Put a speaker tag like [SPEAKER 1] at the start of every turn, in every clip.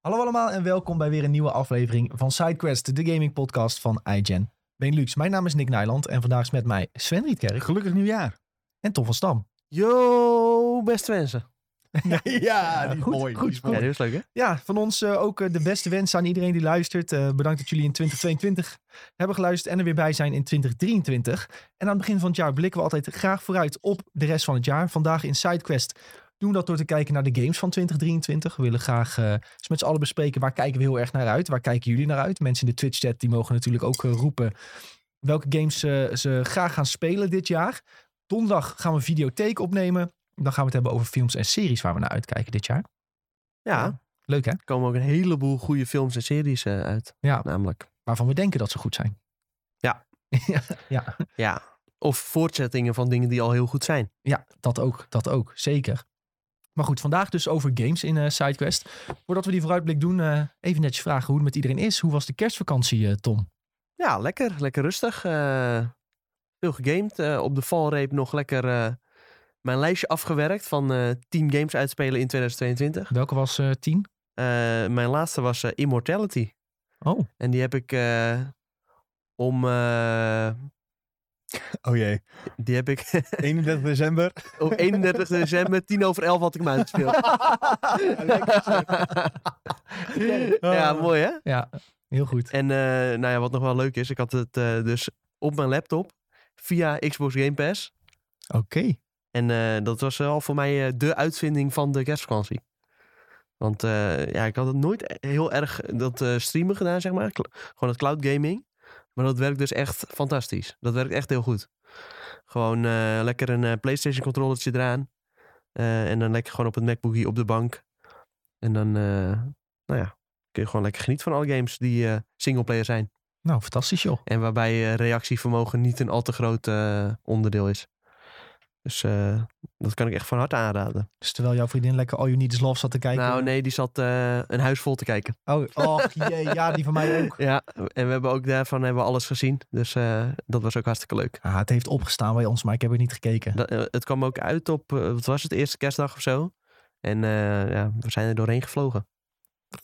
[SPEAKER 1] Hallo allemaal en welkom bij weer een nieuwe aflevering van SideQuest, de gaming podcast van iGen Benelux. Mijn naam is Nick Nijland en vandaag is met mij Sven Rietkerk
[SPEAKER 2] Gelukkig nieuwjaar.
[SPEAKER 1] en Tom van Stam.
[SPEAKER 3] Yo, beste wensen.
[SPEAKER 2] Ja,
[SPEAKER 1] die is mooi, die is mooi.
[SPEAKER 3] Ja, die was leuk, hè?
[SPEAKER 1] Ja, van ons eh, ook eh, de beste wensen aan iedereen die luistert. Eh, bedankt dat jullie in 2022 hebben geluisterd en er weer bij zijn in 2023. En aan het begin van het jaar blikken we altijd graag vooruit op de rest van het jaar. Vandaag in SideQuest doen we dat door te kijken naar de games van 2023. We willen graag eh, eens met z'n allen bespreken waar kijken we heel erg naar uit. Waar kijken jullie naar uit? Mensen in de Twitch-chat die mogen natuurlijk ook eh, roepen welke games eh, ze graag gaan spelen dit jaar. Donderdag gaan we een videotheek opnemen. Dan gaan we het hebben over films en series waar we naar uitkijken dit jaar.
[SPEAKER 3] Ja,
[SPEAKER 1] Ja.
[SPEAKER 3] er
[SPEAKER 1] Leuk hè?
[SPEAKER 3] komen ook een heleboel goede films en series eh, uit.
[SPEAKER 1] Ja.
[SPEAKER 3] Namelijk.
[SPEAKER 1] waarvan we denken dat ze goed zijn.
[SPEAKER 3] Ja.
[SPEAKER 1] ja, ja,
[SPEAKER 3] Ja. Of voortzettingen van dingen die al heel goed zijn.
[SPEAKER 1] ja, dat ook, dat ook, zeker. Maar goed, vandaag dus over games in eh, SideQuest. Voordat we die vooruitblik doen, eh, even netjes vragen hoe het met iedereen is. Hoe was de kerstvakantie, eh, Tom?
[SPEAKER 3] Ja, lekker. Lekker rustig. eh, veel gegamed. eh, op de valreep nog lekker eh, mijn lijstje afgewerkt van eh 10 games uitspelen in 2022.
[SPEAKER 1] Welke was eh tien?
[SPEAKER 3] Eh, mijn laatste was eh, Immortality.
[SPEAKER 1] Oh,
[SPEAKER 3] En die heb ik eh, om... eh,
[SPEAKER 2] Oh jee.
[SPEAKER 3] die heb ik
[SPEAKER 2] 31 december.
[SPEAKER 3] op 31 december, 10 over 11 had ik hem uitgespeeld. ja, mooi hè?
[SPEAKER 1] ja, heel goed.
[SPEAKER 3] En eh, nou ja, wat nog wel leuk is, ik had het eh, dus op mijn laptop via Xbox Game Pass.
[SPEAKER 1] Oké.
[SPEAKER 3] En eh, dat was wel voor mij eh, de uitvinding van de kerstvakantie. Want eh, ja, ik had het nooit heel erg dat eh, streamen gedaan, zeg maar. Cl- Gewoon het cloud gaming. Maar dat werkt dus echt fantastisch. Dat werkt echt heel goed. Gewoon eh, lekker een eh, PlayStation controllertje eraan. Eh, en dan lekker gewoon op het MacBookie op de bank. En dan, eh, nou ja, kun je gewoon lekker genieten van alle games die eh singleplayer zijn.
[SPEAKER 1] Nou, fantastisch joh.
[SPEAKER 3] En waarbij eh, reactievermogen niet een al te groot eh, onderdeel is. Dus eh, dat kan ik echt van harte aanraden.
[SPEAKER 1] Dus terwijl jouw vriendin lekker All You Need Is Love zat te kijken.
[SPEAKER 3] Nou nee, die zat eh, een huis vol te kijken.
[SPEAKER 1] Oh, och, jee, ja, die van mij ook.
[SPEAKER 3] Ja, en we hebben ook daarvan hebben we alles gezien. Dus eh, dat was ook hartstikke leuk.
[SPEAKER 1] Ah, het heeft opgestaan bij ons, maar ik heb het niet gekeken.
[SPEAKER 3] Dat, eh, het kwam ook uit op, eh, wat was het, eerste kerstdag of zo. En eh, ja, we zijn er doorheen gevlogen.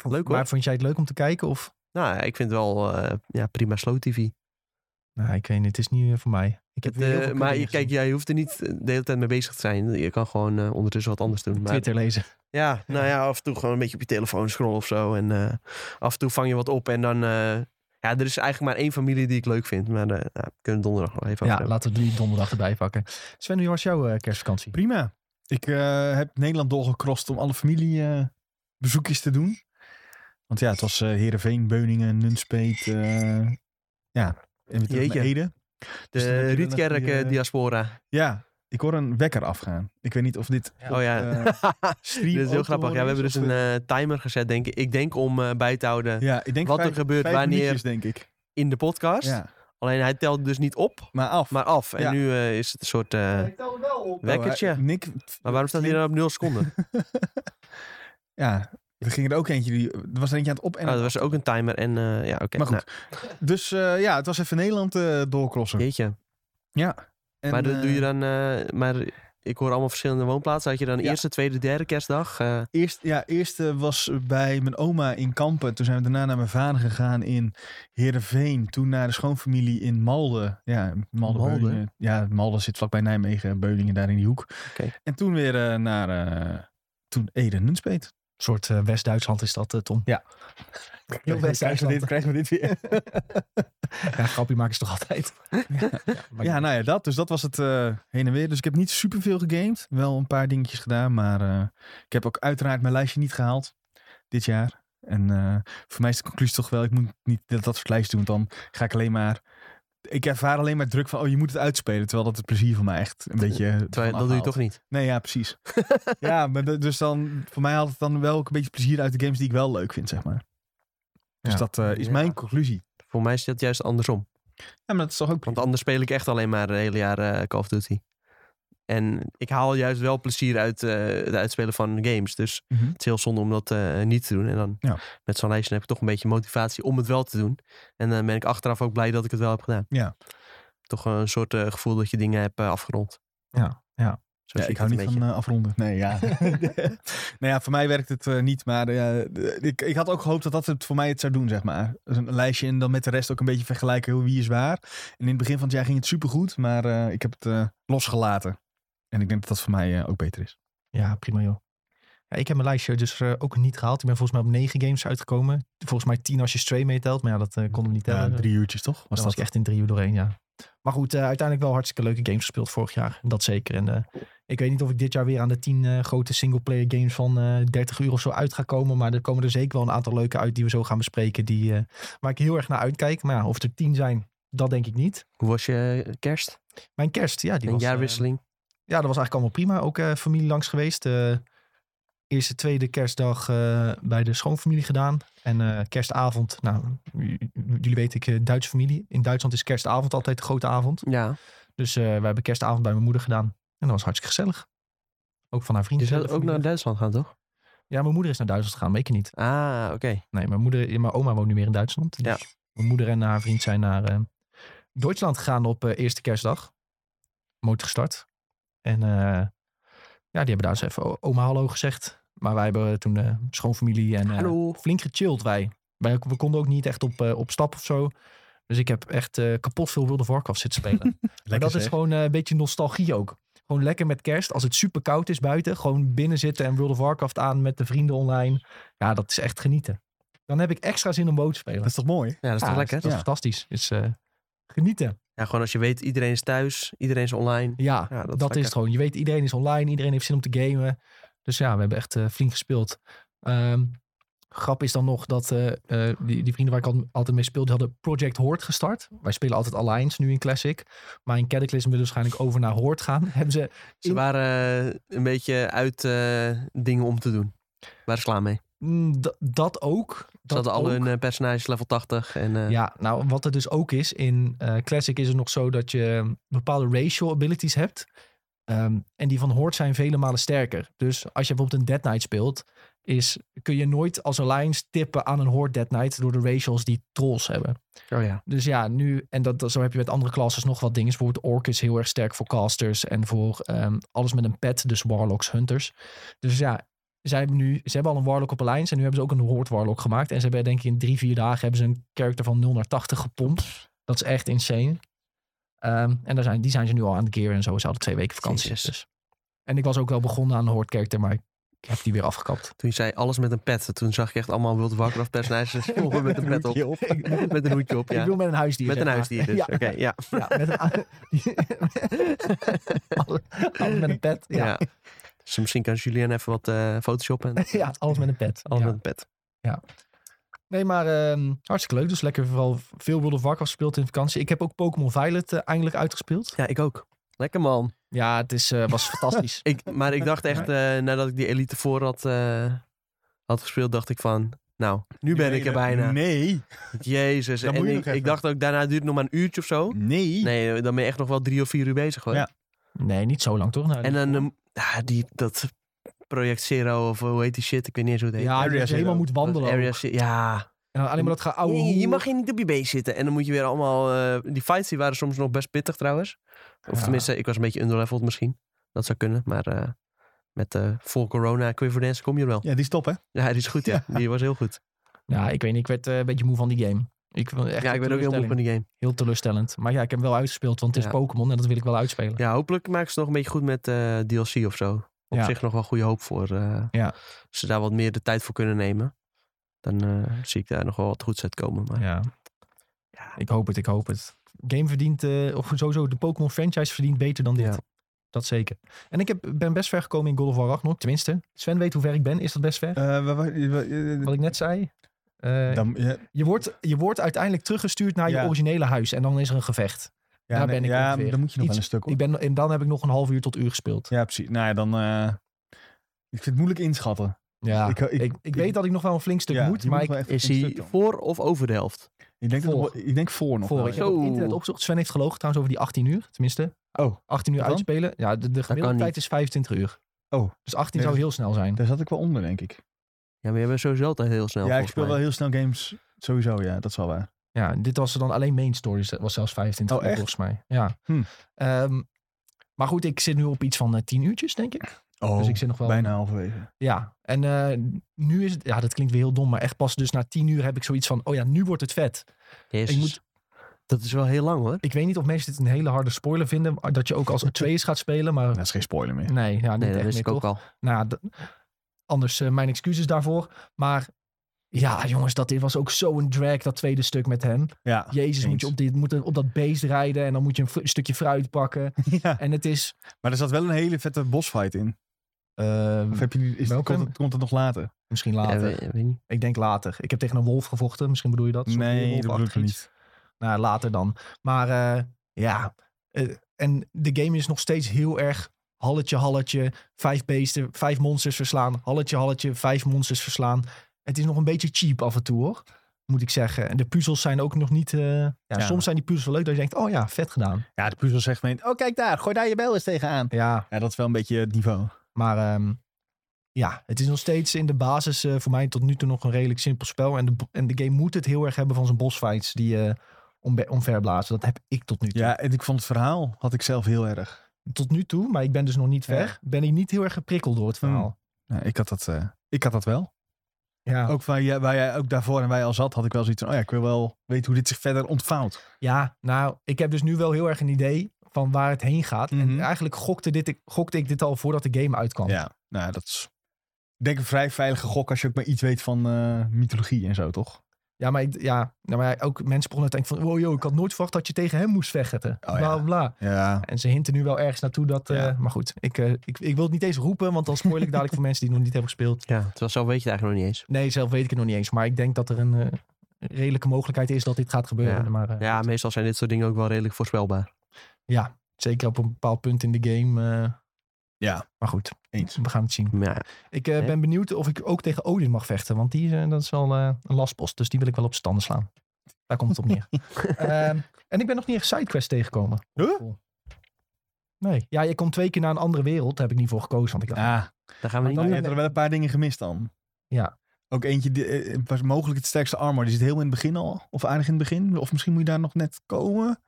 [SPEAKER 3] Leuk hoor.
[SPEAKER 1] Maar vond jij het leuk om te kijken of?
[SPEAKER 3] Nou ja, ik vind het wel eh, ja, prima slow tv.
[SPEAKER 1] Nou, ik weet niet, het is niet eh, voor mij. Ik heb
[SPEAKER 3] Het,
[SPEAKER 1] weer heel
[SPEAKER 3] eh,
[SPEAKER 1] veel
[SPEAKER 3] maar
[SPEAKER 1] dingen
[SPEAKER 3] je, kijk,
[SPEAKER 1] gezien.
[SPEAKER 3] jij hoeft er niet eh, de hele tijd mee bezig te zijn. Je kan gewoon eh, ondertussen wat anders doen. Maar
[SPEAKER 1] Twitter lezen.
[SPEAKER 3] Ja, nou ja, af en toe gewoon een beetje op je telefoon scrollen of zo. En eh, af en toe vang je wat op. En dan, eh, ja, er is eigenlijk maar één familie die ik leuk vind. Maar eh nou, we kunnen donderdag nog even
[SPEAKER 1] Ja,
[SPEAKER 3] over hebben.
[SPEAKER 1] laten we die donderdag erbij pakken. Sven, hoe was jouw eh, kerstvakantie?
[SPEAKER 2] Prima. Ik eh, heb Nederland doorgekrost om alle familiebezoekjes te doen. Want ja, het was eh Heerenveen, Beuningen, Nunspeet. eh, ja, en weer terug
[SPEAKER 3] Jeetje.
[SPEAKER 2] naar Ede. Dus dan heb je
[SPEAKER 3] De
[SPEAKER 2] dan
[SPEAKER 3] Rietkerk
[SPEAKER 2] nog die,
[SPEAKER 3] eh,
[SPEAKER 2] eh,
[SPEAKER 3] Diaspora.
[SPEAKER 2] Ja, ik hoor een wekker afgaan. Ik weet niet of dit
[SPEAKER 1] Ja.
[SPEAKER 3] Oh ja,
[SPEAKER 2] eh, stream
[SPEAKER 3] dit is heel
[SPEAKER 2] ook te
[SPEAKER 3] grappig. Ja, we
[SPEAKER 2] horen
[SPEAKER 3] hebben
[SPEAKER 2] is,
[SPEAKER 3] dus
[SPEAKER 2] of
[SPEAKER 3] een eh, timer gezet, denk ik. Ik denk om eh, bij te houden
[SPEAKER 2] we- Ja, ik denk
[SPEAKER 3] wat er
[SPEAKER 2] vijf-
[SPEAKER 3] gebeurt
[SPEAKER 2] vijf
[SPEAKER 3] wanneer-
[SPEAKER 2] minuutjes, denk ik.
[SPEAKER 3] in de podcast.
[SPEAKER 2] Ja,
[SPEAKER 3] Alleen hij telt dus niet op,
[SPEAKER 2] maar af.
[SPEAKER 3] maar af. En
[SPEAKER 2] Ja.
[SPEAKER 3] nu eh, is het een soort eh, wekkertje.
[SPEAKER 2] Oh, hij- Nick,
[SPEAKER 3] maar waarom staat hij dan op 0 seconden?
[SPEAKER 2] Ja, er ging er ook eentje. Die, er was er eentje aan het op en
[SPEAKER 3] oh, dat was ook een timer. En eh, ja, oké.
[SPEAKER 2] Maar goed.
[SPEAKER 3] nou,
[SPEAKER 2] Dus eh, ja, het was even Nederland eh doorkrossen.
[SPEAKER 3] jeetje.
[SPEAKER 2] En,
[SPEAKER 3] maar dat
[SPEAKER 2] eh,
[SPEAKER 3] doe je dan. eh, maar ik hoor allemaal verschillende woonplaatsen. Had je dan
[SPEAKER 2] Ja.
[SPEAKER 3] eerste, tweede, derde kerstdag? eh,
[SPEAKER 2] Eerst, ja, eerst eh, was bij mijn oma in Kampen. Toen zijn we daarna naar mijn vader gegaan in Heerenveen. Toen naar de schoonfamilie in Malden. Ja, Malden.
[SPEAKER 3] Malden?
[SPEAKER 2] Beuningen. Ja, Malden zit vlakbij Nijmegen. Beuningen daar in die hoek.
[SPEAKER 3] Oké.
[SPEAKER 2] En toen weer eh, naar... eh, toen Ede Nunspeet.
[SPEAKER 1] Een soort eh, West-Duitsland is dat, eh, Tom.
[SPEAKER 2] Ja.
[SPEAKER 1] Heel
[SPEAKER 2] Krijgen we dit-
[SPEAKER 1] West-Duitsland.
[SPEAKER 2] Krijgen we dit weer?
[SPEAKER 1] Ja, grapje maken ze toch altijd. Maar
[SPEAKER 2] Ja, nou ja, dat. Dus dat was het eh, heen en weer. Dus ik heb niet superveel gegamed. Wel een paar dingetjes gedaan. Maar eh, ik heb ook uiteraard mijn lijstje niet gehaald. Dit jaar. En eh, voor mij is de conclusie toch wel... Ik moet niet dat, dat soort lijst doen. Want dan ga ik alleen maar... Ik ervaar alleen maar druk van... Oh, je moet het uitspelen. Terwijl dat het plezier van mij echt een beetje...
[SPEAKER 3] terwijl-
[SPEAKER 2] ervan
[SPEAKER 3] dat doe je
[SPEAKER 2] afhaalt.
[SPEAKER 3] toch niet?
[SPEAKER 2] Nee, ja, precies. ja, maar dat- dus dan... Voor mij haalt het dan wel ook een beetje plezier uit de games die ik wel leuk vind, zeg maar. Dus
[SPEAKER 1] Ja.
[SPEAKER 2] dat eh, is
[SPEAKER 3] Ja.
[SPEAKER 2] mijn conclusie. Mhm.
[SPEAKER 3] Voor mij is dat juist andersom.
[SPEAKER 2] Ja, maar dat is toch ook...
[SPEAKER 3] Want anders speel ik echt alleen maar het hele jaar eh, Call of Duty. En ik haal juist wel plezier uit eh, het uitspelen van games. Dus
[SPEAKER 2] Mhm.
[SPEAKER 3] het is heel zonde om dat eh, niet te doen. En dan
[SPEAKER 2] Ja.
[SPEAKER 3] met zo'n lijstje heb ik toch een beetje motivatie om het wel te doen. En dan ben ik achteraf ook blij dat ik het wel heb gedaan.
[SPEAKER 2] Ja.
[SPEAKER 3] Toch een soort eh, gevoel dat je dingen hebt eh, afgerond.
[SPEAKER 1] Ja, ja.
[SPEAKER 3] Zo
[SPEAKER 2] ja,
[SPEAKER 3] zie
[SPEAKER 2] ik hou
[SPEAKER 3] het
[SPEAKER 2] niet
[SPEAKER 3] een
[SPEAKER 2] van eh, afronden. Nee, ja. nou ja, voor mij werkt het eh, niet. Maar eh, de- ik, ik had ook gehoopt dat dat het voor mij het zou doen, zeg maar. Dus Een lijstje en dan met de rest ook een beetje vergelijken hoe- wie is waar. En in het begin van het jaar ging het supergoed. Maar eh, ik heb het eh, losgelaten. En ik denk dat dat voor mij eh, ook beter is.
[SPEAKER 1] Ja, prima joh. Ja, ik heb mijn lijstje dus eh, ook niet gehaald. Ik ben volgens mij op negen games uitgekomen. Volgens mij tien als je Stray meetelt. Maar ja, dat eh, konden we niet
[SPEAKER 2] Ja,
[SPEAKER 1] tellen.
[SPEAKER 2] drie uurtjes toch? Was
[SPEAKER 1] Daar
[SPEAKER 2] dat
[SPEAKER 1] was ik echt in drie uur doorheen, ja. Maar goed, eh, uiteindelijk wel hartstikke leuke games gespeeld vorig jaar. Dat zeker. En eh, ik weet niet of ik dit jaar weer aan de tien eh, grote singleplayer games van eh 30 uur of zo uit ga komen. Maar er komen er zeker wel een aantal leuke uit die we zo gaan bespreken. Die, eh, waar ik heel erg naar uitkijk. Maar ja, of er tien zijn, dat denk ik niet.
[SPEAKER 3] Hoe was je eh, kerst?
[SPEAKER 1] Mijn kerst, ja. Die
[SPEAKER 3] Een
[SPEAKER 1] was, eh,
[SPEAKER 3] jaarwisseling?
[SPEAKER 1] ja, dat was eigenlijk allemaal prima. Ook eh, familie langs geweest. Eh, eerste, tweede kerstdag eh, bij de schoonfamilie gedaan. En eh, kerstavond, nou, j- j- jullie weten, ik eh, Duitse familie. In Duitsland is kerstavond altijd de grote avond.
[SPEAKER 3] ja.
[SPEAKER 1] Dus eh we hebben kerstavond bij mijn moeder gedaan. En dat was hartstikke gezellig. Ook van haar
[SPEAKER 3] Je
[SPEAKER 1] vrienden.
[SPEAKER 3] zou
[SPEAKER 1] zelf,
[SPEAKER 3] ook naar
[SPEAKER 1] familie.
[SPEAKER 3] Duitsland gaan, toch?
[SPEAKER 1] Ja, mijn moeder is naar Duitsland gegaan, maar ik niet.
[SPEAKER 3] Ah, oké.
[SPEAKER 1] Nee, mijn, moeder, mijn oma woont nu weer in Duitsland. Dus
[SPEAKER 3] Ja.
[SPEAKER 1] Mijn moeder en haar vriend zijn naar eh, Duitsland gegaan op eh, eerste kerstdag. Motor gestart. En eh, ja, die hebben daar eens even o- oma hallo gezegd. Maar wij hebben toen eh, schoonfamilie en eh,
[SPEAKER 3] Hallo.
[SPEAKER 1] flink gechilled wij. wij. We konden ook niet echt op, eh, op stap of zo. Dus ik heb echt eh, kapot veel World of Warcraft zitten spelen. maar dat is gewoon eh, een beetje nostalgie ook. Gewoon lekker met kerst. Als het super koud is buiten. Gewoon binnen zitten en World of Warcraft aan met de vrienden online. Ja, dat is echt genieten. Dan heb ik extra zin om boot te spelen.
[SPEAKER 2] Dat is toch mooi?
[SPEAKER 3] Ja, dat is
[SPEAKER 1] Ja,
[SPEAKER 3] toch lekker?
[SPEAKER 1] Dat is
[SPEAKER 2] Ja.
[SPEAKER 1] fantastisch. Dus eh, genieten.
[SPEAKER 3] Ja, gewoon als je weet, iedereen is thuis, iedereen is online.
[SPEAKER 1] Ja,
[SPEAKER 3] Ja, dat is
[SPEAKER 1] dat,
[SPEAKER 3] lekker.
[SPEAKER 1] is het gewoon. Je weet, iedereen is online. Iedereen heeft zin om te gamen. Dus ja, we hebben echt eh, flink gespeeld. Ehm, grap is dan nog dat eh, eh, die, die vrienden waar ik al- altijd mee speelde, die hadden Project Horde gestart. Wij spelen altijd Alliance nu in Classic. Maar in Cataclysm willen we waarschijnlijk over naar Horde gaan. Hebben ze
[SPEAKER 3] Ze
[SPEAKER 1] In-
[SPEAKER 3] waren eh, een beetje uit eh, dingen om te doen. Waar is klaar mee? Ze
[SPEAKER 1] mm, d- dat ook. Dat
[SPEAKER 3] hadden al
[SPEAKER 1] ook.
[SPEAKER 3] hun eh, personages level 80. En, eh,
[SPEAKER 1] Ja, nou, wat er dus ook is, in eh, Classic is het nog zo dat je bepaalde racial abilities hebt. Ehm, en die van Horde zijn vele malen sterker. Dus als je bijvoorbeeld een Dead Knight speelt, is, kun je nooit als Alliance tippen aan een Horde Dead Knight door de racials die trolls hebben.
[SPEAKER 3] Oh ja.
[SPEAKER 1] Dus ja, nu, en dat, dat- zo heb je met andere classes nog wat dingen. Bijvoorbeeld Orc is heel erg sterk voor casters en voor ehm, alles met een pet, dus Warlocks, Hunters. Dus ja, zij hebben nu, ze hebben al een Warlock op Alliance en nu hebben ze ook een Horde Warlock gemaakt. En ze hebben denk ik in drie, vier dagen hebben ze een character van 0 naar 80 gepompt. Dat is echt insane. Ehm, en daar zijn, die zijn ze nu al aan het gear en zo. Ze hadden twee weken vakantie.
[SPEAKER 3] Jezus.
[SPEAKER 1] Dus. En ik was ook wel begonnen aan een Horde character, maar ik heb die weer afgekapt.
[SPEAKER 3] Toen je zei alles met een pet, toen zag ik echt allemaal World of Warcraft personages volgen met een pet op. Met een hoedje op,
[SPEAKER 1] Ik
[SPEAKER 3] ja.
[SPEAKER 1] wil met een huisdier.
[SPEAKER 3] Met
[SPEAKER 1] zeg
[SPEAKER 3] een
[SPEAKER 1] maar.
[SPEAKER 3] huisdier dus.
[SPEAKER 1] Ja.
[SPEAKER 3] Oké, ja.
[SPEAKER 1] Ja, met een, alles, alles met een pet. Ja, ja.
[SPEAKER 3] ja. Dus misschien kan Julian even wat eh Photoshop en
[SPEAKER 1] alles met een pet.
[SPEAKER 3] alles
[SPEAKER 1] Ja.
[SPEAKER 3] met een pet.
[SPEAKER 1] Nee, maar ehm, hartstikke leuk. Dus lekker vooral veel World of Warcraft gespeeld in vakantie. Ik heb ook Pokémon Violet eh, eindelijk uitgespeeld.
[SPEAKER 3] Ja, ik ook. Lekker man.
[SPEAKER 1] Ja, het is, eh, was fantastisch.
[SPEAKER 3] Ik, maar ik dacht echt, eh, nadat ik die Elite voor had, eh, had gespeeld, dacht ik van, nou, nu ben ik er bijna.
[SPEAKER 2] Nee.
[SPEAKER 3] Jezus.
[SPEAKER 2] Dan
[SPEAKER 3] en
[SPEAKER 2] moet je
[SPEAKER 3] ik,
[SPEAKER 2] nog even.
[SPEAKER 3] ik dacht ook, daarna duurt het nog maar een uurtje of zo.
[SPEAKER 2] Nee.
[SPEAKER 3] Nee, dan ben je echt nog wel drie of vier uur bezig hoor.
[SPEAKER 2] Ja.
[SPEAKER 1] Nee, niet zo lang toch? Nou,
[SPEAKER 3] En dan, eh, ah, die, dat Project Zero of eh, hoe heet die shit, ik weet niet eens hoe het heet.
[SPEAKER 1] ja,
[SPEAKER 2] Area
[SPEAKER 1] dat je helemaal
[SPEAKER 2] Zero.
[SPEAKER 1] moet wandelen.
[SPEAKER 3] Dat eh, Area
[SPEAKER 1] ook.
[SPEAKER 3] Ze- ja.
[SPEAKER 1] En dan alleen maar dat gaan ouwe
[SPEAKER 3] Nee, je
[SPEAKER 1] hoeren.
[SPEAKER 3] mag hier niet op je been zitten. En dan moet je weer allemaal... eh, die fights die waren soms nog best pittig trouwens. Of
[SPEAKER 1] Ja.
[SPEAKER 3] tenminste, ik was een beetje underleveled misschien. Dat zou kunnen, maar... eh, met eh vol corona Quiverdance kom je er wel.
[SPEAKER 2] Ja, die stop hè.
[SPEAKER 3] Ja, die is goed, ja. Die was heel goed.
[SPEAKER 1] Ja, ik weet niet. Ik werd eh, een beetje moe van die game. Ik, vond het echt
[SPEAKER 3] ja, ik ben ook heel moe van die game.
[SPEAKER 1] Heel teleurstellend. Maar ja, ik heb hem wel uitgespeeld, want het is
[SPEAKER 3] Ja.
[SPEAKER 1] Pokémon en dat wil ik wel uitspelen.
[SPEAKER 3] Ja, hopelijk maken ze nog een beetje goed met eh, DLC of zo. Op
[SPEAKER 1] Ja.
[SPEAKER 3] zich nog wel goede hoop voor. eh,
[SPEAKER 1] Ja.
[SPEAKER 3] Als ze daar wat meer de tijd voor kunnen nemen, dan eh, zie ik daar nog wel wat goeds uit komen. Maar
[SPEAKER 1] Ja. Ik hoop het, ik hoop het. Game verdient, eh, of sowieso de Pokémon franchise verdient beter dan dit.
[SPEAKER 3] Ja.
[SPEAKER 1] Dat zeker. En ik heb, ben best ver gekomen in God of War Ragnarok. Tenminste, Sven weet hoe ver ik ben. Is dat best ver?
[SPEAKER 2] Eh, wa- wa- wa- eh,
[SPEAKER 1] Wat ik net zei. Eh,
[SPEAKER 2] dan- ja,
[SPEAKER 1] je, wordt, je wordt uiteindelijk teruggestuurd naar
[SPEAKER 2] Ja.
[SPEAKER 1] je originele huis. En dan is er een gevecht.
[SPEAKER 2] ja,
[SPEAKER 1] Daar
[SPEAKER 2] nee,
[SPEAKER 1] ben ik
[SPEAKER 2] ja,
[SPEAKER 1] ongeveer.
[SPEAKER 2] dan moet je nog
[SPEAKER 1] Iets-
[SPEAKER 2] wel een stuk op.
[SPEAKER 1] Ik ben, en dan heb ik nog een half uur tot uur gespeeld. Ja,
[SPEAKER 2] Ja, precies. Nou ja, dan... eh, ik vind het moeilijk inschatten.
[SPEAKER 1] ik,
[SPEAKER 2] Ik-
[SPEAKER 1] ik,
[SPEAKER 2] ik-
[SPEAKER 1] ik,
[SPEAKER 2] ik-
[SPEAKER 1] weet dat ik nog wel een flink stuk
[SPEAKER 2] Ja,
[SPEAKER 1] moet.
[SPEAKER 2] je
[SPEAKER 1] Maar
[SPEAKER 2] moet
[SPEAKER 1] ik,
[SPEAKER 2] wel echt
[SPEAKER 3] is
[SPEAKER 2] een stuk
[SPEAKER 3] hij
[SPEAKER 2] dan.
[SPEAKER 3] voor of over de helft?
[SPEAKER 2] Ik denk, dat het
[SPEAKER 1] Voor.
[SPEAKER 2] wel- ik denk voor nog.
[SPEAKER 1] voor,
[SPEAKER 2] wel,
[SPEAKER 1] ik
[SPEAKER 2] ja.
[SPEAKER 1] heb op
[SPEAKER 3] Zo.
[SPEAKER 1] internet opgezocht. Sven heeft gelogen trouwens over die 18 uur. Tenminste,
[SPEAKER 2] Oh,
[SPEAKER 1] 18 uur
[SPEAKER 2] Wat dan?
[SPEAKER 1] uitspelen. Ja, de, de gemiddelde
[SPEAKER 3] niet.
[SPEAKER 1] tijd is 25 uur.
[SPEAKER 2] Oh.
[SPEAKER 1] Dus 18
[SPEAKER 2] Nee,
[SPEAKER 1] zou
[SPEAKER 2] dat-
[SPEAKER 1] heel snel zijn.
[SPEAKER 2] daar zat ik wel onder, denk ik.
[SPEAKER 3] Ja, maar je bent sowieso altijd heel snel.
[SPEAKER 2] ja, ik
[SPEAKER 3] volgens
[SPEAKER 2] speel
[SPEAKER 3] mij.
[SPEAKER 2] wel heel snel games. Sowieso, ja. Dat is wel waar.
[SPEAKER 1] Ja, dit was dan alleen main stories. Dat was zelfs 25
[SPEAKER 2] Oh,
[SPEAKER 1] uur
[SPEAKER 2] echt?
[SPEAKER 1] volgens mij. Ja.
[SPEAKER 2] Hm.
[SPEAKER 1] Ehm, Maar goed, ik zit nu op iets van eh, tien uurtjes, denk ik.
[SPEAKER 2] Oh,
[SPEAKER 1] Dus ik zit nog wel-
[SPEAKER 2] bijna halverwege.
[SPEAKER 1] Ja, en eh, nu is het... Ja, dat klinkt weer heel dom, maar echt pas dus na tien uur heb ik zoiets van... Oh ja, nu wordt het vet.
[SPEAKER 3] Jezus.
[SPEAKER 1] Ik moet-
[SPEAKER 3] Dat is wel heel lang hoor.
[SPEAKER 1] Ik weet niet of mensen dit een hele harde spoiler vinden. Dat je ook als het twee is gaat spelen, maar...
[SPEAKER 2] Dat is geen spoiler meer.
[SPEAKER 1] Nee, ja, niet
[SPEAKER 3] Nee, dat
[SPEAKER 1] echt
[SPEAKER 3] wist
[SPEAKER 1] meer,
[SPEAKER 3] ik ook
[SPEAKER 1] toch?
[SPEAKER 3] al.
[SPEAKER 1] Nou, ja, d- anders eh, mijn excuses daarvoor. Maar ja, jongens, dat dit was ook zo'n drag, dat tweede stuk met hem.
[SPEAKER 2] Ja.
[SPEAKER 1] Jezus, moet je
[SPEAKER 2] Ah, eens.
[SPEAKER 1] op, dit, moet er op dat beest rijden en dan moet je een fru- stukje fruit pakken.
[SPEAKER 2] ja.
[SPEAKER 1] En het is...
[SPEAKER 2] Maar er zat wel een hele vette bossfight in.
[SPEAKER 1] ehm,
[SPEAKER 2] Of heb je die, is,
[SPEAKER 1] welke?
[SPEAKER 2] komt, het, komt het nog later?
[SPEAKER 1] misschien
[SPEAKER 3] Ja,
[SPEAKER 1] later.
[SPEAKER 3] weet- weet niet.
[SPEAKER 1] Ik denk later. Ik heb tegen een wolf gevochten. Misschien bedoel je dat? Zo'n
[SPEAKER 2] Nee,
[SPEAKER 1] weerwolf
[SPEAKER 2] dat bedoel ik
[SPEAKER 1] achter iets.
[SPEAKER 2] niet.
[SPEAKER 1] Nou, later dan. Maar eh, ja. eh, en de game is nog steeds heel erg halletje, halletje. Vijf beesten, vijf monsters verslaan. Halletje, halletje, vijf monsters verslaan. Het is nog een beetje cheap af en toe hoor. Moet ik zeggen. En de puzzels zijn ook nog niet... eh, ja,
[SPEAKER 2] Ja.
[SPEAKER 1] Soms zijn die puzzels wel leuk dat je denkt, oh ja, vet gedaan.
[SPEAKER 2] Ja, de puzzel zegt meteen, oh kijk daar, gooi daar je bel eens tegenaan.
[SPEAKER 1] Ja,
[SPEAKER 2] Ja, dat is wel een beetje het niveau.
[SPEAKER 1] maar ehm, ja, het is nog steeds in de basis eh, voor mij tot nu toe nog een redelijk simpel spel. En de, bo- en de game moet het heel erg hebben van zijn bossfights die eh ombe- omverblazen. Dat heb ik tot nu toe.
[SPEAKER 2] Ja, en ik vond het verhaal, had ik zelf heel erg.
[SPEAKER 1] tot nu toe, maar ik ben dus nog niet
[SPEAKER 2] Ja. Oh.
[SPEAKER 1] weg, ben ik niet heel erg geprikkeld door het verhaal.
[SPEAKER 2] Ja, ik, had dat, eh, ik had dat wel.
[SPEAKER 1] Ja.
[SPEAKER 2] Ook waar jij, waar jij ook daarvoor en wij al zat, had ik wel zoiets van, oh ja, ik wil wel weten hoe dit zich verder ontvouwt.
[SPEAKER 1] ja, nou, ik heb dus nu wel heel erg een idee van waar het heen gaat.
[SPEAKER 2] Mhm.
[SPEAKER 1] En eigenlijk gokte, dit, ik- gokte ik dit al voordat de game uitkwam.
[SPEAKER 2] Ja, nou dat is, ik denk een vrij veilige gok als je ook maar iets weet van eh, mythologie en zo, toch?
[SPEAKER 1] Ja, maar, ik, ja, nou, maar ja, ook mensen begonnen te denken van, wow, yo, ik had nooit verwacht dat je tegen hem moest vechten.
[SPEAKER 2] Oh, ja.
[SPEAKER 1] bla, bla, bla.
[SPEAKER 2] Ja.
[SPEAKER 1] En ze hinten nu wel ergens naartoe dat, eh,
[SPEAKER 2] Ja.
[SPEAKER 1] maar goed, ik, eh, ik, ik wil het niet eens roepen, want dan spoil ik dadelijk voor mensen die het nog niet hebben gespeeld.
[SPEAKER 3] Ja, terwijl zo weet je het eigenlijk nog niet eens.
[SPEAKER 1] Nee, zelf weet ik het nog niet eens, maar ik denk dat er een eh, redelijke mogelijkheid is dat dit gaat gebeuren.
[SPEAKER 3] Ja.
[SPEAKER 1] Maar, eh,
[SPEAKER 3] Ja, meestal zijn dit soort dingen ook wel redelijk voorspelbaar.
[SPEAKER 1] ja, zeker op een bepaald punt in de game. eh,
[SPEAKER 2] Ja,
[SPEAKER 1] maar goed.
[SPEAKER 2] eens.
[SPEAKER 1] We gaan het zien.
[SPEAKER 3] Maar ja,
[SPEAKER 1] Ik eh,
[SPEAKER 3] Ja.
[SPEAKER 1] ben benieuwd of ik ook tegen Odin mag vechten. Want die eh, dat is wel eh, een lastpost. Dus die wil ik wel op standen slaan. Daar komt het op neer. Ehm, en ik ben nog niet echt sidequest tegengekomen.
[SPEAKER 2] Huh?
[SPEAKER 1] Cool. Nee. Ja, je komt twee keer naar een andere wereld. Daar heb ik niet voor gekozen. Want ik dacht,
[SPEAKER 2] Ah,
[SPEAKER 3] daar gaan we niet
[SPEAKER 2] maar
[SPEAKER 1] dan-
[SPEAKER 2] je
[SPEAKER 3] mee.
[SPEAKER 2] hebt er wel een paar dingen gemist dan.
[SPEAKER 1] Ja.
[SPEAKER 2] Ook eentje, die, eh, was mogelijk het sterkste armor. Die zit heel in het begin al. Of aardig in het begin. Of misschien moet je daar nog net komen.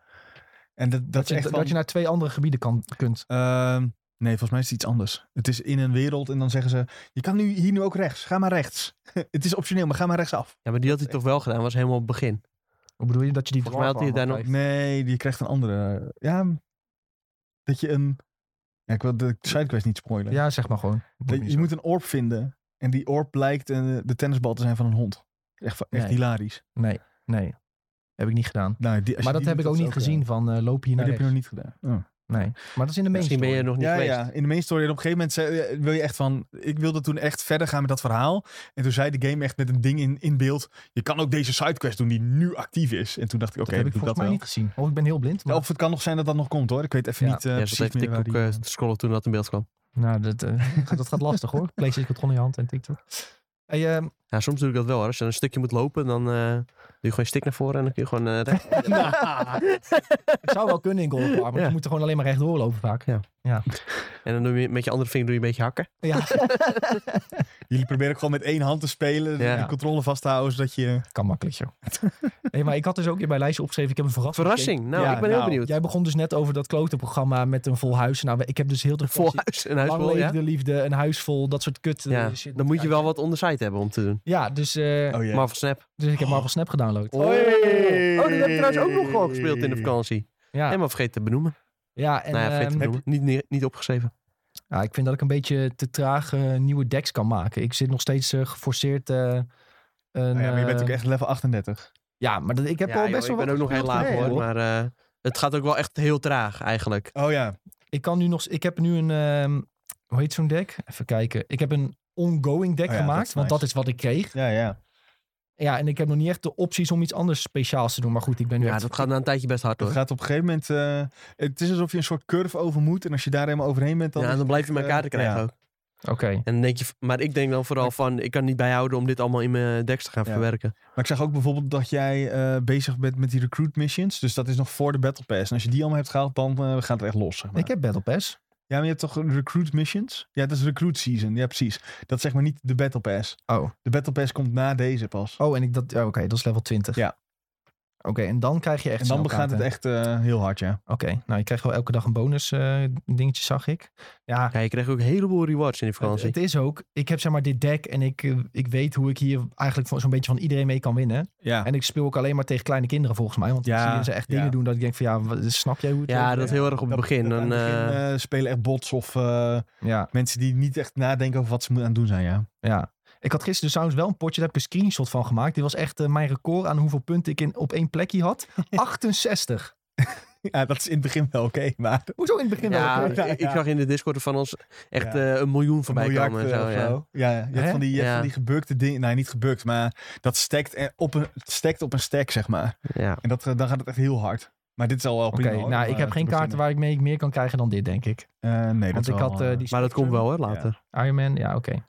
[SPEAKER 2] En dat, dat,
[SPEAKER 1] dat,
[SPEAKER 2] is
[SPEAKER 1] je,
[SPEAKER 2] echt
[SPEAKER 1] dat
[SPEAKER 2] wel-
[SPEAKER 1] je naar twee andere gebieden kan, kunt.
[SPEAKER 2] Ehm, nee, volgens mij is het iets anders. Het is in een wereld en dan zeggen ze... Je kan nu, hier nu ook rechts. Ga maar rechts. het is optioneel, maar ga maar rechtsaf.
[SPEAKER 3] Ja, maar die had hij toch wel gedaan, was helemaal op het begin.
[SPEAKER 1] Hoe bedoel je dat je die
[SPEAKER 3] Volgens mij had hij
[SPEAKER 1] dwarf
[SPEAKER 3] daar
[SPEAKER 1] armor krijgt?
[SPEAKER 2] Nee, je krijgt een andere... Ja, dat je een... Ja, ik wil de sidequest niet spoilen.
[SPEAKER 1] Ja, zeg maar gewoon.
[SPEAKER 2] Dat je je moet een orb vinden. En die orb blijkt eh, de tennisbal te zijn van een hond. Echt, echt
[SPEAKER 1] Nee.
[SPEAKER 2] hilarisch.
[SPEAKER 1] Nee, nee. Heb ik niet gedaan.
[SPEAKER 2] Nou, die- als
[SPEAKER 1] Maar dat
[SPEAKER 2] je die
[SPEAKER 1] heb
[SPEAKER 2] doet,
[SPEAKER 1] ik ook
[SPEAKER 2] is
[SPEAKER 1] niet gezien
[SPEAKER 2] raar.
[SPEAKER 1] van eh, loop hier
[SPEAKER 2] Maar
[SPEAKER 1] naar
[SPEAKER 2] die heb je nog
[SPEAKER 1] rechts.
[SPEAKER 2] niet gedaan. Oh.
[SPEAKER 1] Nee. Maar dat is in de main
[SPEAKER 3] Misschien ben je
[SPEAKER 1] story.
[SPEAKER 3] nog niet
[SPEAKER 2] Ja,
[SPEAKER 3] geweest.
[SPEAKER 2] ja, in de main story. En op een gegeven moment zei- eh, wil je echt van... Ik wilde toen echt verder gaan met dat verhaal. En toen zei de game echt met een ding in, in beeld... Je kan ook deze sidequest doen die nu actief is. En toen dacht ik,
[SPEAKER 1] Dat
[SPEAKER 2] oké,
[SPEAKER 1] heb
[SPEAKER 2] doe
[SPEAKER 1] ik
[SPEAKER 2] ik dat
[SPEAKER 1] volgens mij
[SPEAKER 2] wel.
[SPEAKER 1] niet gezien. Of ik ben heel blind. maar-
[SPEAKER 2] Of het kan nog zijn dat dat nog komt hoor. Ik weet even
[SPEAKER 1] Ja.
[SPEAKER 2] niet eh,
[SPEAKER 3] Ja,
[SPEAKER 2] precies
[SPEAKER 3] dat heeft
[SPEAKER 2] meer
[SPEAKER 3] ik
[SPEAKER 2] waar
[SPEAKER 3] ook
[SPEAKER 2] die...
[SPEAKER 3] eh, te scrollen toen dat in beeld kwam.
[SPEAKER 1] Nou, dat, eh, dat gaat lastig hoor. PlayStation controle in je hand en TikTok. Hey, ehm,
[SPEAKER 3] Ja, soms doe ik dat wel hoor. Als je een stukje moet lopen, dan eh, doe je gewoon stik naar voren en dan kun je gewoon eh, recht.
[SPEAKER 1] het zou wel kunnen in Golf, maar
[SPEAKER 3] Ja.
[SPEAKER 1] je moet er gewoon alleen maar rechtdoor lopen vaak.
[SPEAKER 3] Ja. En dan doe je met je andere vinger doe je een beetje hakken.
[SPEAKER 1] Ja,
[SPEAKER 2] Jullie proberen ook gewoon met één hand te spelen.
[SPEAKER 3] Ja.
[SPEAKER 2] De controle vast te houden, zodat je...
[SPEAKER 1] kan makkelijk joh. Nee, maar ik had dus ook in mijn lijstje opgeschreven, ik heb een verrassing.
[SPEAKER 3] Verrassing. Nou,
[SPEAKER 2] Ja,
[SPEAKER 3] ik ben heel
[SPEAKER 2] nou,
[SPEAKER 3] benieuwd.
[SPEAKER 1] Jij begon dus net over dat klote programma met een vol huis. Nou, ik heb dus heel de
[SPEAKER 3] Vol
[SPEAKER 1] versie-
[SPEAKER 3] huis, een
[SPEAKER 1] Lang
[SPEAKER 3] huisbol,
[SPEAKER 1] leef
[SPEAKER 3] ja.
[SPEAKER 1] de liefde, een huis vol, dat soort kut. eh,
[SPEAKER 3] ja.
[SPEAKER 1] shit.
[SPEAKER 3] Dan moet je wel wat ondersite hebben om te doen.
[SPEAKER 1] Ja, dus, eh,
[SPEAKER 2] Oh ja.
[SPEAKER 3] Marvel Snap.
[SPEAKER 1] dus ik heb Marvel Snap gedownload.
[SPEAKER 3] Oh, dat heb ik trouwens ook nog gewoon gespeeld in de vakantie.
[SPEAKER 1] Ja,
[SPEAKER 3] Helemaal vergeten te benoemen.
[SPEAKER 1] ja en
[SPEAKER 3] nou ja, vergeten te
[SPEAKER 1] ehm,
[SPEAKER 3] benoemen. Niet, neer- niet opgeschreven.
[SPEAKER 1] Ja, ik vind dat ik een beetje te traag eh, nieuwe decks kan maken. Ik zit nog steeds eh, geforceerd. eh, een,
[SPEAKER 2] Nou ja, maar je bent
[SPEAKER 1] eh,
[SPEAKER 2] ook echt level 38.
[SPEAKER 1] Ja, maar dat, ik heb
[SPEAKER 3] Ja,
[SPEAKER 1] al
[SPEAKER 3] joh,
[SPEAKER 1] best wel
[SPEAKER 3] Ik ben ook nog heel laag
[SPEAKER 1] laag
[SPEAKER 3] hoor, maar eh, het gaat ook wel echt heel traag eigenlijk.
[SPEAKER 2] Oh ja.
[SPEAKER 1] Ik kan nu nog... Ik heb nu een... ehm, hoe heet zo'n deck? Even kijken. Ik heb een ongoing deck
[SPEAKER 2] Oh ja,
[SPEAKER 1] gemaakt,
[SPEAKER 2] dat is
[SPEAKER 1] want
[SPEAKER 2] nice.
[SPEAKER 1] dat is wat ik kreeg.
[SPEAKER 2] Ja, ja.
[SPEAKER 1] Ja, en ik heb nog niet echt de opties om iets anders speciaals te doen. Maar goed, ik ben nu
[SPEAKER 3] Ja,
[SPEAKER 1] echt-
[SPEAKER 3] dat gaat na een tijdje best hard
[SPEAKER 2] Het
[SPEAKER 3] hoor.
[SPEAKER 2] gaat op een gegeven moment... eh, het is alsof je een soort curve over moet. En als je daar helemaal overheen bent, dan...
[SPEAKER 3] ja, en dan blijf je mijn
[SPEAKER 2] eh,
[SPEAKER 3] kaarten krijgen
[SPEAKER 2] ja.
[SPEAKER 3] ook.
[SPEAKER 1] Oké.
[SPEAKER 3] En dan denk je, maar ik denk dan vooral van, ik kan niet bijhouden om dit allemaal in mijn decks te gaan
[SPEAKER 2] Ja.
[SPEAKER 3] verwerken.
[SPEAKER 2] Maar ik zag ook bijvoorbeeld dat jij eh, bezig bent met die recruit missions. Dus dat is nog voor de Battle Pass. En als je die allemaal hebt gehaald, dan eh, gaat het echt los. Zeg maar.
[SPEAKER 1] Ik heb Battle Pass.
[SPEAKER 2] Ja, maar je hebt toch recruit missions? Ja, dat is recruit season. Ja, precies. Dat is zeg maar niet de Battle Pass.
[SPEAKER 1] Oh.
[SPEAKER 2] De Battle Pass komt na deze pas.
[SPEAKER 1] Oh, en ik dat... oh, Oké, dat is level 20.
[SPEAKER 2] Ja.
[SPEAKER 1] Oké, en dan krijg je echt
[SPEAKER 2] En dan begaat het
[SPEAKER 1] snelkaarten.
[SPEAKER 2] echt eh, heel hard, ja.
[SPEAKER 1] Oké, nou je krijgt wel elke dag een bonus eh, dingetje, zag ik. Ja,
[SPEAKER 3] Ja, je krijgt ook een heleboel rewards in
[SPEAKER 1] het,
[SPEAKER 3] die vakantie.
[SPEAKER 1] het is ook, ik heb zeg maar dit deck en ik, eh, ik weet hoe ik hier eigenlijk van- zo'n beetje van iedereen mee kan winnen.
[SPEAKER 2] Ja,
[SPEAKER 1] En ik speel ook alleen maar tegen kleine kinderen volgens mij, want
[SPEAKER 2] Ja,
[SPEAKER 1] ik zie ze echt dingen
[SPEAKER 2] ja.
[SPEAKER 1] doen dat ik denk van ja, wat- snap jij hoe het
[SPEAKER 3] ja,
[SPEAKER 1] werkt?
[SPEAKER 3] dat heel erg op het begin.
[SPEAKER 2] dat aan
[SPEAKER 3] Dan,
[SPEAKER 2] het begin,
[SPEAKER 3] eh,
[SPEAKER 2] eh, spelen echt bots of eh,
[SPEAKER 1] Ja,
[SPEAKER 2] mensen die niet echt nadenken over wat ze moeten aan het doen zijn, ja.
[SPEAKER 1] ja. Ik had gisteren dus trouwens wel een potje, daar heb ik een screenshot van gemaakt. Dit was echt eh, mijn record aan hoeveel punten ik in, op één plekje had. 68.
[SPEAKER 2] Ja, dat is in het begin wel oké, maar
[SPEAKER 1] Hoezo in het begin wel?
[SPEAKER 3] ja,
[SPEAKER 2] ook, ja,
[SPEAKER 3] ik ik
[SPEAKER 2] ja.
[SPEAKER 3] zag in de Discord van ons echt
[SPEAKER 2] Ja.
[SPEAKER 3] eh, een miljoen voorbij
[SPEAKER 2] miljard,
[SPEAKER 3] komen. En
[SPEAKER 2] eh,
[SPEAKER 3] zo,
[SPEAKER 2] of
[SPEAKER 3] ja.
[SPEAKER 2] zo. Ja, je hebt
[SPEAKER 1] Hè?
[SPEAKER 2] van die, je hebt
[SPEAKER 3] Ja.
[SPEAKER 2] van die gebukte dingen. Nee, niet gebukt, maar dat stekt eh, op een, het stekt op een stack, zeg maar.
[SPEAKER 3] Ja.
[SPEAKER 2] En dat, eh, dan gaat het echt heel hard. Maar dit is al wel
[SPEAKER 1] Oké,
[SPEAKER 2] prima. hoor,
[SPEAKER 1] nou
[SPEAKER 2] om,
[SPEAKER 1] ik
[SPEAKER 2] eh,
[SPEAKER 1] heb
[SPEAKER 2] te
[SPEAKER 1] geen kaarten
[SPEAKER 2] beginnen.
[SPEAKER 1] waar ik mee meer kan krijgen dan dit, denk ik.
[SPEAKER 2] Eh, nee,
[SPEAKER 1] Want
[SPEAKER 2] dat
[SPEAKER 1] ik
[SPEAKER 2] is wel,
[SPEAKER 1] had eh,
[SPEAKER 2] eh,
[SPEAKER 1] die
[SPEAKER 3] Maar dat komt wel hoor, later.
[SPEAKER 1] Iron Man, ja, oké.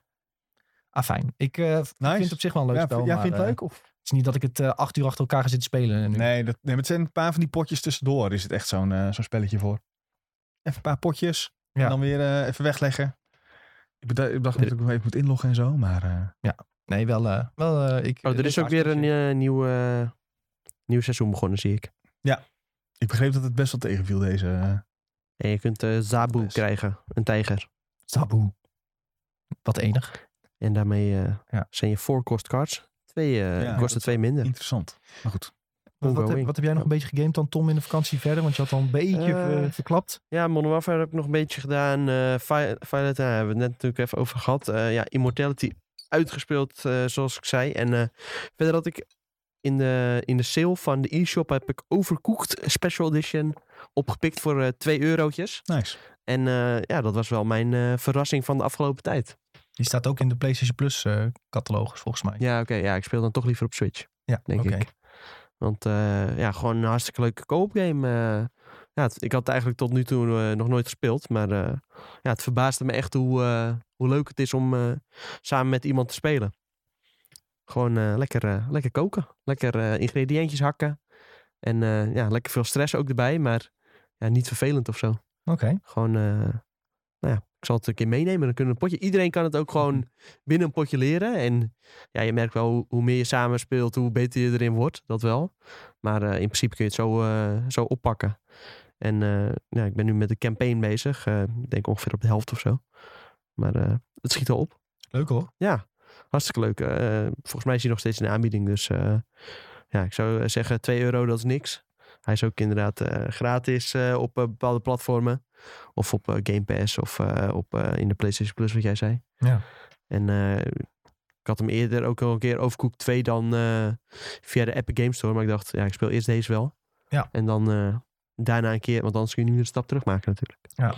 [SPEAKER 1] Ah, fijn. Ik eh, v-
[SPEAKER 2] Nice.
[SPEAKER 1] vind het op zich wel een leuk
[SPEAKER 2] ja,
[SPEAKER 1] spel.
[SPEAKER 2] vind- ja,
[SPEAKER 1] maar,
[SPEAKER 2] vind je het
[SPEAKER 1] eh,
[SPEAKER 2] leuk? Of?
[SPEAKER 1] het is niet dat ik het eh, acht uur achter elkaar ga zitten spelen. eh, Nu.
[SPEAKER 2] Nee, dat, nee, maar het zijn een paar van die potjes tussendoor. Is het echt zo'n eh, zo'n spelletje voor. Even een paar potjes.
[SPEAKER 1] Ja.
[SPEAKER 2] En dan weer eh, even wegleggen. Ik beda- ik dacht dat ik nog even moet inloggen en zo, maar... eh,
[SPEAKER 1] Nee, wel. eh, wel eh, ik,
[SPEAKER 3] Oh, er is ook weer een eh, nieuw, eh, nieuw seizoen begonnen, zie ik.
[SPEAKER 2] ik begreep dat het best wel tegenviel, deze... eh,
[SPEAKER 3] En je kunt eh, Zabu
[SPEAKER 2] Best.
[SPEAKER 3] krijgen, een tijger.
[SPEAKER 1] Taboe. Wat enig.
[SPEAKER 3] En daarmee eh,
[SPEAKER 1] Ja.
[SPEAKER 3] zijn je four cost cards. Twee, eh,
[SPEAKER 2] Ja,
[SPEAKER 3] kosten twee minder.
[SPEAKER 2] Interessant. Maar goed.
[SPEAKER 1] Wat, wat
[SPEAKER 3] Ongoing.
[SPEAKER 1] heb, wat heb jij nog een beetje gegamed dan Tom in de vakantie verder? Want je had al een beetje
[SPEAKER 3] Eh,
[SPEAKER 1] ver- verklapt.
[SPEAKER 3] Ja, Modern Warfare heb ik nog een beetje gedaan. eh Vi- Violet, daar hebben we het net natuurlijk even over gehad. Eh, ja, Immortality uitgespeeld, eh, zoals ik zei. En eh, verder had ik in de, in de sale van de e-shop heb ik Overcooked Special Edition opgepikt voor eh 2 eurotjes.
[SPEAKER 2] Nice.
[SPEAKER 3] En eh, ja, dat was wel mijn eh, verrassing van de afgelopen tijd.
[SPEAKER 1] Die staat ook in de PlayStation Plus eh, catalogus volgens mij.
[SPEAKER 3] Ja, oké. ja, ik speel dan toch liever op Switch,
[SPEAKER 1] Ja,
[SPEAKER 3] denk
[SPEAKER 1] oké.
[SPEAKER 3] ik. Want eh, ja, gewoon een hartstikke leuke koopgame. eh ja, het- ik had het eigenlijk tot nu toe eh, nog nooit gespeeld. Maar eh, ja, het verbaasde me echt hoe, eh, hoe leuk het is om eh, samen met iemand te spelen. Gewoon eh, lekker, eh, lekker koken. Lekker eh, ingrediëntjes hakken. En eh, ja, lekker veel stress ook erbij. Maar ja, niet vervelend of zo.
[SPEAKER 1] Oké.
[SPEAKER 3] Gewoon, eh, nou ja, ik zal het een keer meenemen. Dan kunnen we een potje. Iedereen kan het ook gewoon binnen een potje leren. En ja, je merkt wel hoe, hoe meer je samen speelt, hoe beter je erin wordt. Dat wel. Maar eh, in principe kun je het zo, eh, zo oppakken. En eh, ja, ik ben nu met de campaign bezig. Eh, ik denk ongeveer op de helft of zo. Maar eh, het schiet al op.
[SPEAKER 1] Leuk hoor.
[SPEAKER 3] Ja, hartstikke leuk. Eh, volgens mij is hij nog steeds in de aanbieding. Dus eh, ja, ik zou eh, zeggen 2 euro, dat is niks. Hij is ook inderdaad eh, gratis eh, op eh, bepaalde platformen. Of op eh, Game Pass of eh, op, eh, in de PlayStation Plus, wat jij zei.
[SPEAKER 1] Ja.
[SPEAKER 3] En eh, ik had hem eerder ook al een keer Overcooked 2 dan eh, via de Epic Game Store. Maar ik dacht, ja, ik speel eerst deze wel.
[SPEAKER 1] Ja.
[SPEAKER 3] En dan eh, daarna een keer, want anders kun je niet meer een stap terugmaken natuurlijk.
[SPEAKER 1] Ja.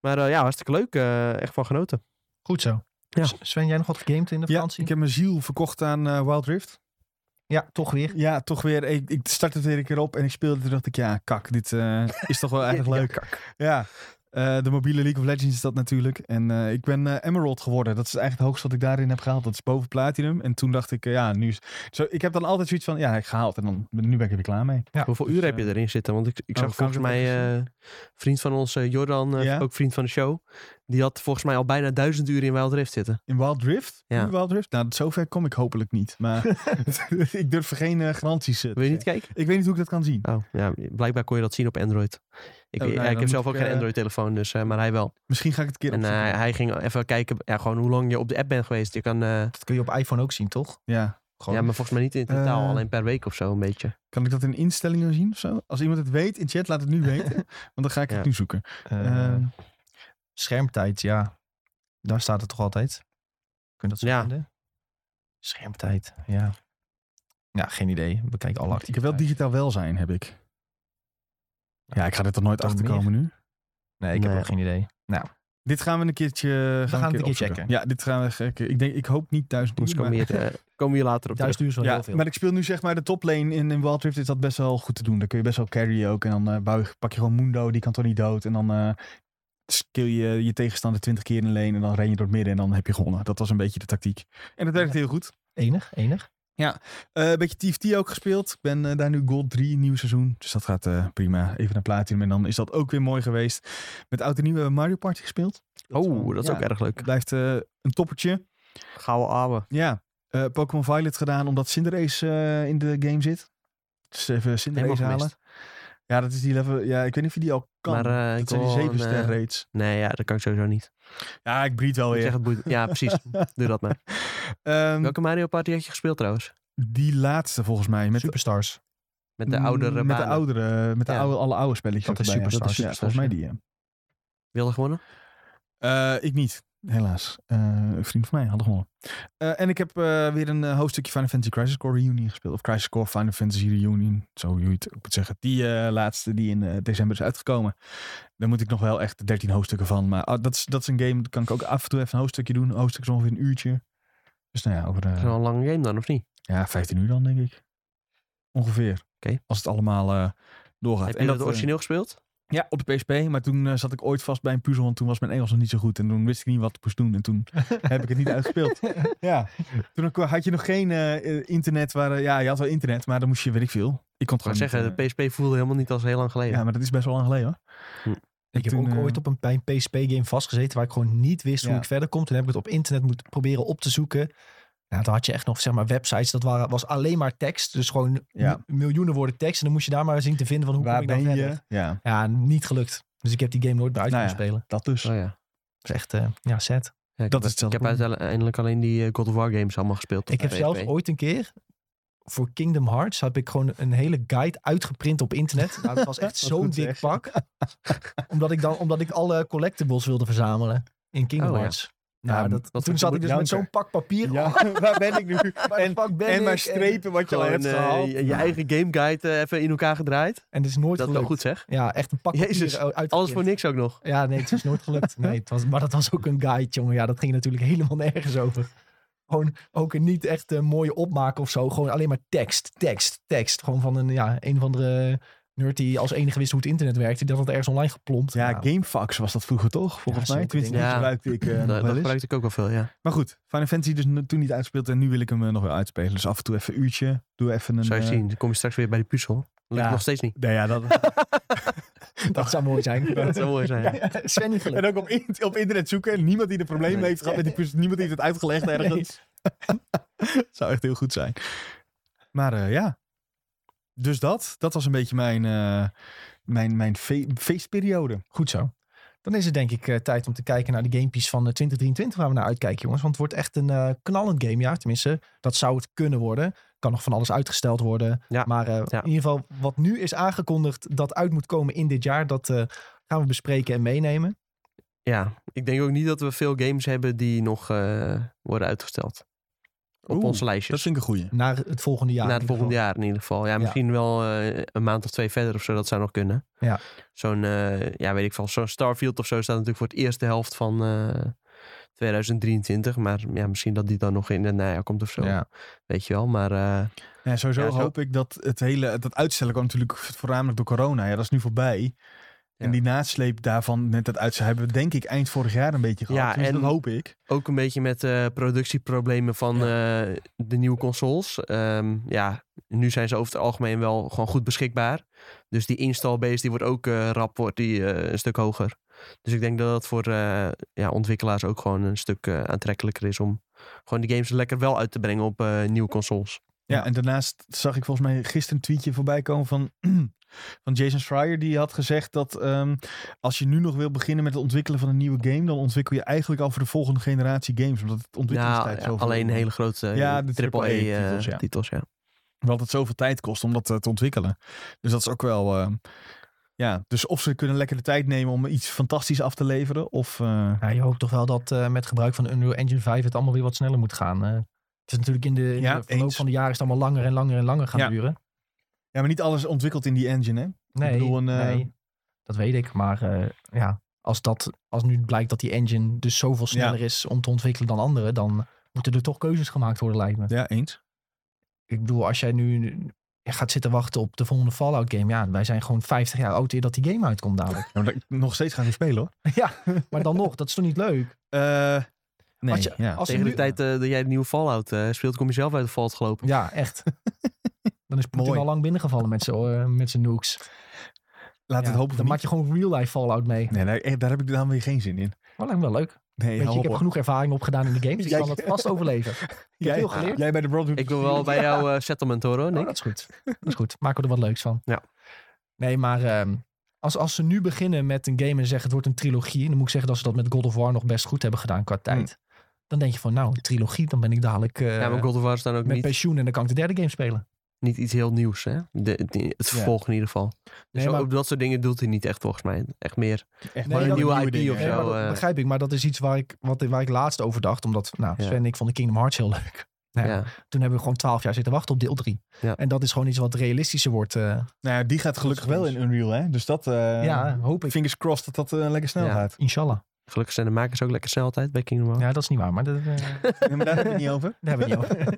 [SPEAKER 3] Maar eh, ja, hartstikke leuk. eh, echt van genoten.
[SPEAKER 1] Goed zo.
[SPEAKER 3] Ja.
[SPEAKER 1] S- Sven, jij nog wat gegamed in de
[SPEAKER 2] Ja,
[SPEAKER 1] vakantie?
[SPEAKER 2] ik heb mijn ziel verkocht aan eh, Wild Rift.
[SPEAKER 1] Ja, toch weer.
[SPEAKER 2] Ja, toch weer. Ik, ik startte het weer een keer op en ik speelde. Toen dacht ik, ja, kak, dit eh, is toch wel eigenlijk leuk. Ja, eh, de mobiele League of Legends is dat natuurlijk. En eh, ik ben eh, Emerald geworden. Dat is eigenlijk het hoogste wat ik daarin heb gehaald. Dat is boven Platinum. En toen dacht ik, eh, ja, nu is... Zo, ik heb dan altijd zoiets van, ja, ik gehaald. En dan, nu ben ik er weer klaar mee.
[SPEAKER 1] Ja,
[SPEAKER 3] Hoeveel
[SPEAKER 2] dus,
[SPEAKER 3] uur heb je
[SPEAKER 2] eh,
[SPEAKER 3] erin zitten? Want ik, ik
[SPEAKER 2] oh,
[SPEAKER 3] zag
[SPEAKER 2] kan
[SPEAKER 3] volgens
[SPEAKER 2] ik dat
[SPEAKER 3] mij
[SPEAKER 2] even
[SPEAKER 3] eh, vriend van ons, eh, Jordan, eh,
[SPEAKER 2] Ja?
[SPEAKER 3] ook vriend van de show. Die had volgens mij al bijna duizend uur in Wild Rift zitten.
[SPEAKER 2] In Wild Rift?
[SPEAKER 3] Ja.
[SPEAKER 2] In Wild Rift? Nou, zover kom ik hopelijk niet. Maar ik durf geen eh, garanties eh, te
[SPEAKER 3] Wil je niet
[SPEAKER 2] zeggen.
[SPEAKER 3] kijken?
[SPEAKER 2] Ik weet niet hoe ik dat kan zien.
[SPEAKER 3] Oh, ja, blijkbaar kon je dat zien op Android. Ik,
[SPEAKER 2] Oh, nou ja,
[SPEAKER 3] ja, ik
[SPEAKER 2] dan
[SPEAKER 3] heb zelf
[SPEAKER 2] moet
[SPEAKER 3] ook
[SPEAKER 2] ik,
[SPEAKER 3] geen
[SPEAKER 2] eh,
[SPEAKER 3] Android-telefoon, dus, eh, maar hij wel.
[SPEAKER 2] Misschien ga ik het een keer
[SPEAKER 3] En eh,
[SPEAKER 2] opzoeken.
[SPEAKER 3] hij ging even kijken ja, gewoon hoe lang je op de app bent geweest. Je kan, eh,
[SPEAKER 1] Dat kun je op iPhone ook zien, toch?
[SPEAKER 2] Ja.
[SPEAKER 1] Gewoon.
[SPEAKER 3] ja, maar volgens mij niet in totaal,
[SPEAKER 2] Eh.
[SPEAKER 3] alleen per week of zo een beetje.
[SPEAKER 2] Kan ik dat in instellingen zien of zo? Als iemand het weet in chat, laat het nu weten. Want dan ga ik het
[SPEAKER 3] Ja.
[SPEAKER 2] nu zoeken.
[SPEAKER 1] Eh,
[SPEAKER 2] Eh,
[SPEAKER 1] Schermtijd, ja. Daar staat het toch altijd? Kun je dat zo
[SPEAKER 3] Ja.
[SPEAKER 1] vinden? Schermtijd, ja. Ja, geen idee. We kijken alle
[SPEAKER 2] ik heb wel digitaal welzijn, heb ik. Ja, ik ga er toch nooit
[SPEAKER 1] Dan
[SPEAKER 2] achter komen nu.
[SPEAKER 1] Nee, ik heb
[SPEAKER 3] Nee.
[SPEAKER 1] ook geen idee.
[SPEAKER 2] Dit gaan we een keertje. We
[SPEAKER 1] gaan het een keer checken.
[SPEAKER 2] Ja, dit gaan we. checken. Ik, denk, ik hoop niet duizend
[SPEAKER 3] Dus
[SPEAKER 2] uur.
[SPEAKER 3] komen
[SPEAKER 2] Maar,
[SPEAKER 3] we hier, eh, komen we hier later op terug.
[SPEAKER 1] Duizend uur is wel heel
[SPEAKER 2] ja,
[SPEAKER 1] veel.
[SPEAKER 2] maar ik speel nu zeg maar de toplane in, in Wild Rift. Is dat best wel goed te doen. Dan kun je best wel carry ook. En dan eh, bouw je- pak je gewoon Mundo. Die kan toch niet dood. En dan eh, skill je je tegenstander twintig keer in een lane. En dan ren je door het midden. En dan heb je gewonnen. Dat was een beetje de tactiek. En dat werkt heel goed.
[SPEAKER 1] Enig, enig.
[SPEAKER 2] Eh, een beetje TFT ook gespeeld. Ik ben eh, daar nu Gold 3, nieuw seizoen. Dus dat gaat eh, prima. Even naar Platinum. En dan is dat ook weer mooi geweest. Met oud en nieuw hebben we Mario Party gespeeld.
[SPEAKER 3] Oh, dat is
[SPEAKER 2] ja,
[SPEAKER 3] ook erg leuk.
[SPEAKER 2] Het blijft eh, een toppertje.
[SPEAKER 3] Gouden ouwe.
[SPEAKER 2] Ja. Eh, Pokémon Violet gedaan omdat Cinderace eh, in de game zit. Dus even
[SPEAKER 3] Helemaal
[SPEAKER 2] Cinderella halen.
[SPEAKER 3] gemist.
[SPEAKER 2] Ja, dat is die level. Ja, ik weet niet of je die al kan.
[SPEAKER 3] Maar eh, ik
[SPEAKER 2] dat zijn die
[SPEAKER 3] wil een,
[SPEAKER 2] 7
[SPEAKER 3] eh,
[SPEAKER 2] ster raids.
[SPEAKER 3] Nee, ja, dat kan ik sowieso niet.
[SPEAKER 2] Oh, Ja, ik breed wel
[SPEAKER 3] Ik
[SPEAKER 2] weer.
[SPEAKER 3] zeg het boeit- ja, precies. Doe dat maar.
[SPEAKER 2] Ehm,
[SPEAKER 3] Welke Mario Party had je gespeeld trouwens?
[SPEAKER 2] die laatste volgens mij. Met,
[SPEAKER 1] Superstars.
[SPEAKER 3] Met de oudere
[SPEAKER 2] Mm, Met de
[SPEAKER 3] banen.
[SPEAKER 2] oudere, met de
[SPEAKER 3] Ja.
[SPEAKER 2] oude, alle oude spelletjes.
[SPEAKER 1] Dat is
[SPEAKER 2] erbij, ja.
[SPEAKER 1] Superstars.
[SPEAKER 2] Ja, volgens mij die, ja.
[SPEAKER 3] Wilde gewonnen?
[SPEAKER 2] Eh, ik niet, helaas. Eh, een vriend van mij had gewonnen. Eh, en ik heb eh, weer een eh, hoofdstukje Final Fantasy Crisis Core Reunion gespeeld. Of Crisis Core Final Fantasy Reunion, zo hoe je het ook moet zeggen. Die eh, laatste die in eh, december is uitgekomen. Daar moet ik nog wel echt 13 hoofdstukken van. Maar ah, dat, is, dat is een game, dat kan ik ook af en toe even een hoofdstukje doen. Een hoofdstuk is ongeveer een uurtje. Dus nou ja, over
[SPEAKER 3] Dat
[SPEAKER 2] eh,
[SPEAKER 3] is wel een lange game dan, of niet?
[SPEAKER 2] ja, 15 uur dan denk ik. Ongeveer.
[SPEAKER 3] Oké.
[SPEAKER 2] Als het allemaal eh, doorgaat.
[SPEAKER 3] Heb
[SPEAKER 2] En
[SPEAKER 3] je dat
[SPEAKER 2] eh,
[SPEAKER 3] origineel gespeeld?
[SPEAKER 2] ja, op de PSP. Maar toen eh, zat ik ooit vast bij een puzzel. Want toen was mijn Engels nog niet zo goed. En toen wist ik niet wat ik moest doen. En toen heb ik het niet uitgespeeld. Ja. Toen ook- had je nog geen eh, eh, internet. Waar, eh, ja, je had wel internet. Maar dan moest je, weet ik veel. Ik kon het
[SPEAKER 3] Ik wou
[SPEAKER 2] gewoon
[SPEAKER 3] zeggen,
[SPEAKER 2] niet,
[SPEAKER 3] de PSP voelde helemaal niet als heel lang
[SPEAKER 2] eh,
[SPEAKER 3] geleden.
[SPEAKER 2] Ja, maar dat is best wel lang geleden hoor.
[SPEAKER 3] Hm.
[SPEAKER 2] En
[SPEAKER 1] Ik heb
[SPEAKER 2] toen,
[SPEAKER 1] ook
[SPEAKER 2] eh,
[SPEAKER 1] ooit op een, bij een PSP-game vastgezeten waar ik gewoon niet wist hoe
[SPEAKER 2] Ja.
[SPEAKER 1] ik verder kom. Toen heb ik het op internet moeten proberen op te zoeken. Nou, dan had je echt nog zeg maar, websites, dat waren, was alleen maar tekst. Dus gewoon
[SPEAKER 2] Ja.
[SPEAKER 1] m- miljoenen woorden tekst. En dan moest je daar maar zien te vinden van hoe
[SPEAKER 2] Waar
[SPEAKER 1] kom ik nou
[SPEAKER 2] ben
[SPEAKER 1] verder.
[SPEAKER 2] je? Ja,
[SPEAKER 1] Ja, niet gelukt. Dus ik heb die game nooit meer uit
[SPEAKER 2] Nou
[SPEAKER 1] kunnen spelen.
[SPEAKER 2] dat dus.
[SPEAKER 3] Oh, ja.
[SPEAKER 1] Dat is echt, eh, ja, sad.
[SPEAKER 3] Ja, ik
[SPEAKER 2] Dat
[SPEAKER 3] heb-
[SPEAKER 2] is hetzelfde
[SPEAKER 3] Ik heb uiteindelijk alleen die eh, God of War games allemaal gespeeld. op
[SPEAKER 1] Ik heb
[SPEAKER 3] PSP.
[SPEAKER 1] zelfs ooit een keer voor Kingdom Hearts heb ik gewoon een hele guide uitgeprint op internet. Nou, dat was echt
[SPEAKER 2] Wat
[SPEAKER 1] zo'n
[SPEAKER 2] goed
[SPEAKER 1] dik
[SPEAKER 2] zeg.
[SPEAKER 1] pak. omdat ik dan omdat ik alle collectibles wilde verzamelen in Kingdom
[SPEAKER 3] Oh, ja.
[SPEAKER 1] Hearts. Nou,
[SPEAKER 2] Ja,
[SPEAKER 1] dat,
[SPEAKER 3] dat
[SPEAKER 1] toen
[SPEAKER 3] vind
[SPEAKER 1] zat
[SPEAKER 2] ik
[SPEAKER 1] ik dus met
[SPEAKER 2] janker.
[SPEAKER 1] zo'n pak papier.
[SPEAKER 2] Ja,
[SPEAKER 1] Oh,
[SPEAKER 2] waar ben ik nu?
[SPEAKER 1] waar de
[SPEAKER 2] En-
[SPEAKER 1] fuck ben
[SPEAKER 2] en
[SPEAKER 1] ik?
[SPEAKER 2] maar strepen wat je al
[SPEAKER 3] Gewoon
[SPEAKER 2] hebt
[SPEAKER 3] eh,
[SPEAKER 2] gehaald.
[SPEAKER 3] je, je eigen gameguide eh, even in elkaar gedraaid.
[SPEAKER 1] En het is nooit
[SPEAKER 3] Dat is wel
[SPEAKER 1] gelukt.
[SPEAKER 3] goed zeg.
[SPEAKER 1] Ja, echt een pak papier eh,
[SPEAKER 3] Jezus,
[SPEAKER 1] uitgeprint.
[SPEAKER 3] Alles voor niks ook nog.
[SPEAKER 1] Ja, nee, het is nooit gelukt. Nee, het was, maar dat was ook een guide, jongen. Ja, dat ging natuurlijk helemaal nergens over. Gewoon ook een niet echt eh, mooie opmaak of zo. Gewoon alleen maar tekst, tekst, tekst. Gewoon van een, ja, een van de nerd die als enige wist hoe het internet werkte. Die had dat ergens online geplompt.
[SPEAKER 2] Ja,
[SPEAKER 1] Nou,
[SPEAKER 2] Gamefax was dat vroeger toch? Volgens
[SPEAKER 1] Ja,
[SPEAKER 2] mij.
[SPEAKER 1] zulke
[SPEAKER 2] Tenminste,
[SPEAKER 3] dingen.
[SPEAKER 2] die
[SPEAKER 3] Ja.
[SPEAKER 2] gebruikte ik eh, nog
[SPEAKER 3] dat
[SPEAKER 2] wel
[SPEAKER 3] dat
[SPEAKER 2] eens.
[SPEAKER 3] gebruikte ik ook wel veel, ja.
[SPEAKER 2] Maar goed, Final Fantasy dus n- toen niet uitspeeld en nu wil ik hem eh, nog weer uitspelen. Dus af en toe even een uurtje. Doe even een...
[SPEAKER 3] Zou je
[SPEAKER 2] eh,
[SPEAKER 3] zien, dan kom je straks weer bij die puzzel. Dat lukt
[SPEAKER 2] Ja.
[SPEAKER 3] nog steeds niet.
[SPEAKER 2] Nee, ja, dat...
[SPEAKER 1] dat zou mooi zijn.
[SPEAKER 3] Dat zou mooi zijn.
[SPEAKER 1] Ja, Sven niet gelukt.
[SPEAKER 2] en ook op, in- op internet zoeken. Niemand die er problemen
[SPEAKER 3] Nee.
[SPEAKER 2] heeft gehad met die puzzel. Niemand heeft het uitgelegd ergens. Zou echt heel goed zijn. Maar eh, ja. Dus dat. Dat was een beetje mijn, eh, mijn, mijn fe- feestperiode.
[SPEAKER 1] Goed zo. Dan is het denk ik eh, tijd om te kijken naar de gamepjes van eh, 2023 waar we naar uitkijken, jongens. Want het wordt echt een eh, knallend gamejaar. Tenminste, dat zou het kunnen worden. Kan nog van alles uitgesteld worden.
[SPEAKER 3] Ja.
[SPEAKER 1] Maar eh,
[SPEAKER 3] Ja.
[SPEAKER 1] in ieder geval, wat nu is aangekondigd dat uit moet komen in dit jaar, dat eh, gaan we bespreken en meenemen.
[SPEAKER 3] Ja, ik denk ook niet dat we veel games hebben die nog eh, worden uitgesteld. Op
[SPEAKER 2] Oeh,
[SPEAKER 3] onze lijstjes.
[SPEAKER 2] Dat vind ik een goeie.
[SPEAKER 1] Naar het volgende jaar.
[SPEAKER 3] Na het
[SPEAKER 1] in ieder
[SPEAKER 3] volgende jaar in ieder geval. Ja, misschien wel eh, een maand of twee verder of zo. Dat zou nog kunnen.
[SPEAKER 1] Ja.
[SPEAKER 3] Zo'n, eh, ja, weet ik veel. Zo'n Starfield of zo staat natuurlijk voor het eerste helft van eh, 2023. Maar ja, misschien dat die dan nog in de najaar komt of zo.
[SPEAKER 2] Ja.
[SPEAKER 3] Weet je wel. Maar eh,
[SPEAKER 2] Ja, sowieso
[SPEAKER 3] Ja, zo-
[SPEAKER 2] hoop ik dat het hele... Dat uitstellen kwam natuurlijk voornamelijk door corona. Ja, dat is nu voorbij. En
[SPEAKER 3] Ja.
[SPEAKER 2] die nasleep daarvan, net dat uitstellen, hebben we denk ik eind vorig jaar een beetje gehad.
[SPEAKER 3] Ja,
[SPEAKER 2] Ja, en...
[SPEAKER 3] en-
[SPEAKER 2] dat hoop ik.
[SPEAKER 3] ook een beetje met eh, productieproblemen van eh, de nieuwe consoles. Ehm, ja, nu zijn ze over het algemeen wel gewoon goed beschikbaar. Dus die installbase die wordt ook eh, rap wordt die, eh, een stuk hoger. Dus ik denk dat dat voor eh, ja, ontwikkelaars ook gewoon een stuk eh, aantrekkelijker is om gewoon de games lekker wel uit te brengen op eh, nieuwe consoles.
[SPEAKER 2] Ja,
[SPEAKER 1] Ja.
[SPEAKER 2] en daarnaast zag ik volgens mij gisteren een tweetje voorbij komen van, van Jason Schreier. Die had gezegd dat ehm, als je nu nog wil beginnen met het ontwikkelen van een nieuwe game, dan ontwikkel je eigenlijk al voor de volgende generatie games. Omdat het ontwikkelingstijd
[SPEAKER 3] Nou,
[SPEAKER 2] zo
[SPEAKER 3] alleen hele grote eh,
[SPEAKER 2] Ja, de AAA-titels,
[SPEAKER 3] triple-E-titels.
[SPEAKER 2] ja.
[SPEAKER 3] eh, ja.
[SPEAKER 2] Omdat het zoveel tijd kost om dat eh, te ontwikkelen. Dus dat is ook wel... ehm, ja, dus of ze kunnen lekker de tijd nemen om iets fantastisch af te leveren, of... eh,
[SPEAKER 1] geval. Ja, je hoopt toch wel dat eh, met gebruik van Unreal Engine 5 het allemaal weer wat sneller moet gaan. eh. het is natuurlijk in de, in
[SPEAKER 2] Ja,
[SPEAKER 1] de verloop
[SPEAKER 2] eens.
[SPEAKER 1] van de jaren is het allemaal langer en langer en langer gaan
[SPEAKER 2] Ja.
[SPEAKER 1] duren.
[SPEAKER 2] ja, maar niet alles ontwikkeld in die engine, hè?
[SPEAKER 1] Nee,
[SPEAKER 2] bedoel, een, eh,
[SPEAKER 1] nee, dat weet ik. Maar eh, ja, als, dat, als nu blijkt dat die engine dus zoveel sneller is om te ontwikkelen dan anderen, dan moeten er toch keuzes gemaakt worden, lijkt me.
[SPEAKER 2] Ja, eens.
[SPEAKER 1] Ik bedoel, als jij nu gaat zitten wachten op de volgende Fallout game, ja, wij zijn gewoon 50 jaar oud eer dat die game uitkomt dadelijk.
[SPEAKER 2] Ja, maar dat- nog steeds gaan we spelen, hoor.
[SPEAKER 1] ja, maar dan nog, dat is toch niet leuk?
[SPEAKER 2] Eh, oh, nee,
[SPEAKER 1] Als je-
[SPEAKER 2] ja.
[SPEAKER 1] Als er
[SPEAKER 3] Tegen de
[SPEAKER 1] nu-
[SPEAKER 3] tijd eh, dat jij de nieuwe Fallout eh, speelt, kom je zelf uit de Fallout gelopen.
[SPEAKER 1] Ja, echt. Dan is Poetin
[SPEAKER 2] Mooi.
[SPEAKER 1] al lang binnengevallen met zijn eh, met zijn nukes.
[SPEAKER 2] Laat
[SPEAKER 1] Ja,
[SPEAKER 2] het hopen
[SPEAKER 1] dan
[SPEAKER 2] van
[SPEAKER 1] maak je gewoon real life Fallout mee.
[SPEAKER 2] Nee, eh, daar, daar heb ik dan weer geen zin in.
[SPEAKER 1] Maar lijkt me wel leuk.
[SPEAKER 2] Nee,
[SPEAKER 1] Weet je,
[SPEAKER 2] hou
[SPEAKER 1] ik heb
[SPEAKER 2] op.
[SPEAKER 1] genoeg ervaring opgedaan in de games. Ik
[SPEAKER 2] Jij-
[SPEAKER 1] kan dat vast overleven. Ik heb
[SPEAKER 2] Jij-
[SPEAKER 1] veel geleerd.
[SPEAKER 2] Jij bij de Broadway.
[SPEAKER 3] Ik wil wel bij jou eh, settlement horen, hoor,
[SPEAKER 1] Oh,
[SPEAKER 3] Nick.
[SPEAKER 1] dat is goed. Dat is goed. Maken we er wat leuks van.
[SPEAKER 3] Ja.
[SPEAKER 1] Nee, maar ehm, als, als ze nu beginnen met een game en zeggen het wordt een trilogie. Dan moet ik zeggen dat ze dat met God of War nog best goed hebben gedaan
[SPEAKER 3] Hmm.
[SPEAKER 1] qua tijd. Dan denk je van nou, een trilogie. Dan ben ik dadelijk eh,
[SPEAKER 3] ja, maar God of War is dan ook
[SPEAKER 1] met
[SPEAKER 3] niet,
[SPEAKER 1] pensioen en dan kan ik de derde game spelen.
[SPEAKER 3] niet iets heel nieuws, hè? De, de- het vervolg in ieder geval. Dus
[SPEAKER 1] Nee, maar-
[SPEAKER 3] op dat soort dingen doet hij niet echt, volgens mij. Echt meer.
[SPEAKER 2] Echt
[SPEAKER 1] Nee,
[SPEAKER 2] maar
[SPEAKER 1] dat-
[SPEAKER 3] nieuwe IP
[SPEAKER 2] dingen.
[SPEAKER 3] of
[SPEAKER 1] Nee,
[SPEAKER 3] zo.
[SPEAKER 1] maar dat
[SPEAKER 3] eh.
[SPEAKER 1] begrijp ik. Maar dat is iets waar ik, wat, waar ik laatst over dacht. Omdat nou,
[SPEAKER 3] Ja.
[SPEAKER 1] Sven en ik vonden Kingdom Hearts heel leuk.
[SPEAKER 3] Ja.
[SPEAKER 1] Ja. Toen hebben we gewoon twaalf jaar zitten wachten op deel 3.
[SPEAKER 3] Ja.
[SPEAKER 1] En dat is gewoon iets wat realistischer wordt. eh,
[SPEAKER 2] Nou ja, die gaat gelukkig wel in Unreal, hè? Dus dat. eh,
[SPEAKER 1] ja, hoop ik.
[SPEAKER 2] Fingers crossed dat dat eh, lekker snel
[SPEAKER 3] Ja.
[SPEAKER 2] gaat.
[SPEAKER 1] Inshallah.
[SPEAKER 3] Gelukkig zijn de makers ook lekker snel altijd bij Kingdom Hearts.
[SPEAKER 1] Ja, dat is niet waar. Maar dat, eh, daar
[SPEAKER 2] Nee, maar daar hebben we het niet over.
[SPEAKER 1] hebben we het niet over.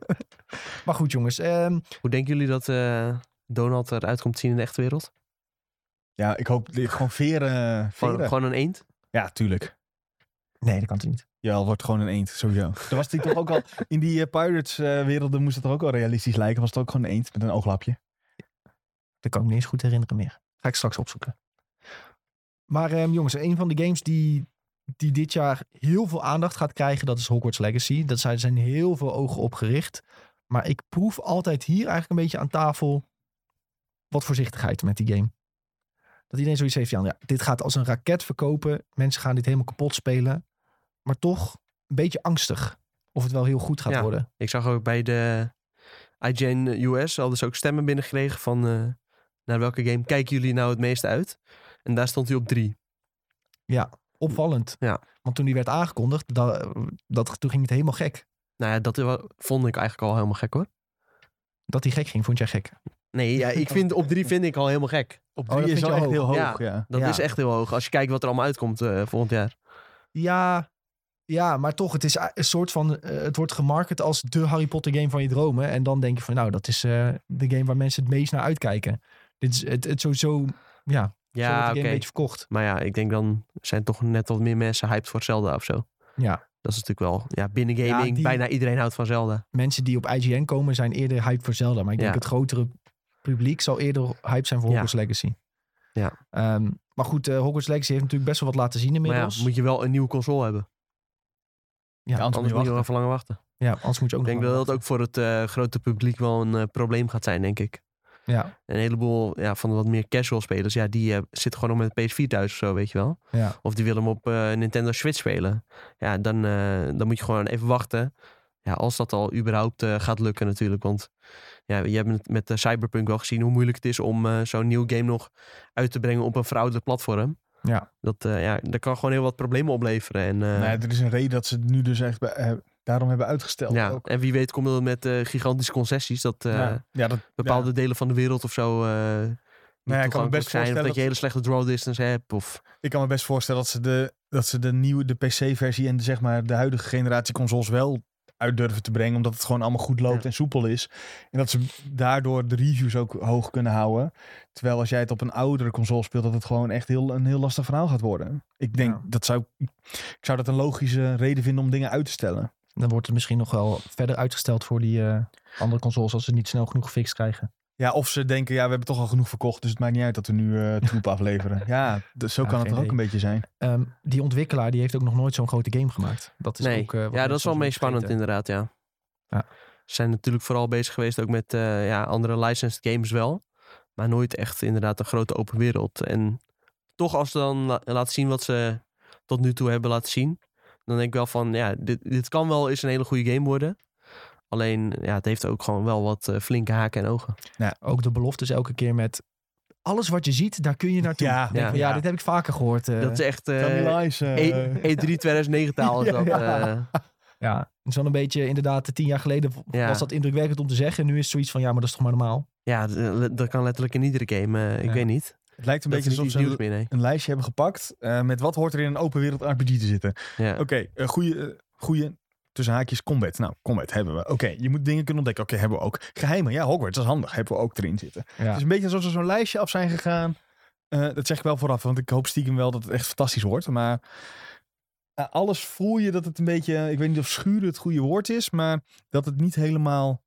[SPEAKER 1] maar goed jongens. ehm,
[SPEAKER 3] Hoe denken jullie dat eh, Donald eruit komt te zien in de echte wereld?
[SPEAKER 2] Ja, ik hoop dit- gewoon veren. eh,
[SPEAKER 3] Gewoon,
[SPEAKER 2] veren.
[SPEAKER 3] gewoon een eend?
[SPEAKER 2] Ja, tuurlijk.
[SPEAKER 1] nee, dat kan toch niet.
[SPEAKER 2] Ja, het wordt gewoon een eend, sowieso. Er was die toch ook al, in die eh, Pirates-werelden moest het er ook al realistisch lijken. Was het ook gewoon een eend met een
[SPEAKER 1] Oh,
[SPEAKER 2] ooglapje.
[SPEAKER 1] Dat kan ik me niet eens goed herinneren meer. Ga ik straks opzoeken. Maar ehm, jongens, een van de games die, die dit jaar heel veel aandacht gaat krijgen, dat is Hogwarts Legacy. Daar zijn, zijn heel veel ogen op gericht. Maar ik proef altijd hier eigenlijk een beetje aan tafel wat voorzichtigheid met die game. Dat iedereen zoiets heeft, Jan, ja, dit gaat als een raket verkopen. Mensen gaan dit helemaal kapot spelen. Maar toch een beetje angstig of het wel heel goed gaat
[SPEAKER 3] Ja.
[SPEAKER 1] worden.
[SPEAKER 3] Ik zag ook bij de IGN US hadden ze dus ook stemmen binnengekregen van eh, naar welke game kijken jullie nou het meest uit? En daar stond hij op drie.
[SPEAKER 1] Opvallend.
[SPEAKER 3] Ja.
[SPEAKER 1] Want toen die werd aangekondigd, da- dat, toen ging het helemaal gek.
[SPEAKER 3] Nou ja, dat wa- vond ik eigenlijk al helemaal gek hoor.
[SPEAKER 1] Dat hij gek ging, vond jij gek?
[SPEAKER 3] Nee, ja, ik vind, op drie vind ik al helemaal gek.
[SPEAKER 2] Op
[SPEAKER 1] dat vind
[SPEAKER 2] is
[SPEAKER 1] je
[SPEAKER 2] wel echt
[SPEAKER 1] hoog.
[SPEAKER 2] heel hoog, ja.
[SPEAKER 3] Ja. Dat
[SPEAKER 1] Ja.
[SPEAKER 3] is echt heel hoog. Als je kijkt wat er allemaal uitkomt eh, volgend jaar.
[SPEAKER 1] Ja, ja maar toch, het is a- een soort van... eh, het wordt gemarket als de Harry Potter game van je dromen. En dan denk je van, nou, dat is eh, de game waar mensen het meest naar uitkijken. Dit is het, het sowieso... Ja, zo wordt de
[SPEAKER 3] Ja,
[SPEAKER 1] game
[SPEAKER 3] oké.
[SPEAKER 1] een beetje verkocht.
[SPEAKER 3] Maar ja, ik denk dan zijn toch net wat meer mensen hyped voor Zelda of zo.
[SPEAKER 1] Ja.
[SPEAKER 3] Dat is natuurlijk wel, ja, binnen gaming,
[SPEAKER 1] Ja, die-
[SPEAKER 3] bijna iedereen houdt van Zelda.
[SPEAKER 1] Mensen die op IGN komen zijn eerder hype voor Zelda. Maar ik denk
[SPEAKER 3] Ja.
[SPEAKER 1] het grotere publiek zal eerder hype zijn voor
[SPEAKER 3] Ja.
[SPEAKER 1] Hogwarts Legacy.
[SPEAKER 3] Ja.
[SPEAKER 1] Ehm, maar goed, eh, Hogwarts Legacy heeft natuurlijk best wel wat laten zien
[SPEAKER 3] Maar ja,
[SPEAKER 1] inmiddels.
[SPEAKER 3] moet je wel een nieuwe console hebben.
[SPEAKER 1] Ja,
[SPEAKER 2] anders
[SPEAKER 3] Anders
[SPEAKER 2] moet je
[SPEAKER 3] moet je wel even langer wachten.
[SPEAKER 1] Ja, anders moet je ook
[SPEAKER 3] Ik
[SPEAKER 1] nog
[SPEAKER 3] denk
[SPEAKER 1] wel
[SPEAKER 3] dat dat
[SPEAKER 1] wachten.
[SPEAKER 3] ook voor het eh, grote publiek wel een eh, probleem gaat zijn, denk ik.
[SPEAKER 1] Ja,
[SPEAKER 3] Een heleboel ja, van de wat meer casual spelers, ja, die eh, zitten gewoon nog met een PS4 thuis of zo, weet je wel.
[SPEAKER 1] ja.
[SPEAKER 3] Of die willen hem op eh, Nintendo Switch spelen. Ja, dan, eh, dan moet je gewoon even wachten. Ja, als dat al überhaupt eh, gaat lukken natuurlijk. Want ja, je hebt het met eh, Cyberpunk wel gezien hoe moeilijk het is om eh, zo'n nieuw game nog uit te brengen op een verouderd platform.
[SPEAKER 1] Ja.
[SPEAKER 3] Dat, eh, ja, dat kan gewoon heel wat problemen opleveren. En, eh,
[SPEAKER 2] Nee, er is een reden dat ze het nu dus echt bij- eh, daarom hebben uitgesteld.
[SPEAKER 3] ja,
[SPEAKER 2] ook.
[SPEAKER 3] en wie weet komt dat met eh, gigantische concessies. Dat, eh,
[SPEAKER 2] ja. ja, dat
[SPEAKER 3] bepaalde delen van de wereld of zo. eh niet
[SPEAKER 2] Nou ja, ik kan me
[SPEAKER 3] toegankelijk
[SPEAKER 2] best
[SPEAKER 3] zijn, of
[SPEAKER 2] voorstellen
[SPEAKER 3] dat je
[SPEAKER 2] dat-
[SPEAKER 3] hele slechte draw distance hebt. Of,
[SPEAKER 2] Ik kan me best voorstellen dat ze de, dat ze de nieuwe, de PC-versie en de, zeg maar, de huidige generatie consoles wel uit durven te brengen. Omdat het gewoon allemaal goed loopt
[SPEAKER 3] Ja.
[SPEAKER 2] en soepel is. En dat ze daardoor de reviews ook hoog kunnen houden. Terwijl als jij het op een oudere console speelt, dat het gewoon echt heel, een heel lastig verhaal gaat worden. Ik denk,
[SPEAKER 1] Ja.
[SPEAKER 2] dat zou, ik zou dat een logische reden vinden om dingen uit te stellen.
[SPEAKER 1] Dan wordt het misschien nog wel verder uitgesteld voor die eh, andere consoles als ze het niet snel genoeg gefixt krijgen.
[SPEAKER 2] Ja, of ze denken, ja, we hebben toch al genoeg verkocht, dus het maakt niet uit dat we nu eh troep afleveren. Ja, dus zo
[SPEAKER 1] Ja,
[SPEAKER 2] kan het
[SPEAKER 1] geen
[SPEAKER 2] er ook een
[SPEAKER 1] idee.
[SPEAKER 2] beetje zijn.
[SPEAKER 1] Ehm, die ontwikkelaar die heeft ook nog nooit zo'n grote game gemaakt. Dat is
[SPEAKER 3] nee,
[SPEAKER 1] ook, eh, wat
[SPEAKER 3] ja,
[SPEAKER 1] mensen
[SPEAKER 3] dat is wel
[SPEAKER 1] soms
[SPEAKER 3] mee
[SPEAKER 1] vergeten.
[SPEAKER 3] spannend inderdaad, ja.
[SPEAKER 1] Ja.
[SPEAKER 3] Ze zijn natuurlijk vooral bezig geweest ook met eh, ja, andere licensed games wel. Maar nooit echt inderdaad een grote open wereld. En toch als ze dan la- laten zien wat ze tot nu toe hebben laten zien. Dan denk ik wel van, ja, dit, dit kan wel eens een hele goede game worden. Alleen, ja, het heeft ook gewoon wel wat eh, flinke haken en ogen.
[SPEAKER 1] Ook de beloftes elke keer met alles wat je ziet, daar kun je naartoe.
[SPEAKER 2] Ja,
[SPEAKER 1] Nou, Denk van, ja, dit heb ik vaker gehoord. eh.
[SPEAKER 3] dat is echt eh,
[SPEAKER 2] Tell me lies, eh.
[SPEAKER 3] E- E3 2009 taal is
[SPEAKER 2] Ja,
[SPEAKER 3] dat.
[SPEAKER 2] ja.
[SPEAKER 3] eh.
[SPEAKER 1] ja, het is wel een beetje inderdaad, tien jaar geleden v-
[SPEAKER 3] Ja.
[SPEAKER 1] was dat indrukwekkend om te zeggen. Nu is het zoiets van, ja, maar dat is toch maar normaal.
[SPEAKER 3] Ja, d- eh, le- dat kan letterlijk in iedere game. eh, ik
[SPEAKER 1] Ja.
[SPEAKER 3] weet niet.
[SPEAKER 2] het lijkt een
[SPEAKER 3] dat
[SPEAKER 2] beetje
[SPEAKER 3] is niet
[SPEAKER 2] alsof
[SPEAKER 3] iets
[SPEAKER 2] ze
[SPEAKER 3] nieuws meer, nee.
[SPEAKER 2] een lijstje hebben gepakt eh, met wat hoort er in een open wereld RPG te zitten.
[SPEAKER 3] Ja.
[SPEAKER 2] Oké, eh, goede, eh, goede tussen haakjes combat. Nou, combat hebben we. Oké, je moet dingen kunnen ontdekken. Oké, hebben we ook. Geheimen, ja, Hogwarts, dat is handig. Hebben we ook erin zitten. Het
[SPEAKER 1] Ja.
[SPEAKER 2] is een beetje alsof ze zo'n lijstje af zijn gegaan. Eh, dat zeg ik wel vooraf, want ik hoop stiekem wel dat het echt fantastisch wordt. Maar eh, alles voel je dat het een beetje, ik weet niet of schuren het goede woord is, maar dat het niet helemaal,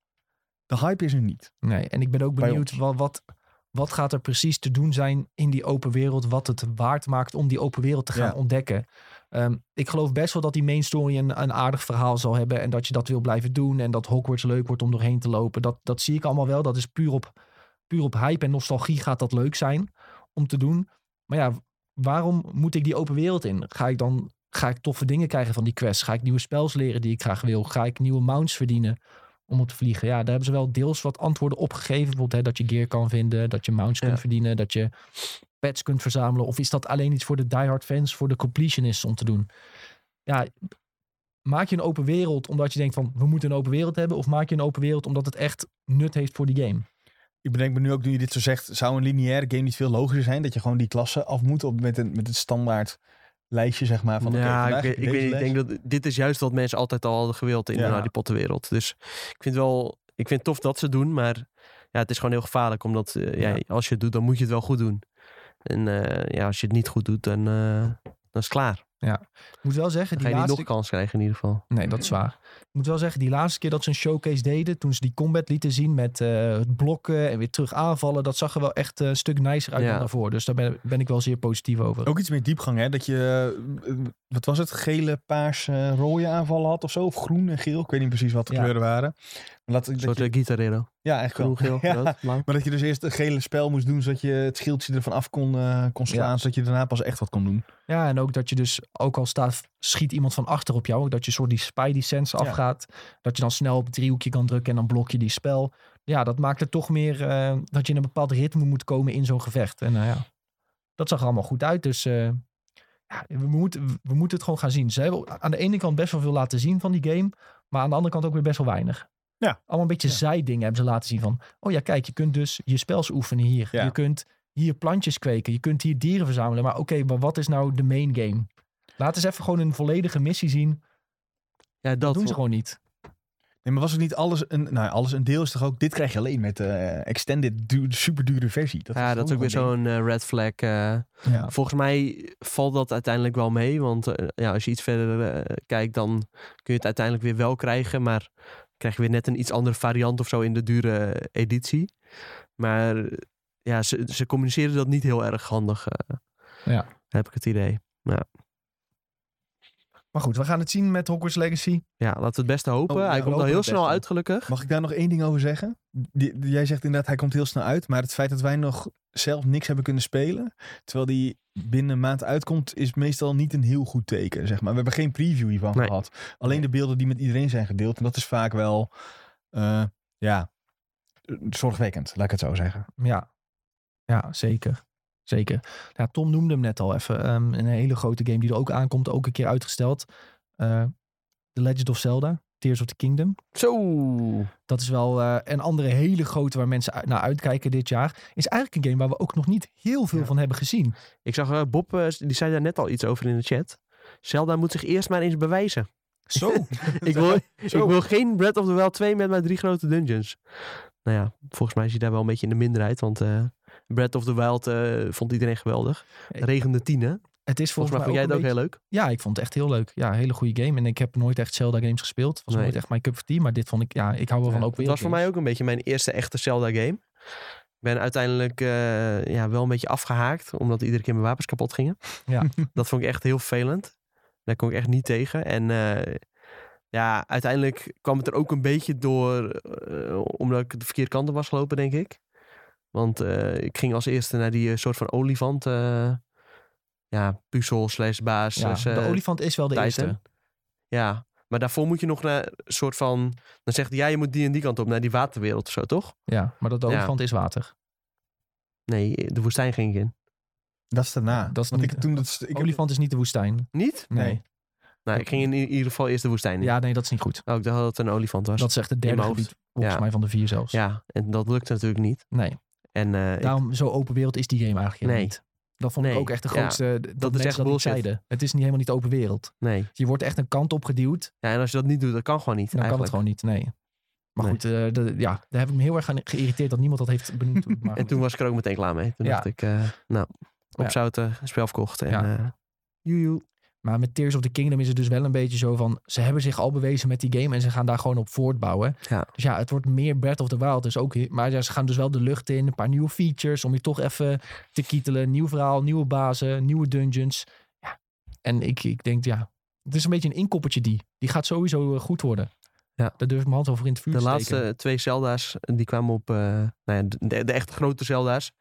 [SPEAKER 2] de hype is er niet.
[SPEAKER 1] Nee, en ik ben ook
[SPEAKER 2] Bij
[SPEAKER 1] benieuwd wat, wat, Wat gaat er precies te doen zijn in die open wereld? Wat het waard maakt om die open wereld te gaan
[SPEAKER 2] Ja.
[SPEAKER 1] ontdekken? Ehm, ik geloof best wel dat die main story een, een aardig verhaal zal hebben. En dat je dat wil blijven doen. En dat Hogwarts leuk wordt om doorheen te lopen. Dat, dat zie ik allemaal wel. Dat is puur op, puur op hype en nostalgie gaat dat leuk zijn om te doen. Maar ja, waarom moet ik die open wereld in? Ga ik dan ga ik toffe dingen krijgen van die quests? Ga ik nieuwe spels leren die ik graag wil? Ga ik nieuwe mounts verdienen om op te vliegen? Ja, daar hebben ze wel deels wat antwoorden op gegeven. Bijvoorbeeld hè, dat je gear kan vinden, dat je mounts
[SPEAKER 3] Ja.
[SPEAKER 1] kunt verdienen, dat je pets kunt verzamelen. Of is dat alleen iets voor de diehard fans, voor de completionists om te doen? Ja, maak je een open wereld omdat je denkt van we moeten een open wereld hebben? Of maak je een open wereld omdat het echt nut heeft voor die game?
[SPEAKER 2] Ik bedenk me nu ook, nu je dit zo zegt, zou een lineaire game niet veel logischer zijn? Dat je gewoon die klassen af moet op met, een, met het standaard lijstje, zeg maar. Van, oké,
[SPEAKER 3] ja,
[SPEAKER 2] vandaag
[SPEAKER 3] ik,
[SPEAKER 2] heb
[SPEAKER 3] weet-
[SPEAKER 2] je
[SPEAKER 3] ik, weet
[SPEAKER 2] deze
[SPEAKER 3] niet, ik
[SPEAKER 2] les.
[SPEAKER 3] denk dat dit is juist wat mensen altijd al hadden gewild in
[SPEAKER 2] Ja.
[SPEAKER 3] de Harry Potter wereld. Dus ik vind wel, ik vind het tof dat ze het doen, maar ja, het is gewoon heel gevaarlijk, omdat eh, ja.
[SPEAKER 2] Ja.
[SPEAKER 3] als je het doet, dan moet je het wel goed doen. En eh, ja, als je het niet goed doet, dan, eh, dan is het klaar.
[SPEAKER 1] Ik moet wel zeggen, die
[SPEAKER 3] Dan ga je niet
[SPEAKER 1] laatste
[SPEAKER 3] nog kans krijgen in ieder geval.
[SPEAKER 1] Nee, dat is waar. Ik moet wel zeggen, die laatste keer dat ze een showcase deden, toen ze die combat lieten zien met eh, het blokken en weer terug aanvallen, dat zag er wel echt eh, een stuk nicer uit
[SPEAKER 3] Ja.
[SPEAKER 1] dan daarvoor. Dus daar ben, ben ik wel zeer positief over.
[SPEAKER 2] Ook iets meer diepgang, hè? Dat je, eh, wat was het, gele, paars, eh, rode aanvallen had of zo? Of groen en geel? Ik weet niet precies wat de
[SPEAKER 1] Ja.
[SPEAKER 2] kleuren waren. Maar dat,
[SPEAKER 3] Een
[SPEAKER 2] dat
[SPEAKER 3] soort
[SPEAKER 2] je,
[SPEAKER 3] eh, Guitar Hero.
[SPEAKER 2] ja, echt wel.
[SPEAKER 3] Groen, geel,
[SPEAKER 2] Ja.
[SPEAKER 3] rood, blauw.
[SPEAKER 2] Maar dat je dus eerst een gele spel moest doen, zodat je het schildje ervan af kon, eh, kon slaan, zodat je daarna pas echt wat kon doen.
[SPEAKER 1] Ja, en ook dat je dus, ook al staat, schiet iemand van achter op jou, ook dat je soort die spidey sense
[SPEAKER 2] Ja.
[SPEAKER 1] afgaat, dat je dan snel op het driehoekje kan drukken en dan blok je die spel. Ja, dat maakt het toch meer eh, dat je in een bepaald ritme moet komen in zo'n gevecht. En nou ja, dat zag er allemaal goed uit. Dus eh, ja, we, moeten, we moeten het gewoon gaan zien. Ze hebben aan de ene kant best wel veel laten zien van die game, maar aan de andere kant ook weer best wel weinig.
[SPEAKER 2] Ja.
[SPEAKER 1] Allemaal een beetje
[SPEAKER 2] Ja.
[SPEAKER 1] zijdingen hebben ze laten zien van, oh ja, kijk, je kunt dus je spels oefenen hier.
[SPEAKER 2] Ja.
[SPEAKER 1] Je kunt hier plantjes kweken, je kunt hier dieren verzamelen. Maar oké, maar wat is nou de main game? Laat eens even gewoon een volledige missie zien. Dat,
[SPEAKER 3] Ja, dat,
[SPEAKER 1] doen ze gewoon niet.
[SPEAKER 2] Nee, maar was het niet alles een, nou, ja, alles een deel is toch ook, dit krijg je alleen met de extended, duur, super dure versie. Dat
[SPEAKER 3] ja, dat is ook weer
[SPEAKER 2] gewoon
[SPEAKER 3] zo'n eh, red flag. eh.
[SPEAKER 2] een ding. Ja.
[SPEAKER 3] Volgens mij valt dat uiteindelijk wel mee. Want eh, ja, als je iets verder eh, kijkt, dan kun je het uiteindelijk weer wel krijgen. Maar krijg je weer net een iets andere variant of zo in de dure eh, editie. Maar eh, ja, ze, ze communiceren dat niet heel erg handig. eh,
[SPEAKER 1] Ja.
[SPEAKER 3] Heb ik het idee.
[SPEAKER 1] Maar goed, we gaan het zien met Hogwarts Legacy.
[SPEAKER 3] Ja, laten we het beste hopen.
[SPEAKER 2] Oh, ja,
[SPEAKER 3] Hij
[SPEAKER 2] we
[SPEAKER 3] komt al
[SPEAKER 2] hopen
[SPEAKER 3] heel
[SPEAKER 2] het
[SPEAKER 3] snel
[SPEAKER 2] beste.
[SPEAKER 3] uit, gelukkig.
[SPEAKER 2] Mag ik daar nog één ding over zeggen? Die- die- jij zegt inderdaad, hij komt heel snel uit. Maar het feit dat wij nog zelf niks hebben kunnen spelen, terwijl die binnen een maand uitkomt, is meestal niet een heel goed teken. Zeg maar. We hebben geen preview hiervan
[SPEAKER 3] Nee.
[SPEAKER 2] gehad. Alleen de beelden die met iedereen zijn gedeeld. En dat is vaak wel, eh, ja, zorgwekkend, laat ik het zo zeggen.
[SPEAKER 1] Ja, ja zeker. Zeker. Ja, Tom noemde hem net al even. ehm, een hele grote game die er ook aankomt, ook een keer uitgesteld. Eh, The Legend of Zelda, Tears of the Kingdom.
[SPEAKER 3] Zo.
[SPEAKER 1] Dat is wel eh, een andere hele grote waar mensen uit- naar uitkijken dit jaar. Is eigenlijk een game waar we ook nog niet heel veel
[SPEAKER 3] Ja.
[SPEAKER 1] van hebben gezien.
[SPEAKER 3] Ik zag eh, Bob, eh, die zei daar net al iets over in de chat. Zelda moet zich eerst maar eens bewijzen.
[SPEAKER 1] Zo.
[SPEAKER 3] Ik wil, ik wil geen Breath of the Wild 2 met mijn drie grote dungeons. Nou ja, volgens mij is hij daar wel een beetje in de minderheid. Want eh Breath of the Wild eh, vond iedereen geweldig.
[SPEAKER 1] Ik-
[SPEAKER 3] Regende tienen.
[SPEAKER 1] het is
[SPEAKER 3] Volgens mij vond jij het
[SPEAKER 1] ook
[SPEAKER 3] ook
[SPEAKER 1] een beetje-
[SPEAKER 3] heel leuk.
[SPEAKER 1] Ja, ik vond het echt heel leuk. Ja, een hele goede game. En ik heb nooit echt Zelda games gespeeld. Het was
[SPEAKER 3] Nee.
[SPEAKER 1] nooit echt mijn cup of tea. Maar dit vond ik, ja, ik hou wel van
[SPEAKER 3] Ja,
[SPEAKER 1] ook
[SPEAKER 3] het
[SPEAKER 1] weer.
[SPEAKER 3] was voor mij ook een beetje mijn eerste echte Zelda game. Ik ben uiteindelijk eh, ja, wel een beetje afgehaakt. Omdat iedere keer mijn wapens kapot gingen.
[SPEAKER 1] Ja.
[SPEAKER 3] Dat vond ik echt heel vervelend. Daar kon ik echt niet tegen. En eh, ja, uiteindelijk kwam het er ook een beetje door. eh, omdat ik de verkeerde kant op was gelopen, denk ik. Want eh, ik ging als eerste naar die eh, soort van olifant. eh, ja, puzzel slash baas.
[SPEAKER 1] Ja,
[SPEAKER 3] slash,
[SPEAKER 1] de
[SPEAKER 3] eh,
[SPEAKER 1] olifant is wel de
[SPEAKER 3] Titan.
[SPEAKER 1] eerste.
[SPEAKER 3] ja, maar daarvoor moet je nog naar een soort van... Dan zegt hij, ja, je moet die en die kant op, naar die waterwereld of zo, toch?
[SPEAKER 1] Ja, maar dat de
[SPEAKER 3] Ja.
[SPEAKER 1] olifant is water.
[SPEAKER 3] Nee, de woestijn ging ik in.
[SPEAKER 2] Dat is daarna.
[SPEAKER 1] Dat is
[SPEAKER 2] Want
[SPEAKER 1] niet- Oh,
[SPEAKER 2] ik, toen dat, ik heb-
[SPEAKER 1] olifant is niet de woestijn.
[SPEAKER 3] Niet?
[SPEAKER 1] Nee.
[SPEAKER 2] Nee.
[SPEAKER 3] Nou, ik ging in i- ieder geval eerst de woestijn in.
[SPEAKER 1] Ja, nee, dat is niet goed.
[SPEAKER 3] Oh, ik dacht dat het een olifant was.
[SPEAKER 1] Dat is echt het
[SPEAKER 3] In
[SPEAKER 1] derde
[SPEAKER 3] mijn hoofd.
[SPEAKER 1] gebied, volgens
[SPEAKER 3] Ja.
[SPEAKER 1] mij, van de vier zelfs.
[SPEAKER 3] Ja, en dat lukte natuurlijk niet.
[SPEAKER 1] Nee,
[SPEAKER 3] En eh, ik-
[SPEAKER 1] daarom zo open wereld is die game eigenlijk helemaal
[SPEAKER 3] Nee.
[SPEAKER 1] niet. Dat vond
[SPEAKER 3] Nee,
[SPEAKER 1] ik ook echt de
[SPEAKER 3] ja.
[SPEAKER 1] grootste... dat
[SPEAKER 3] is
[SPEAKER 1] mensen
[SPEAKER 3] echt
[SPEAKER 1] dat niet
[SPEAKER 3] bullshit.
[SPEAKER 1] zeiden. Het is niet helemaal niet open wereld.
[SPEAKER 3] nee.
[SPEAKER 1] Je wordt echt een kant op geduwd.
[SPEAKER 3] Ja, en als je dat niet doet, dat kan gewoon niet.
[SPEAKER 1] Dan kan het
[SPEAKER 3] eigenlijk.
[SPEAKER 1] gewoon niet, nee. Maar
[SPEAKER 3] Nee.
[SPEAKER 1] goed, eh, de- ja, daar heb ik me heel erg aan geïrriteerd dat niemand dat heeft benoemd. Maar
[SPEAKER 3] En
[SPEAKER 1] goed.
[SPEAKER 3] toen was ik er ook meteen klaar mee. Toen
[SPEAKER 1] Ja.
[SPEAKER 3] dacht ik, eh, nou, opzouten, spel eh, verkocht. En,
[SPEAKER 1] Ja.
[SPEAKER 3] eh, joejoe.
[SPEAKER 1] Maar met Tears of the Kingdom is het dus wel een beetje zo van... ze hebben zich al bewezen met die game en ze gaan daar gewoon op voortbouwen.
[SPEAKER 3] Ja.
[SPEAKER 1] Dus ja, het wordt meer Breath of the Wild. Dus ook, he- maar ja, ze gaan dus wel de lucht in. Een paar nieuwe features om je toch even te kietelen. Nieuw verhaal, nieuwe bazen, nieuwe dungeons. Ja. En ik, ik denk, ja... Het is een beetje een inkoppertje die. Die gaat sowieso eh, goed worden.
[SPEAKER 3] Ja.
[SPEAKER 1] Daar durf ik mijn hand over in het vuur
[SPEAKER 3] De
[SPEAKER 1] te steken.
[SPEAKER 3] laatste twee Zelda's, eh, die kwamen op eh, nou ja, de, de echt grote Zelda's.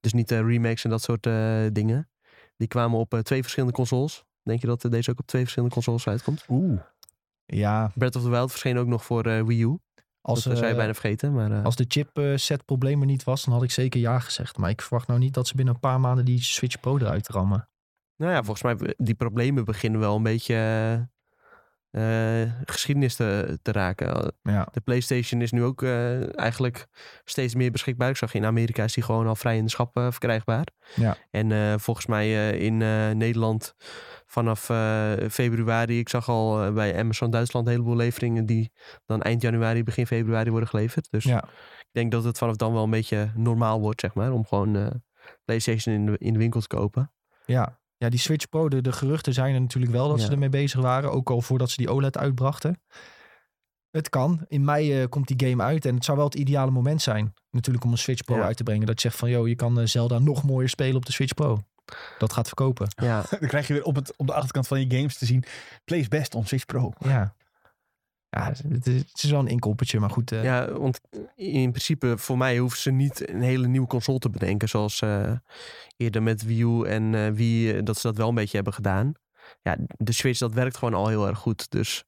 [SPEAKER 3] Dus niet de remakes en dat soort eh, dingen. Die kwamen op eh, twee verschillende consoles. Denk je dat eh, deze ook op twee verschillende consoles uitkomt?
[SPEAKER 2] Oeh.
[SPEAKER 1] Ja,
[SPEAKER 3] Breath of the Wild verscheen ook nog voor eh, Wii U.
[SPEAKER 1] als,
[SPEAKER 3] dat eh, zou je
[SPEAKER 1] eh,
[SPEAKER 3] bijna vergeten. Maar, eh,
[SPEAKER 1] als de chipset problemen niet was, dan had ik zeker ja gezegd. Maar ik verwacht nou niet dat ze binnen een paar maanden die Switch Pro eruit rammen.
[SPEAKER 3] Nou ja, volgens mij be- die problemen beginnen wel een beetje eh, eh, geschiedenis te, te raken.
[SPEAKER 1] Ja.
[SPEAKER 3] De PlayStation is nu ook eh, eigenlijk steeds meer beschikbaar. Ik zag in Amerika is die gewoon al vrij in de schap eh, verkrijgbaar.
[SPEAKER 1] Ja.
[SPEAKER 3] En eh, volgens mij eh, in eh, Nederland vanaf eh, februari. Ik zag al eh, bij Amazon Duitsland een heleboel leveringen die dan eind januari, begin februari worden geleverd. Dus
[SPEAKER 1] Ja.
[SPEAKER 3] ik denk dat het vanaf dan wel een beetje normaal wordt, zeg maar. Om gewoon eh, PlayStation in de, in de winkel te kopen.
[SPEAKER 1] Ja. ja, die Switch Pro, de, de geruchten zijn er natuurlijk wel dat ze
[SPEAKER 3] Ja.
[SPEAKER 1] ermee bezig waren. Ook al voordat ze die OLED uitbrachten. Het kan. In mei eh, komt die game uit. En het zou wel het ideale moment zijn natuurlijk om een Switch Pro
[SPEAKER 3] Ja.
[SPEAKER 1] uit te brengen. Dat je zegt van, joh, je kan eh, Zelda nog mooier spelen op de Switch Pro. Dat gaat verkopen.
[SPEAKER 3] Ja.
[SPEAKER 2] Dan krijg je weer op, het, op de achterkant van je games te zien. Plays best on Switch Pro.
[SPEAKER 1] Ja. Ja, het is, het is wel een inkoppertje, maar goed. eh,
[SPEAKER 3] Ja, want in principe voor mij hoeven ze niet een hele nieuwe console te bedenken. Zoals eh, eerder met Wii U en eh Wii, eh, dat ze dat wel een beetje hebben gedaan. Ja, de Switch, dat werkt gewoon al heel erg goed. Dus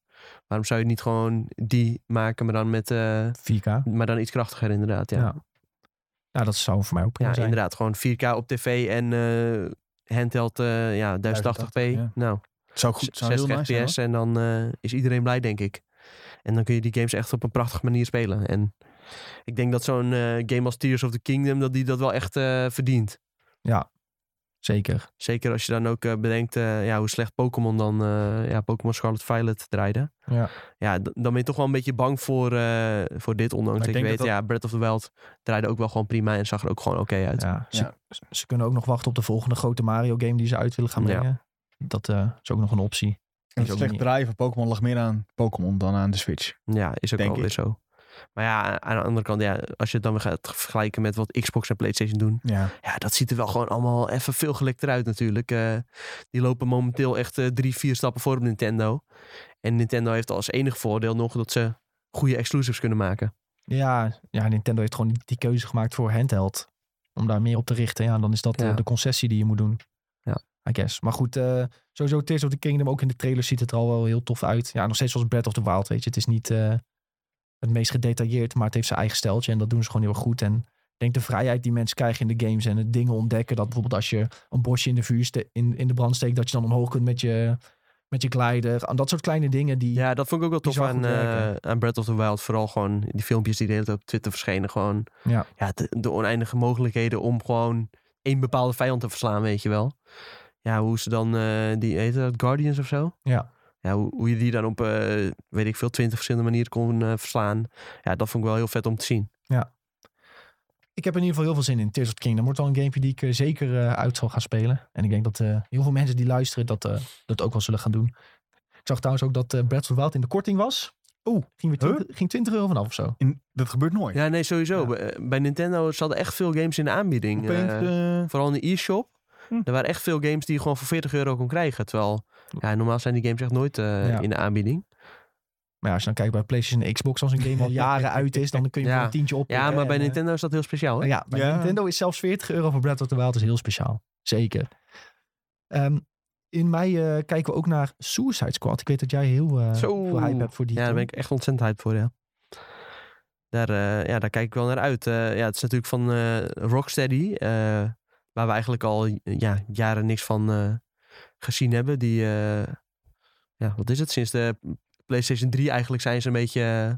[SPEAKER 3] waarom zou je niet gewoon die maken, maar dan, met, eh,
[SPEAKER 1] 4K.
[SPEAKER 3] maar dan iets krachtiger inderdaad. Ja,
[SPEAKER 1] Ja, Nou, dat zou voor mij ook prima
[SPEAKER 3] ja,
[SPEAKER 1] zijn.
[SPEAKER 3] inderdaad. Gewoon 4K op tv en eh, handheld eh, ja, 1080p.
[SPEAKER 2] 1080p, ja.
[SPEAKER 3] Nou,
[SPEAKER 2] Zou goed, zou heel
[SPEAKER 3] 60
[SPEAKER 2] nice zijn.
[SPEAKER 3] fps en dan eh, is iedereen blij, denk ik. En dan kun je die games echt op een prachtige manier spelen. En ik denk dat zo'n eh, game als Tears of the Kingdom, dat die dat wel echt eh, verdient.
[SPEAKER 1] Zeker.
[SPEAKER 3] Zeker als je dan ook eh, bedenkt eh, ja, hoe slecht Pokémon dan, eh, ja, Pokémon Scarlet Violet draaide.
[SPEAKER 1] Ja.
[SPEAKER 3] Ja, d- dan ben je toch wel een beetje bang voor, eh, voor dit. Ondanks
[SPEAKER 2] Maar
[SPEAKER 3] dat
[SPEAKER 2] ik
[SPEAKER 3] ik weet,
[SPEAKER 2] denk dat
[SPEAKER 3] ja, Breath of the Wild draaide ook wel gewoon prima en zag er ook gewoon oké uit.
[SPEAKER 1] Ja. Ze,
[SPEAKER 2] Ja.
[SPEAKER 1] ze kunnen ook nog wachten op de volgende grote Mario game die ze uit willen gaan
[SPEAKER 3] Ja.
[SPEAKER 1] brengen. Dat eh, is ook nog een optie. Is
[SPEAKER 2] En
[SPEAKER 1] ook
[SPEAKER 2] het slecht
[SPEAKER 1] niet-
[SPEAKER 2] draaien van Pokémon lag meer aan Pokémon dan aan de Switch.
[SPEAKER 3] Ja, is ook
[SPEAKER 2] Denk
[SPEAKER 3] alweer
[SPEAKER 2] ik.
[SPEAKER 3] zo. Maar ja, aan de andere kant, ja, als je het dan weer gaat vergelijken met wat Xbox en PlayStation doen.
[SPEAKER 2] Ja.
[SPEAKER 3] Ja, dat ziet er wel gewoon allemaal even veel gelekter uit natuurlijk. Eh, die lopen momenteel echt eh, drie, vier stappen voor op Nintendo. En Nintendo heeft als enig voordeel nog dat ze goede exclusives kunnen maken.
[SPEAKER 1] Ja, ja, Nintendo heeft gewoon die- die keuze gemaakt voor handheld. Om daar meer op te richten. Ja, dan is dat eh,
[SPEAKER 3] Ja.
[SPEAKER 1] de concessie die je moet doen.
[SPEAKER 3] Ja.
[SPEAKER 1] I guess. Maar goed, eh, sowieso Tears of the Kingdom. Ook in de trailer ziet het er al wel heel tof uit. Ja, nog steeds zoals Breath of the Wild, weet je. Het is niet eh, het meest gedetailleerd, maar het heeft zijn eigen steltje. En dat doen ze gewoon heel erg goed. En ik denk de vrijheid die mensen krijgen in de games en het dingen ontdekken. Dat bijvoorbeeld als je een bosje in de, vuur ste- in, in de brand steekt, dat je dan omhoog kunt met je, met je glijder. En Dat soort kleine dingen die...
[SPEAKER 3] Ja, dat vond ik ook wel tof
[SPEAKER 1] Bizar
[SPEAKER 3] aan,
[SPEAKER 1] goed werken.
[SPEAKER 3] eh, aan Breath of the Wild. Vooral gewoon die filmpjes die de hele tijd op Twitter verschenen. Gewoon
[SPEAKER 1] Ja.
[SPEAKER 3] de, de oneindige mogelijkheden om gewoon één bepaalde vijand te verslaan, weet je wel. Ja, hoe ze dan, eh, die heet dat, Guardians of zo?
[SPEAKER 1] Ja.
[SPEAKER 3] Ja, hoe, hoe je die dan op, eh, weet ik veel, twintig verschillende manieren kon eh, verslaan. Ja, dat vond ik wel heel vet om te zien.
[SPEAKER 1] ik heb in ieder geval heel veel zin in. Tears of the Kingdom wordt wel een gamepje die ik eh, zeker eh, uit zal gaan spelen. En ik denk dat eh, heel veel mensen die luisteren dat, eh, dat ook wel zullen gaan doen. Ik zag trouwens ook dat eh Breath of the Wild in de korting was. Oeh, ging, weer
[SPEAKER 2] Huh?
[SPEAKER 1] 20, ging 20 euro vanaf of zo.
[SPEAKER 2] En dat gebeurt nooit.
[SPEAKER 3] Ja, nee, sowieso.
[SPEAKER 1] Ja.
[SPEAKER 3] Bij, eh, bij Nintendo zaten echt veel games in de aanbieding.
[SPEAKER 2] Opeens,
[SPEAKER 3] Eh,
[SPEAKER 2] eh,
[SPEAKER 3] vooral in de e-shop.
[SPEAKER 2] Hm.
[SPEAKER 3] Er waren echt veel games die je gewoon voor 40 euro kon krijgen. Terwijl, ja, normaal zijn die games echt nooit eh,
[SPEAKER 1] Ja.
[SPEAKER 3] in de aanbieding.
[SPEAKER 1] Maar ja, als je dan kijkt bij PlayStation en Xbox, als een game al jaren uit is, dan kun je
[SPEAKER 3] Ja.
[SPEAKER 1] voor een tientje op.
[SPEAKER 3] Ja, maar bij Nintendo is dat heel speciaal. Hè?
[SPEAKER 1] eh, Oh nou Ja, bij
[SPEAKER 2] Ja.
[SPEAKER 1] Nintendo is zelfs 40 euro voor Breath of the Wild is heel speciaal. Zeker. Ehm, in mei eh, kijken we ook naar Suicide Squad. Ik weet dat jij heel eh,
[SPEAKER 3] Zo.
[SPEAKER 1] veel hype hebt voor die.
[SPEAKER 3] Ja, daar
[SPEAKER 1] Tom.
[SPEAKER 3] ben ik echt ontzettend hyped voor, ja. Daar, eh, ja, daar kijk ik wel naar uit. Eh, ja, het is natuurlijk van eh, Rocksteady, eh, waar we eigenlijk al eh, ja, jaren niks van eh, gezien hebben. Die, eh, ja, wat is het? Sinds de PlayStation 3 eigenlijk zijn ze een beetje eh,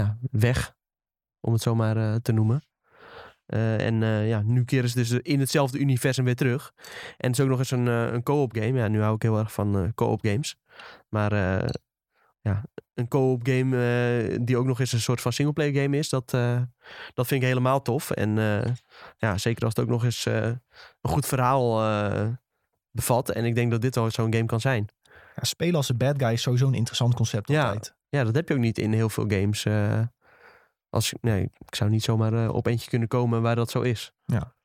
[SPEAKER 3] ja, weg, om het zo maar eh, te noemen. Eh, en eh, ja, nu keren ze dus in hetzelfde universum weer terug. En het is ook nog eens een, eh, een co-op game. Ja, nu hou ik heel erg van eh, co-op games. Maar eh, een co-op game eh, die ook nog eens een soort van singleplayer game is. Dat, eh, dat vind ik helemaal tof. En eh, ja, zeker als het ook nog eens eh, een goed verhaal eh, bevat. En ik denk dat dit al zo'n game kan zijn.
[SPEAKER 1] Ja, spelen als een bad guy is sowieso een interessant concept
[SPEAKER 3] Ja.
[SPEAKER 1] altijd.
[SPEAKER 3] Ja, dat heb je ook niet in heel veel games. eh, als, nee, ik zou niet zomaar eh, op eentje kunnen komen waar dat zo is.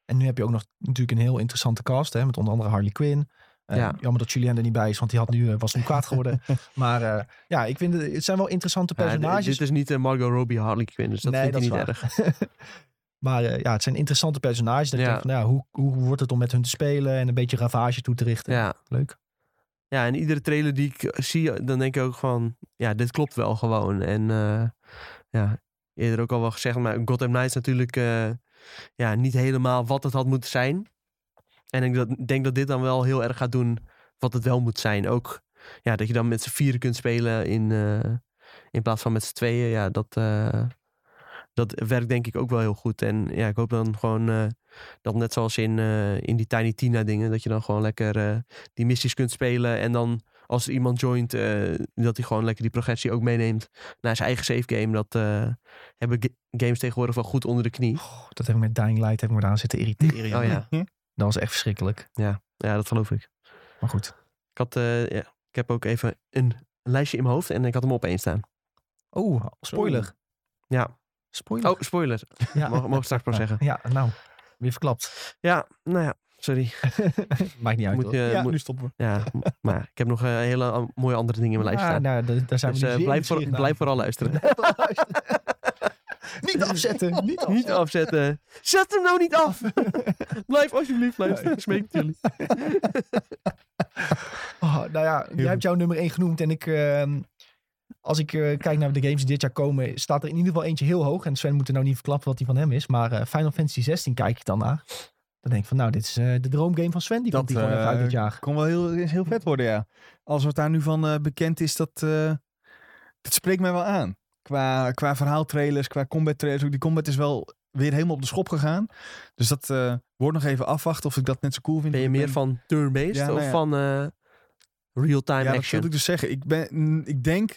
[SPEAKER 1] En nu heb je ook nog natuurlijk een heel interessante cast. Hè, met onder andere Harley Quinn. Eh,
[SPEAKER 3] Ja.
[SPEAKER 1] Jammer dat Julien er niet bij is, want die had nu, eh, was nu kwaad geworden. maar eh, ja, ik vind het, het zijn wel interessante
[SPEAKER 3] Ja, d-
[SPEAKER 1] personages.
[SPEAKER 3] dit is niet een Margot Robbie Harley Quinn, dus dat
[SPEAKER 1] Nee,
[SPEAKER 3] vind ik
[SPEAKER 1] dat is
[SPEAKER 3] niet erg.
[SPEAKER 1] Maar eh, ja, het zijn interessante personages. Dat
[SPEAKER 3] Ja.
[SPEAKER 1] je denkt van, nou, hoe, hoe wordt het om met hun te spelen en een beetje ravage toe te richten.
[SPEAKER 3] Ja.
[SPEAKER 1] Leuk.
[SPEAKER 3] ja, en iedere trailer die ik eh, zie, dan denk ik ook van... Ja, dit klopt wel gewoon. En eh, ja, eerder ook al wel gezegd, maar Gotham Knights natuurlijk... eh, ja, niet helemaal wat het had moeten zijn. En ik dat- denk dat dit dan wel heel erg gaat doen wat het wel moet zijn. Ook ja, dat je dan met z'n vieren kunt spelen in, eh, in plaats van met z'n tweeën. Ja, dat, eh, dat werkt denk ik ook wel heel goed. En ja, ik hoop dan gewoon eh, dat net zoals in, eh, in die Tiny Tina dingen... dat je dan gewoon lekker... eh, die missies kunt spelen. En dan als er iemand joint, eh, dat hij gewoon lekker die progressie ook meeneemt naar zijn eigen save game. Dat eh, hebben ga- games tegenwoordig wel goed onder de knie.
[SPEAKER 1] Goh, dat heb ik met Dying Light heb ik me aan zitten
[SPEAKER 2] eh,
[SPEAKER 1] irriteren.
[SPEAKER 3] Oh ja,
[SPEAKER 1] Dat was echt verschrikkelijk.
[SPEAKER 3] ja dat geloof ik.
[SPEAKER 1] Maar goed.
[SPEAKER 3] Ik, had, eh, ja, ik heb ook even een lijstje in mijn hoofd en ik had hem op één staan.
[SPEAKER 1] Oh, spoiler.
[SPEAKER 3] Ja.
[SPEAKER 1] Spoiler.
[SPEAKER 3] Oh, spoiler.
[SPEAKER 1] ja.
[SPEAKER 3] Mogen mogen we straks maar zeggen.
[SPEAKER 1] ja, nou. Weer verklapt.
[SPEAKER 3] Ja, nou ja, sorry.
[SPEAKER 1] Maakt niet uit.
[SPEAKER 3] Moet
[SPEAKER 1] hoor.
[SPEAKER 3] je,
[SPEAKER 2] ja,
[SPEAKER 3] Eh, moet-
[SPEAKER 2] nu stoppen we.
[SPEAKER 3] ja, m- maar ik heb nog eh, hele an- mooie andere dingen in mijn lijstje
[SPEAKER 1] Ah,
[SPEAKER 3] staan.
[SPEAKER 1] nou, daar, daar zijn
[SPEAKER 3] Dus
[SPEAKER 1] we
[SPEAKER 3] eh,
[SPEAKER 1] nu zeer
[SPEAKER 3] blijf, voor,
[SPEAKER 1] nieuwsgierig
[SPEAKER 3] blijf
[SPEAKER 1] naar.
[SPEAKER 3] vooral luisteren.
[SPEAKER 1] Niet afzetten.
[SPEAKER 2] Oh.
[SPEAKER 1] Niet afzetten.
[SPEAKER 3] Niet afzetten. Zet hem nou niet af. Blijf alsjeblieft luisteren. Ik smeek het jullie.
[SPEAKER 1] Oh, nou ja, jij
[SPEAKER 2] goed.
[SPEAKER 1] hebt jouw nummer 1 genoemd. En ik, ehm, als ik eh, kijk naar de games die dit jaar komen, staat er in ieder geval eentje heel hoog. En Sven moet er nou niet verklappen wat die van hem is. Maar eh, Final Fantasy 16 kijk ik dan naar. Dan denk ik van, nou, dit is eh, de droomgame van Sven. Die
[SPEAKER 2] Dat,
[SPEAKER 1] komt hier gewoon even uit
[SPEAKER 2] eh,
[SPEAKER 1] dit jaar.
[SPEAKER 2] Kon wel heel, is heel vet worden, ja. Alles wat daar nu van eh, bekend is, dat, eh, dat spreekt mij wel aan. Qua, qua verhaaltrailers, qua combat trailers. ook Die combat is wel weer helemaal op de schop gegaan. Dus dat eh, wordt nog even afwachten of ik dat net zo cool vind.
[SPEAKER 3] Ben je
[SPEAKER 2] Ik
[SPEAKER 3] meer van turn-based
[SPEAKER 2] Ja, nou
[SPEAKER 3] of
[SPEAKER 2] ja.
[SPEAKER 3] van eh, real-time
[SPEAKER 2] Ja, dat
[SPEAKER 3] action?
[SPEAKER 2] wil ik dus zeggen. Ik, ben, mm, ik denk,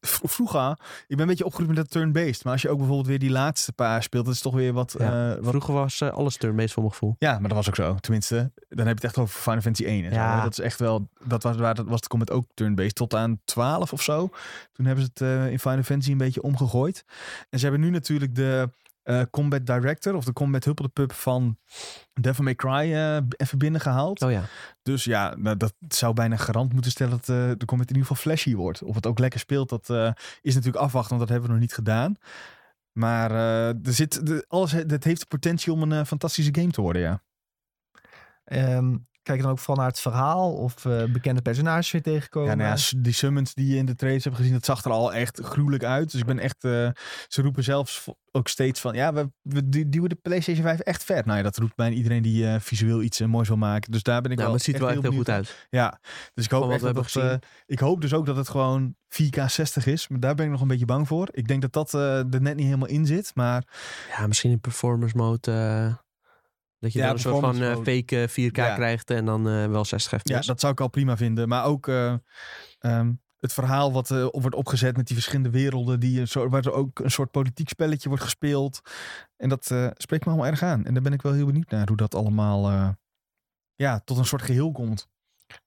[SPEAKER 2] v- vroeger, ik ben een beetje opgegroeid met dat turn-based. Maar als je ook bijvoorbeeld weer die laatste paar speelt, dat is toch weer wat...
[SPEAKER 3] Ja,
[SPEAKER 2] eh, wat
[SPEAKER 3] Vroeger was eh, alles turn-based voor mijn gevoel.
[SPEAKER 2] ja, maar dat was ook zo. Tenminste, dan heb je het echt over Final Fantasy 1. En zo,
[SPEAKER 3] Ja.
[SPEAKER 2] hè. Dat is echt wel, dat was, waar, dat was de comment ook turn-based tot aan 12 of zo. Toen hebben ze het eh, in Final Fantasy een beetje omgegooid. En ze hebben nu natuurlijk de eh, Combat Director of de Combat Huppel de Pup van Devil May Cry eh, b- even binnengehaald.
[SPEAKER 3] Oh ja.
[SPEAKER 2] Dus ja, nou, dat zou bijna garant moeten stellen dat eh, de comment in ieder geval flashy wordt. Of het ook lekker speelt, dat eh, is natuurlijk afwachten, want dat hebben we nog niet gedaan. Maar eh, er zit, de, alles, he- dat heeft de potentie om een eh, fantastische game te worden, ja.
[SPEAKER 1] Ehm, kijk je dan ook vooral naar het verhaal of eh, bekende personages weer
[SPEAKER 3] Oh,
[SPEAKER 1] tegenkomen.
[SPEAKER 2] ja, nou ja, s- die summons die je in de trades hebt gezien, dat zag er al echt gruwelijk uit. Dus ik ben echt, eh, ze roepen zelfs vo- ook steeds van, ja, we, we du- duwen de PlayStation 5 echt vet. Nou ja, dat roept bijna iedereen die eh, visueel iets eh, moois wil maken. Dus daar ben ik
[SPEAKER 3] Nou, maar het
[SPEAKER 2] wel
[SPEAKER 3] ziet er wel echt heel
[SPEAKER 2] benieuwd
[SPEAKER 3] goed
[SPEAKER 2] naar.
[SPEAKER 3] uit.
[SPEAKER 2] Ja, dus ik hoop,
[SPEAKER 3] Van wat
[SPEAKER 2] echt
[SPEAKER 3] we
[SPEAKER 2] dat
[SPEAKER 3] hebben
[SPEAKER 2] dat, eh, ik hoop dus ook dat het gewoon 4K 60 is. Maar daar ben ik nog een beetje bang voor. Ik denk dat dat eh, er net niet helemaal in zit. Maar
[SPEAKER 3] Ja, misschien in performance mode. eh, dat je
[SPEAKER 2] Ja,
[SPEAKER 3] dan een soort van eh,
[SPEAKER 2] performance
[SPEAKER 3] fake eh, 4K
[SPEAKER 2] Ja.
[SPEAKER 3] krijgt en dan eh, wel 60
[SPEAKER 2] ja,
[SPEAKER 3] fps.
[SPEAKER 2] dat zou ik al prima vinden. Maar ook eh, ehm, het verhaal wat eh, op wordt opgezet met die verschillende werelden. Die, een soort- waar er ook een soort politiek spelletje wordt gespeeld. En dat eh, spreekt me allemaal erg aan. En daar ben ik wel heel benieuwd naar hoe dat allemaal eh, ja, tot een soort geheel komt.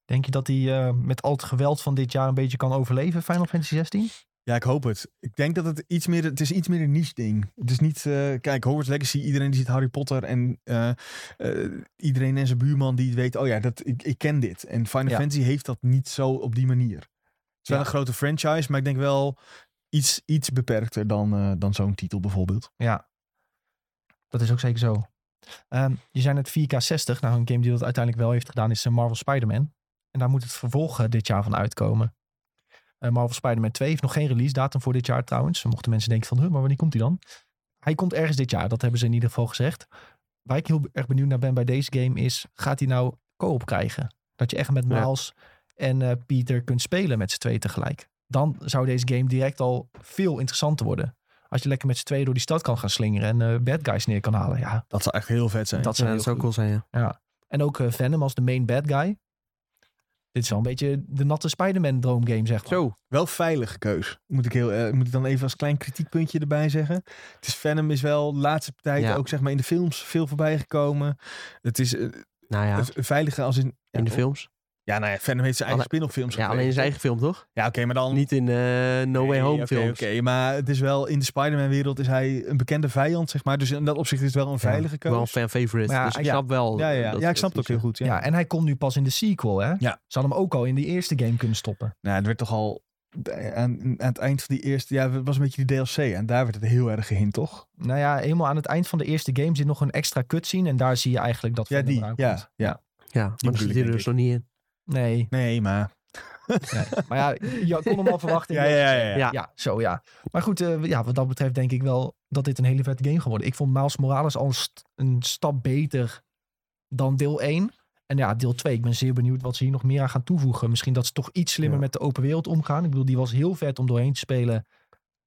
[SPEAKER 1] Denk je dat hij eh, met al het geweld van dit jaar een beetje kan overleven, Final Fantasy 16?
[SPEAKER 2] Ja, ik hoop het. Ik denk dat het iets meer, het is iets meer een niche ding. Het is niet, eh, kijk, Hogwarts Legacy, iedereen die ziet Harry Potter en eh, eh, iedereen en zijn buurman die het weet, oh ja, dat, ik, ik ken dit. En Final
[SPEAKER 1] Ja.
[SPEAKER 2] Fantasy heeft dat niet zo op die manier. Het is wel
[SPEAKER 1] Ja.
[SPEAKER 2] een grote franchise, maar ik denk wel iets, iets beperkter dan, eh, dan zo'n titel bijvoorbeeld.
[SPEAKER 1] Ja, dat is ook zeker zo. Ehm, je zei net 4K60. Nou, een game die dat uiteindelijk wel heeft gedaan is eh, Marvel Spider-Man. En daar moet het vervolg eh, dit jaar van uitkomen. Eh, Marvel Spider-Man 2 heeft nog geen release datum voor dit jaar trouwens. Mochten mensen denken van, huh, maar wanneer komt hij dan? Hij komt ergens dit jaar, dat hebben ze in ieder geval gezegd. Waar ik heel be- erg benieuwd naar ben bij deze game is, gaat hij nou co-op krijgen? Dat je echt met
[SPEAKER 3] Ja.
[SPEAKER 1] Miles en eh, Peter kunt spelen met z'n twee tegelijk. Dan zou deze game direct al veel interessanter worden. Als je lekker met z'n tweeën door die stad kan gaan slingeren en eh, bad guys neer kan halen. Ja,
[SPEAKER 2] Dat zou echt heel vet zijn.
[SPEAKER 1] dat
[SPEAKER 3] Ja,
[SPEAKER 1] zou heel
[SPEAKER 3] dat zou
[SPEAKER 1] goed.
[SPEAKER 3] cool zijn, ja.
[SPEAKER 1] En ook eh, Venom als de main bad guy. Dit is wel een beetje de natte Spider-Man droomgame, zeg maar.
[SPEAKER 3] Zo,
[SPEAKER 2] Wel veilige keus, moet ik, heel, eh, moet ik dan even als klein kritiekpuntje erbij zeggen. Het is Venom is wel de laatste tijd
[SPEAKER 3] Ja.
[SPEAKER 2] ook zeg maar in de films veel voorbij gekomen. Het is, eh,
[SPEAKER 3] Nou ja,
[SPEAKER 2] Het veilige als in... Ja,
[SPEAKER 3] in de
[SPEAKER 2] toch?
[SPEAKER 3] films.
[SPEAKER 2] Ja, nou ja, Venom heeft zijn eigen
[SPEAKER 3] Alleen-
[SPEAKER 2] spin-off films
[SPEAKER 3] Ja, alleen in zijn eigen film, toch?
[SPEAKER 2] Ja, oké, maar dan...
[SPEAKER 3] Niet in eh, No Way
[SPEAKER 2] Nee,
[SPEAKER 3] Home
[SPEAKER 2] oké,
[SPEAKER 3] films.
[SPEAKER 2] Oké, maar het is wel... In de Spider-Man wereld is hij een bekende vijand, zeg maar. Dus in dat opzicht is het wel een veilige keuze.
[SPEAKER 3] Wel een fan favorite.
[SPEAKER 1] Maar ja,
[SPEAKER 3] dus ik
[SPEAKER 2] ja.
[SPEAKER 3] snap wel.
[SPEAKER 2] Ja, ja, ja.
[SPEAKER 3] eh, dat-
[SPEAKER 2] ja, ik snap het
[SPEAKER 3] dat
[SPEAKER 2] ook heel goed. Ja.
[SPEAKER 1] Ja. en hij komt nu pas in de sequel, hè? Ze hadden hem ook al in die eerste game kunnen stoppen.
[SPEAKER 2] Nou, het werd toch al aan, aan het eind van die eerste... Ja, het was een beetje die DLC. En daar werd het heel erg gehint, toch?
[SPEAKER 1] Nou ja, helemaal aan het eind van de eerste game zit nog een extra cutscene. En daar zie je eigenlijk dat
[SPEAKER 2] Ja,
[SPEAKER 1] Venom
[SPEAKER 2] die.
[SPEAKER 1] eraan komt.
[SPEAKER 2] Ja, ja.
[SPEAKER 3] Ja, maar
[SPEAKER 2] bedoel
[SPEAKER 3] dat zit
[SPEAKER 2] ik,
[SPEAKER 3] hier
[SPEAKER 2] denk
[SPEAKER 3] dus
[SPEAKER 2] ik.
[SPEAKER 3] nog niet in.
[SPEAKER 1] Nee,
[SPEAKER 2] Nee, maar...
[SPEAKER 1] maar ja, je kon hem al verwachten. in de
[SPEAKER 2] ja, ja.
[SPEAKER 3] Ja.
[SPEAKER 1] Ja. zo ja. Maar goed, eh, ja, wat dat betreft denk ik wel dat dit een hele vette game geworden. Ik vond Miles Morales al een, st- een stap beter dan deel 1. En ja, deel 2, ik ben zeer benieuwd wat ze hier nog meer aan gaan toevoegen. Misschien dat ze toch iets slimmer
[SPEAKER 3] Ja.
[SPEAKER 1] met de open wereld omgaan. Ik bedoel, die was heel vet om doorheen te spelen.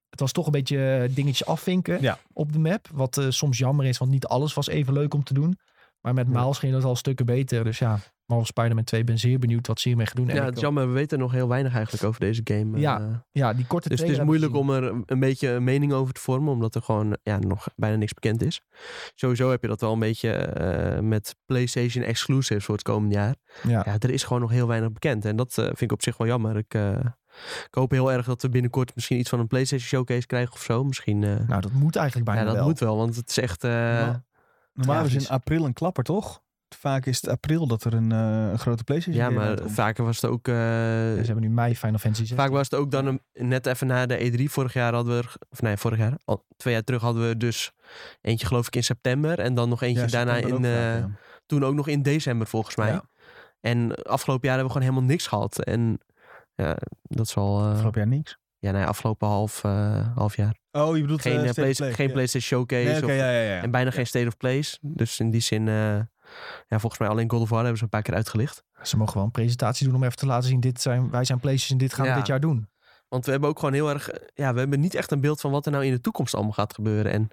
[SPEAKER 1] Het was toch een beetje eh, dingetjes afvinken
[SPEAKER 2] Ja.
[SPEAKER 1] op de map. Wat eh, soms jammer is, want niet alles was even leuk om te doen. Maar met
[SPEAKER 3] Ja.
[SPEAKER 1] Miles ging dat al stukken beter. Dus ja, Marvel Spider-Man 2, ik ben zeer benieuwd wat ze hiermee gaan doen. En
[SPEAKER 3] Ja,
[SPEAKER 1] ik-
[SPEAKER 3] het is jammer. We weten nog heel weinig eigenlijk over deze game. eh,
[SPEAKER 1] Ja. ja, die korte
[SPEAKER 3] Dus het is
[SPEAKER 1] trailer
[SPEAKER 3] moeilijk
[SPEAKER 1] hebben
[SPEAKER 3] om er een beetje een mening over te vormen, omdat er gewoon ja, nog bijna niks bekend is. Sowieso heb je dat wel een beetje eh, met PlayStation exclusives voor het komende jaar.
[SPEAKER 1] we gezien. Ja.
[SPEAKER 3] Ja, er is gewoon nog heel weinig bekend en dat eh, vind ik op zich wel jammer. Ik, eh, ik hoop heel erg dat we binnenkort misschien iets van een PlayStation Showcase krijgen of zo. Misschien, eh,
[SPEAKER 1] Nou, dat moet eigenlijk bijna
[SPEAKER 3] ja, dat
[SPEAKER 1] wel.
[SPEAKER 3] moet wel, want het is echt... eh,
[SPEAKER 2] Ja. Normaal is in
[SPEAKER 3] tragisch.
[SPEAKER 2] april een klapper, toch? Vaak is het april dat er een, eh, een grote PlayStation
[SPEAKER 3] ja,
[SPEAKER 2] game
[SPEAKER 3] maar
[SPEAKER 2] uitkomt.
[SPEAKER 3] vaker was het ook... eh,
[SPEAKER 1] Ja, ze hebben nu mei Final Fantasy 16.
[SPEAKER 3] Vaak was het ook dan een- net even na de E3. Vorig jaar hadden we, er- of nee, vorig jaar, al twee jaar terug hadden we dus eentje geloof ik in september. En dan nog eentje
[SPEAKER 2] Ja,
[SPEAKER 3] daarna in,
[SPEAKER 2] september ook
[SPEAKER 3] eh,
[SPEAKER 2] vaak, ja.
[SPEAKER 3] toen ook nog in december volgens mij.
[SPEAKER 2] Ja.
[SPEAKER 3] En afgelopen jaar hebben we gewoon helemaal niks gehad. En ja, dat is al, eh,
[SPEAKER 2] Afgelopen jaar niks.
[SPEAKER 3] ja nee, afgelopen half, eh, half jaar.
[SPEAKER 2] Oh, je bedoelt
[SPEAKER 3] Geen,
[SPEAKER 2] eh,
[SPEAKER 3] eh,
[SPEAKER 2] State
[SPEAKER 3] play-
[SPEAKER 2] of Play,
[SPEAKER 3] geen
[SPEAKER 2] ja.
[SPEAKER 3] PlayStation Showcase
[SPEAKER 2] Nee, oké,
[SPEAKER 3] of-
[SPEAKER 2] ja, ja, ja.
[SPEAKER 3] en bijna geen State of Plays. Dus in die zin, eh, ja, volgens mij alleen God of War hebben ze een paar keer uitgelicht.
[SPEAKER 1] Ze mogen wel een presentatie doen om even te laten zien. Dit zijn, wij zijn PlayStation, dit gaan
[SPEAKER 3] Ja.
[SPEAKER 1] we dit jaar doen.
[SPEAKER 3] Want we hebben ook gewoon heel erg... eh, Ja, we hebben niet echt een beeld van wat er nou in de toekomst allemaal gaat gebeuren. En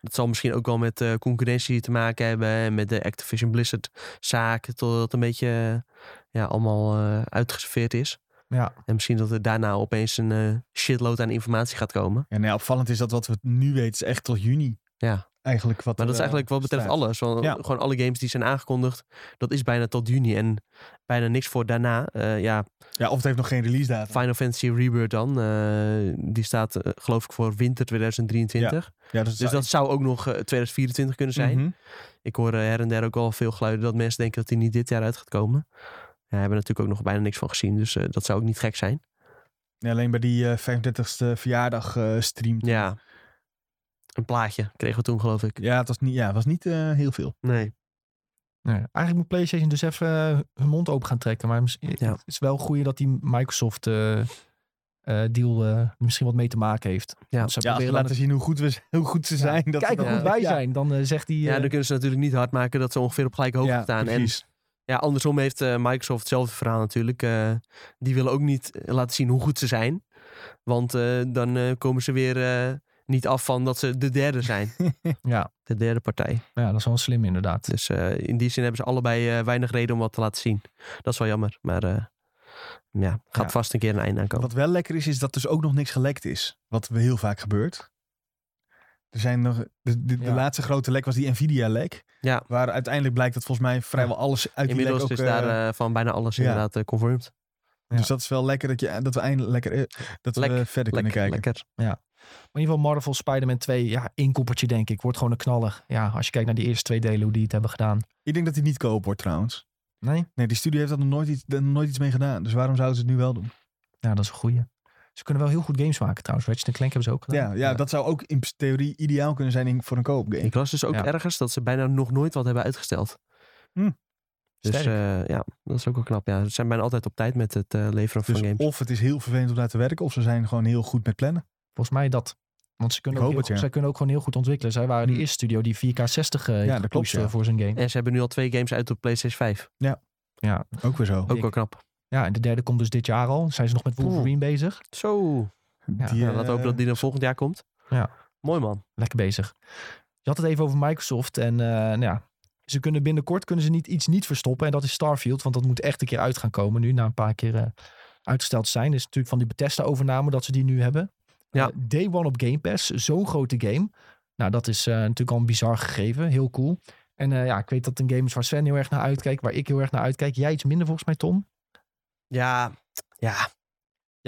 [SPEAKER 3] dat zal misschien ook wel met eh, concurrentie te maken hebben. En met de Activision Blizzard zaak. Totdat het een beetje eh, ja, allemaal eh, uitgeserveerd is.
[SPEAKER 1] Ja.
[SPEAKER 3] En misschien dat er daarna opeens een eh, shitload aan informatie gaat komen.
[SPEAKER 2] Ja, nee, eh, opvallend is dat wat we nu weten is echt tot juni.
[SPEAKER 3] Ja.
[SPEAKER 2] Eigenlijk wat
[SPEAKER 3] Maar dat
[SPEAKER 2] er,
[SPEAKER 3] is
[SPEAKER 2] eh,
[SPEAKER 3] eigenlijk wat betreft
[SPEAKER 2] staat.
[SPEAKER 3] alles. Want
[SPEAKER 2] Ja.
[SPEAKER 3] Gewoon alle games die zijn aangekondigd. Dat is bijna tot juni. En bijna niks voor daarna. Eh, ja,
[SPEAKER 2] Ja, of het heeft nog geen release datum.
[SPEAKER 3] Final Fantasy Rebirth dan. eh, die staat eh, geloof ik voor winter 2023.
[SPEAKER 2] Ja, dus,
[SPEAKER 3] Dus dat zou ook nog eh, 2024 kunnen zijn.
[SPEAKER 2] Mhm.
[SPEAKER 3] Ik hoor eh, her en der ook al veel geluiden dat mensen denken dat die niet dit jaar uit gaat komen. Ja, hebben natuurlijk ook nog bijna niks van gezien, dus eh, dat zou ook niet gek zijn.
[SPEAKER 2] Ja, alleen bij die eh, 35ste verjaardag eh stream.
[SPEAKER 3] Ja. Een plaatje kregen we toen, geloof ik.
[SPEAKER 2] Ja, het was niet, ja, het was niet eh, heel veel.
[SPEAKER 3] Nee.
[SPEAKER 1] Nee, Nou eigenlijk moet PlayStation dus even eh, hun mond open gaan trekken. Maar misschien-
[SPEAKER 3] Ja.
[SPEAKER 1] het is wel goed dat die Microsoft eh, eh, deal eh, misschien wat mee te maken heeft.
[SPEAKER 3] Ja.
[SPEAKER 1] Want ze
[SPEAKER 2] Ja, als we
[SPEAKER 1] proberen
[SPEAKER 2] laten zien hoe goed, we, hoe goed ze
[SPEAKER 1] Ja.
[SPEAKER 2] zijn. Dat
[SPEAKER 1] Kijk
[SPEAKER 2] we
[SPEAKER 1] hoe
[SPEAKER 2] dan-
[SPEAKER 1] goed wij
[SPEAKER 2] ja.
[SPEAKER 1] zijn. Dan eh, zegt hij...
[SPEAKER 3] Ja,
[SPEAKER 1] eh,
[SPEAKER 3] dan kunnen ze natuurlijk niet hard maken dat ze ongeveer op gelijke hoogte
[SPEAKER 2] Ja,
[SPEAKER 3] staan. En
[SPEAKER 2] precies.
[SPEAKER 3] ja, andersom heeft eh, Microsoft hetzelfde verhaal natuurlijk. Eh, die willen ook niet eh, laten zien hoe goed ze zijn. Want eh, dan eh, komen ze weer eh, niet af van dat ze de derde zijn.
[SPEAKER 1] ja.
[SPEAKER 3] de derde partij.
[SPEAKER 1] ja, dat is wel slim inderdaad.
[SPEAKER 3] Dus eh, in die zin hebben ze allebei eh, weinig reden om wat te laten zien. Dat is wel jammer. Maar eh, ja, gaat
[SPEAKER 1] Ja.
[SPEAKER 3] vast een keer een einde aan komen.
[SPEAKER 2] Wat wel lekker is, is dat dus ook nog niks gelekt is. Wat we heel vaak gebeurt. Er zijn nog, de, de, de
[SPEAKER 1] Ja.
[SPEAKER 2] laatste grote lek was die Nvidia-lek.
[SPEAKER 3] Ja.
[SPEAKER 2] Waar uiteindelijk blijkt dat volgens mij vrijwel alles uit die lek
[SPEAKER 3] Inmiddels
[SPEAKER 2] ook...
[SPEAKER 3] is
[SPEAKER 2] eh,
[SPEAKER 3] daar eh, van bijna alles
[SPEAKER 2] ja.
[SPEAKER 3] inderdaad eh, conformed.
[SPEAKER 2] Dus dat is wel lekker dat, je, dat we eindelijk lekker, eh, dat
[SPEAKER 3] Lek,
[SPEAKER 2] we verder kunnen
[SPEAKER 3] Lekker,
[SPEAKER 2] kijken.
[SPEAKER 3] lekker.
[SPEAKER 1] Maar in ieder geval Marvel Spider-Man 2, ja, inkoppertje denk ik. Wordt gewoon een knaller. Ja, als je kijkt naar die eerste twee delen, hoe die het hebben gedaan.
[SPEAKER 2] Ik denk dat die niet koop wordt trouwens.
[SPEAKER 1] Nee?
[SPEAKER 2] Nee, die studie heeft daar nog nooit iets, daar nog nooit iets mee gedaan. Dus waarom zouden ze het nu wel doen?
[SPEAKER 1] Ja, dat is een goeie. Ze kunnen wel heel goed games maken trouwens. Ratchet Clank hebben ze ook
[SPEAKER 2] Ja,
[SPEAKER 1] gedaan.
[SPEAKER 2] ja, dat zou ook in theorie ideaal kunnen zijn in- voor een koopgame.
[SPEAKER 3] Ik las dus ook
[SPEAKER 1] Ja.
[SPEAKER 3] ergens dat ze bijna nog nooit wat hebben uitgesteld.
[SPEAKER 2] Hm.
[SPEAKER 3] Dus
[SPEAKER 1] Sterk.
[SPEAKER 3] eh, ja, dat is ook wel knap. Ja, ze zijn bijna altijd op tijd met het eh, leveren van
[SPEAKER 2] Dus
[SPEAKER 3] games.
[SPEAKER 2] of het is heel vervelend om daar te werken, of ze zijn gewoon heel goed met plannen.
[SPEAKER 1] Volgens mij dat. Want ze kunnen,
[SPEAKER 2] Ik
[SPEAKER 1] ook,
[SPEAKER 2] hoop
[SPEAKER 1] heel goed-
[SPEAKER 2] het,
[SPEAKER 1] zij kunnen ook gewoon heel goed ontwikkelen. Zij waren de
[SPEAKER 2] Hmm.
[SPEAKER 1] eerste studio die 4K60 eh heeft
[SPEAKER 2] dat klopt,
[SPEAKER 1] gepusht, eh,
[SPEAKER 2] ja.
[SPEAKER 1] voor zijn game.
[SPEAKER 3] En ze hebben nu al twee games uit op PlayStation 5.
[SPEAKER 1] Ja.
[SPEAKER 2] Ook weer zo.
[SPEAKER 3] Ook
[SPEAKER 1] Ik-
[SPEAKER 3] wel knap.
[SPEAKER 1] ja, en de derde komt dus dit jaar al. Zijn ze nog met Wolverine bezig?
[SPEAKER 3] Zo.
[SPEAKER 1] Ja,
[SPEAKER 3] Ja, laten we
[SPEAKER 2] eh,
[SPEAKER 3] hopen dat die dan volgend jaar komt.
[SPEAKER 1] Ja.
[SPEAKER 3] Mooi man.
[SPEAKER 1] Lekker bezig. Je had het even over Microsoft en eh, nou ja, ze kunnen binnenkort kunnen ze niet, iets niet verstoppen. En dat is Starfield, want dat moet echt een keer uit gaan komen nu na een paar keer eh, uitgesteld zijn. is natuurlijk van die Bethesda overname dat ze die nu hebben.
[SPEAKER 3] Ja.
[SPEAKER 1] Eh, day One op Game Pass, zo'n grote game. Nou, dat is eh, natuurlijk al een bizar gegeven. Heel cool. En eh, ja, ik weet dat het een game is waar Sven heel erg naar uitkijkt. Waar ik heel erg naar uitkijk. Jij iets minder volgens mij, Tom.
[SPEAKER 3] Ja, ja,
[SPEAKER 1] Ja,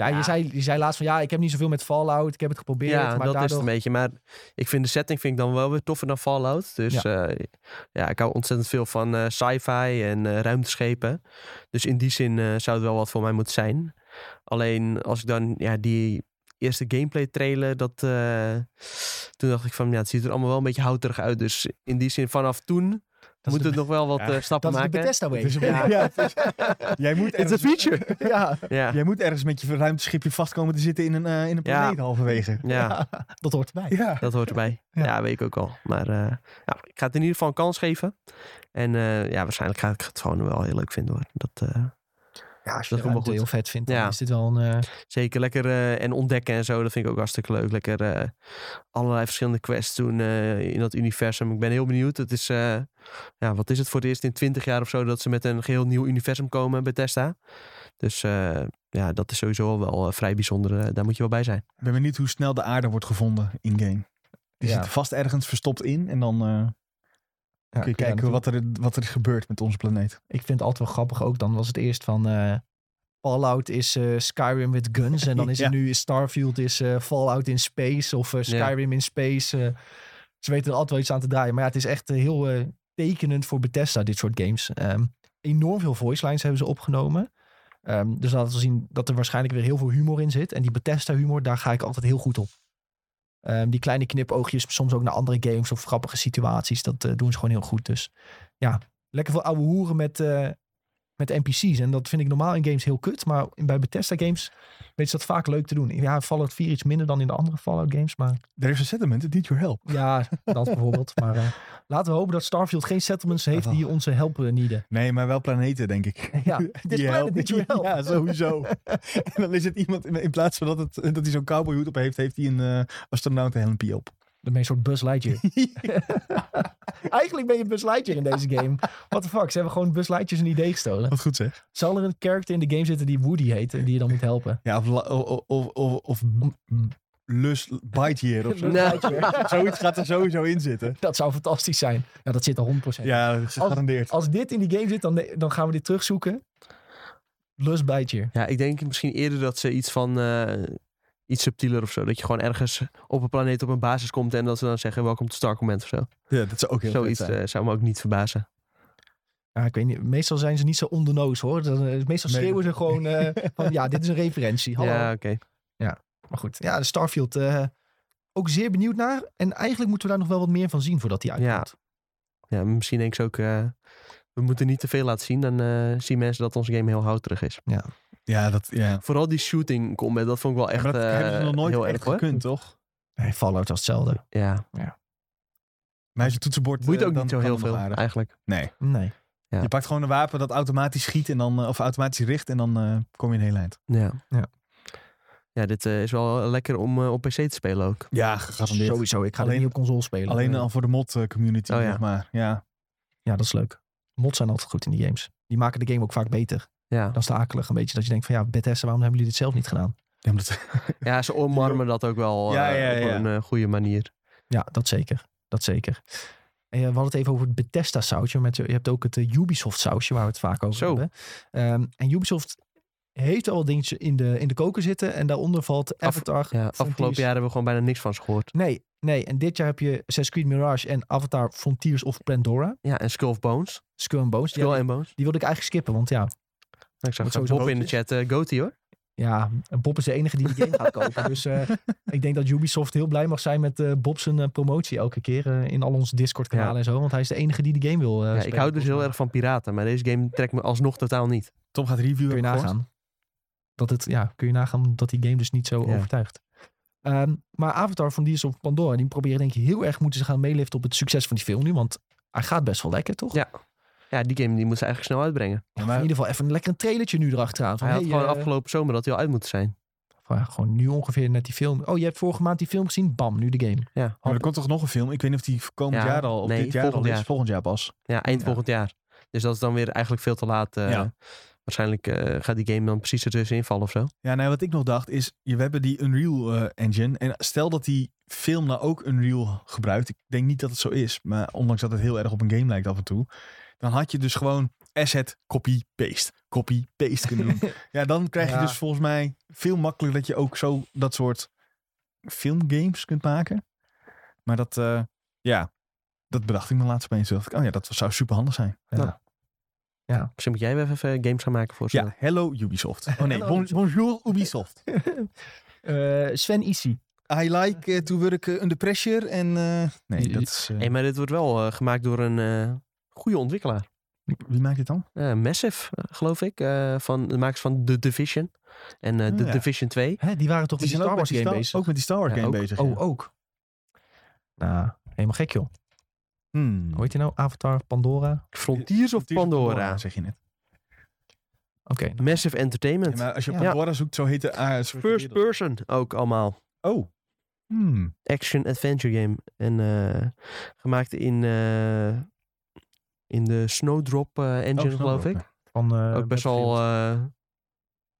[SPEAKER 3] Ja.
[SPEAKER 1] Je, zei, je zei laatst van ja, ik heb niet zoveel met Fallout. Ik heb het geprobeerd.
[SPEAKER 3] ja
[SPEAKER 1] maar
[SPEAKER 3] dat is het
[SPEAKER 1] daardoor...
[SPEAKER 3] een beetje. Maar ik vind de setting vind ik dan wel weer toffer dan Fallout. Dus ja, ja ik hou ontzettend veel van eh, sci-fi en eh, ruimteschepen. Dus in die zin eh, zou het wel wat voor mij moeten zijn. Alleen als ik dan ja, die eerste gameplay trailer, dat, eh, toen dacht ik van ja, het ziet er allemaal wel een beetje houterig uit. Dus in die zin, vanaf toen
[SPEAKER 2] is
[SPEAKER 3] moeten
[SPEAKER 2] de-
[SPEAKER 3] we nog wel wat
[SPEAKER 2] ja,
[SPEAKER 3] eh, stappen
[SPEAKER 1] dat is de
[SPEAKER 3] maken.
[SPEAKER 1] Bethesda way.
[SPEAKER 2] Het is een
[SPEAKER 3] Ja.
[SPEAKER 2] beetje- ja, het is- jij, moet
[SPEAKER 3] It's a
[SPEAKER 2] ergens,
[SPEAKER 3] feature.
[SPEAKER 1] Ja,
[SPEAKER 3] ja.
[SPEAKER 2] jij moet ergens met je ruimteschipje vast komen te zitten in een, eh, in een
[SPEAKER 3] Ja.
[SPEAKER 2] planeet halverwege.
[SPEAKER 3] ja.
[SPEAKER 1] dat hoort erbij.
[SPEAKER 2] Ja.
[SPEAKER 3] Dat hoort erbij.
[SPEAKER 2] Ja.
[SPEAKER 3] Ja, weet ik ook al. Maar eh, ja, ik ga het in ieder geval een kans geven. En eh, ja, waarschijnlijk ga ik het gewoon wel heel leuk vinden hoor. Dat, eh,
[SPEAKER 1] Ja, als
[SPEAKER 3] je
[SPEAKER 1] je
[SPEAKER 3] dat
[SPEAKER 1] dat
[SPEAKER 3] helemaal
[SPEAKER 1] ruimte
[SPEAKER 3] goed-
[SPEAKER 1] heel vet vindt, dan
[SPEAKER 3] Ja.
[SPEAKER 1] is dit wel een... eh,
[SPEAKER 3] zeker lekker eh, en ontdekken en zo. Dat vind ik ook hartstikke leuk. Lekker eh, allerlei verschillende quests doen eh, in dat universum. Ik ben heel benieuwd. Het is, eh, ja, wat is het voor het eerst in 20 jaar of zo dat ze met een geheel nieuw universum komen bij Testa. Dus eh, ja, dat is sowieso wel eh, vrij bijzonder. Eh, daar moet je wel bij zijn.
[SPEAKER 2] Ik ben benieuwd hoe snel de aarde wordt gevonden in-game. Die
[SPEAKER 1] Ja.
[SPEAKER 2] zit vast ergens verstopt in en dan eh,
[SPEAKER 1] ja,
[SPEAKER 2] kun je
[SPEAKER 1] ja,
[SPEAKER 2] kijken wat er, wat er gebeurt met onze planeet.
[SPEAKER 1] Ik vind het altijd wel grappig ook. Dan was het eerst van eh, Fallout is eh, Skyrim with guns. En dan is het
[SPEAKER 2] Ja.
[SPEAKER 1] nu is Starfield is eh, Fallout in space. Of eh,
[SPEAKER 3] Ja.
[SPEAKER 1] Skyrim in space. eh. ze weten er altijd wel iets aan te draaien. Maar ja, het is echt eh, heel eh, tekenend voor Bethesda, dit soort games. Ehm, enorm veel voice lines hebben ze opgenomen. Ehm, dus laten we zien dat er waarschijnlijk weer heel veel humor in zit. En die Bethesda humor, daar ga ik altijd heel goed op. Ehm, die kleine knipoogjes, soms ook naar andere games of grappige situaties. Dat eh, doen ze gewoon heel goed. Dus ja, lekker veel ouwe hoeren met, eh, met NPC's. En dat vind ik normaal in games heel kut. Maar bij Bethesda games weet ze dat vaak leuk te doen. Ja, Fallout 4 iets minder dan in de andere Fallout games. Maar
[SPEAKER 2] There is a settlement, it needs your help.
[SPEAKER 1] ja, dat bijvoorbeeld. Maar eh, laten we hopen dat Starfield geen settlements heeft die onze helpen nieden.
[SPEAKER 2] Nee, maar wel planeten, denk ik.
[SPEAKER 1] Ja, dit
[SPEAKER 2] Die
[SPEAKER 1] planet niet
[SPEAKER 2] helpen.
[SPEAKER 1] help.
[SPEAKER 2] Ja, sowieso. en dan is het iemand, in in plaats van dat, het, dat hij zo'n cowboyhoed op heeft, heeft hij een eh astronautenhelmpje op.
[SPEAKER 1] Dan ben je een soort Buzz Lightyear. Eigenlijk ben je Buzz Lightyear in deze game. What the fuck, ze hebben gewoon Buzz Lightyear een idee gestolen.
[SPEAKER 2] Wat goed zeg.
[SPEAKER 1] Zal er een character in de game zitten die Woody heet en die je dan moet helpen?
[SPEAKER 2] Ja, of, la- o- o- of, of, of lus bite hier of zo.
[SPEAKER 1] Buzz
[SPEAKER 3] Nou.
[SPEAKER 1] Lightyear.
[SPEAKER 2] Zoiets gaat er sowieso in zitten.
[SPEAKER 1] Dat zou fantastisch zijn. Ja, dat zit er 100%.
[SPEAKER 2] Ja, gegarandeerd.
[SPEAKER 1] Als dit in die game zit, dan, dan gaan we dit terugzoeken. Lust bijtje.
[SPEAKER 3] Ja, ik denk misschien eerder dat ze iets van eh, iets subtieler of zo. Dat je gewoon ergens op een planeet op een basis komt en dat ze dan zeggen welkom to Star Command of zo.
[SPEAKER 2] Ja, dat zou ook heel vet
[SPEAKER 3] Zoiets
[SPEAKER 2] zijn.
[SPEAKER 3] eh, zou me ook niet verbazen.
[SPEAKER 1] Ja, ik weet niet. Meestal zijn ze niet zo ondernoos hoor. Dan, eh, meestal
[SPEAKER 2] Nee.
[SPEAKER 1] schreeuwen ze gewoon eh, van ja, dit is een referentie. Hallo.
[SPEAKER 3] Ja, oké.
[SPEAKER 1] Maar goed, ja, de Starfield eh, ook zeer benieuwd naar. En eigenlijk moeten we daar nog wel wat meer van zien voordat die uitkomt.
[SPEAKER 3] Ja, misschien denk ik ook, eh, we moeten niet te veel laten zien. Dan eh, zien mensen dat onze game heel houterig is.
[SPEAKER 2] Ja, dat, ja.
[SPEAKER 3] Vooral die shooting combat, dat vond ik wel echt
[SPEAKER 2] maar dat
[SPEAKER 3] eh,
[SPEAKER 2] hebben ze nog nooit
[SPEAKER 3] heel
[SPEAKER 2] echt
[SPEAKER 3] erg hoor.
[SPEAKER 2] gekund, toch?
[SPEAKER 1] Nee, Fallout was hetzelfde.
[SPEAKER 3] Ja,
[SPEAKER 2] Maar als je toetsenbord...
[SPEAKER 3] boeit
[SPEAKER 2] eh,
[SPEAKER 3] ook
[SPEAKER 2] dan
[SPEAKER 3] niet zo
[SPEAKER 2] kan
[SPEAKER 3] heel
[SPEAKER 2] het nog
[SPEAKER 3] veel
[SPEAKER 2] aardig.
[SPEAKER 3] eigenlijk.
[SPEAKER 2] Nee.
[SPEAKER 1] Nee.
[SPEAKER 3] Ja.
[SPEAKER 2] Je pakt gewoon een wapen dat automatisch schiet en dan, eh, of automatisch richt en dan eh, kom je een heel eind.
[SPEAKER 3] Ja.
[SPEAKER 1] Ja.
[SPEAKER 3] Ja, dit eh, is wel lekker om eh, op PC te spelen ook.
[SPEAKER 2] Ja, gegarandeerd.
[SPEAKER 1] Sowieso, ik ga
[SPEAKER 2] Alleen-
[SPEAKER 1] dit niet op console spelen.
[SPEAKER 2] Alleen
[SPEAKER 1] Nee.
[SPEAKER 2] al voor de mod eh, community,
[SPEAKER 3] Oh ja.
[SPEAKER 2] zeg maar. Ja.
[SPEAKER 1] Ja, dat is leuk. Mods zijn altijd goed in die games. Die maken de game ook vaak beter.
[SPEAKER 3] Ja,
[SPEAKER 1] Dat is de akelig een beetje. Dat je denkt van ja, Bethesda, waarom hebben jullie dit zelf niet gedaan?
[SPEAKER 2] Ja, omdat-
[SPEAKER 3] ja ze omarmen dat ook wel
[SPEAKER 2] Ja,
[SPEAKER 3] eh,
[SPEAKER 2] ja,
[SPEAKER 3] op
[SPEAKER 2] ja.
[SPEAKER 3] een eh, goede manier.
[SPEAKER 1] Ja, dat zeker. Dat zeker. En eh, we hadden het even over het Bethesda sausje. Met, je hebt ook het eh, Ubisoft sausje, waar we het vaak over
[SPEAKER 3] Zo.
[SPEAKER 1] hebben. Ehm, en Ubisoft heeft al wat dingetjes in de, in de koker zitten. En daaronder valt
[SPEAKER 3] Af-
[SPEAKER 1] Avatar.
[SPEAKER 3] Ja,
[SPEAKER 1] Frontiers.
[SPEAKER 3] afgelopen jaar hebben we gewoon bijna niks van ze gehoord.
[SPEAKER 1] Nee, nee. En dit jaar heb je Assassin's Creed Mirage en Avatar Frontiers of Pandora.
[SPEAKER 3] Ja, en Skull of Bones.
[SPEAKER 1] Skull and Bones.
[SPEAKER 3] Skull
[SPEAKER 1] Die,
[SPEAKER 3] en Bones. Nou,
[SPEAKER 1] die wilde ik eigenlijk skippen, want ja,
[SPEAKER 3] Ik zag
[SPEAKER 1] Met
[SPEAKER 3] Bob
[SPEAKER 1] sowieso
[SPEAKER 3] in de chat. eh Goatee hoor.
[SPEAKER 1] ja, Bob is de enige die die game gaat kopen. Dus eh, ik denk dat Ubisoft heel blij mag zijn met eh Bob zijn eh, promotie elke keer eh, in al onze Discord kanalen
[SPEAKER 3] Ja.
[SPEAKER 1] en zo. Want hij is de enige die de game wil eh,
[SPEAKER 3] Ja, ik
[SPEAKER 1] spelen,
[SPEAKER 3] hou dus
[SPEAKER 1] volgens mij.
[SPEAKER 3] heel erg van piraten, maar deze game trekt me alsnog totaal niet.
[SPEAKER 2] Tom gaat reviewen.
[SPEAKER 1] kun je
[SPEAKER 2] op de
[SPEAKER 1] nagaan. Dat het, ja, kun je nagaan dat die game dus niet zo
[SPEAKER 3] Ja.
[SPEAKER 1] overtuigt. Ehm, maar Avatar van Diers of Pandora, die proberen denk ik heel erg moeten ze gaan meeliften op het succes van die film nu. Want hij gaat best wel lekker, toch?
[SPEAKER 3] Ja. Ja, die game die moet ze eigenlijk snel uitbrengen.
[SPEAKER 1] Ja, maar in ieder geval even een lekker een trailertje nu erachteraan. Van,
[SPEAKER 3] Hij had
[SPEAKER 1] hey,
[SPEAKER 3] gewoon
[SPEAKER 1] eh,
[SPEAKER 3] afgelopen zomer dat hij al uit moet zijn.
[SPEAKER 1] van, ja, gewoon nu ongeveer net die film. Oh, je hebt vorige maand die film gezien? Bam, nu de game.
[SPEAKER 3] Ja,
[SPEAKER 2] Maar er komt toch nog een film? Ik weet niet of die komend
[SPEAKER 3] Ja,
[SPEAKER 2] jaar al, of
[SPEAKER 3] nee,
[SPEAKER 2] dit jaar
[SPEAKER 3] volgend
[SPEAKER 2] al is.
[SPEAKER 3] jaar.
[SPEAKER 2] Volgend jaar pas.
[SPEAKER 3] ja eind
[SPEAKER 2] Ja.
[SPEAKER 3] volgend jaar. Dus dat is dan weer eigenlijk veel te laat. eh,
[SPEAKER 2] Ja.
[SPEAKER 3] Waarschijnlijk eh, gaat die game dan precies ertussenin vallen of zo.
[SPEAKER 2] Ja, nou, wat ik nog dacht is, je- we hebben die Unreal eh, Engine. En stel dat die film nou ook Unreal gebruikt. Ik denk niet dat het zo is, maar ondanks dat het heel erg op een game lijkt af en toe. Dan had je dus gewoon asset copy-paste, copy-paste kunnen doen. ja, dan krijg je
[SPEAKER 1] Ja.
[SPEAKER 2] dus volgens mij veel makkelijker dat je ook zo dat soort filmgames kunt maken. Maar dat, eh, ja, dat bedacht ik me laatst opeens. Toen dacht ik, oh ja, dat zou super handig zijn.
[SPEAKER 1] Ja.
[SPEAKER 3] Misschien moet jij weer even eh, games gaan maken voor ze.
[SPEAKER 2] Ja, hello Ubisoft. Oh nee,
[SPEAKER 1] Hello,
[SPEAKER 2] bon-
[SPEAKER 1] Ubisoft.
[SPEAKER 2] bonjour Ubisoft.
[SPEAKER 1] Eh, Sven Isi.
[SPEAKER 2] I like eh, to work eh, under pressure en... eh, nee,
[SPEAKER 1] Die-
[SPEAKER 2] dat is... eh,
[SPEAKER 3] Hey, maar dit wordt wel eh, gemaakt door een eh, goede ontwikkelaar.
[SPEAKER 2] wie maakt dit dan?
[SPEAKER 3] Eh, Massive, eh, geloof ik. eh, van de makers van The Division. En eh,
[SPEAKER 2] Oh,
[SPEAKER 3] The
[SPEAKER 2] ja.
[SPEAKER 3] Division 2.
[SPEAKER 1] Hè, die waren toch met die Star
[SPEAKER 2] ook
[SPEAKER 1] Wars
[SPEAKER 2] met die
[SPEAKER 1] game
[SPEAKER 2] Star-
[SPEAKER 1] bezig?
[SPEAKER 2] Ook met die Star Wars
[SPEAKER 3] Ja,
[SPEAKER 2] game
[SPEAKER 3] ook.
[SPEAKER 2] bezig. ja.
[SPEAKER 1] Oh, ook. Nou, helemaal gek joh.
[SPEAKER 2] Hmm.
[SPEAKER 1] Hoe heet die nou? Avatar, Pandora? Oké.
[SPEAKER 3] Frontiers oh, of
[SPEAKER 2] Tears of
[SPEAKER 3] Pandora.
[SPEAKER 2] zeg je net.
[SPEAKER 1] nou,
[SPEAKER 3] Massive Entertainment.
[SPEAKER 2] maar als je
[SPEAKER 1] Ja.
[SPEAKER 2] Pandora zoekt, zo heet de... ah, soort
[SPEAKER 3] First
[SPEAKER 2] wereld.
[SPEAKER 3] person ook allemaal.
[SPEAKER 2] Oh. Hmm.
[SPEAKER 3] Action-adventure game. En eh, gemaakt in, eh, in de Snowdrop eh, engine,
[SPEAKER 2] Oh,
[SPEAKER 3] geloof ik.
[SPEAKER 2] Snowdrop,
[SPEAKER 1] Van, eh,
[SPEAKER 3] ook best wel...
[SPEAKER 1] Battlefield.
[SPEAKER 3] eh,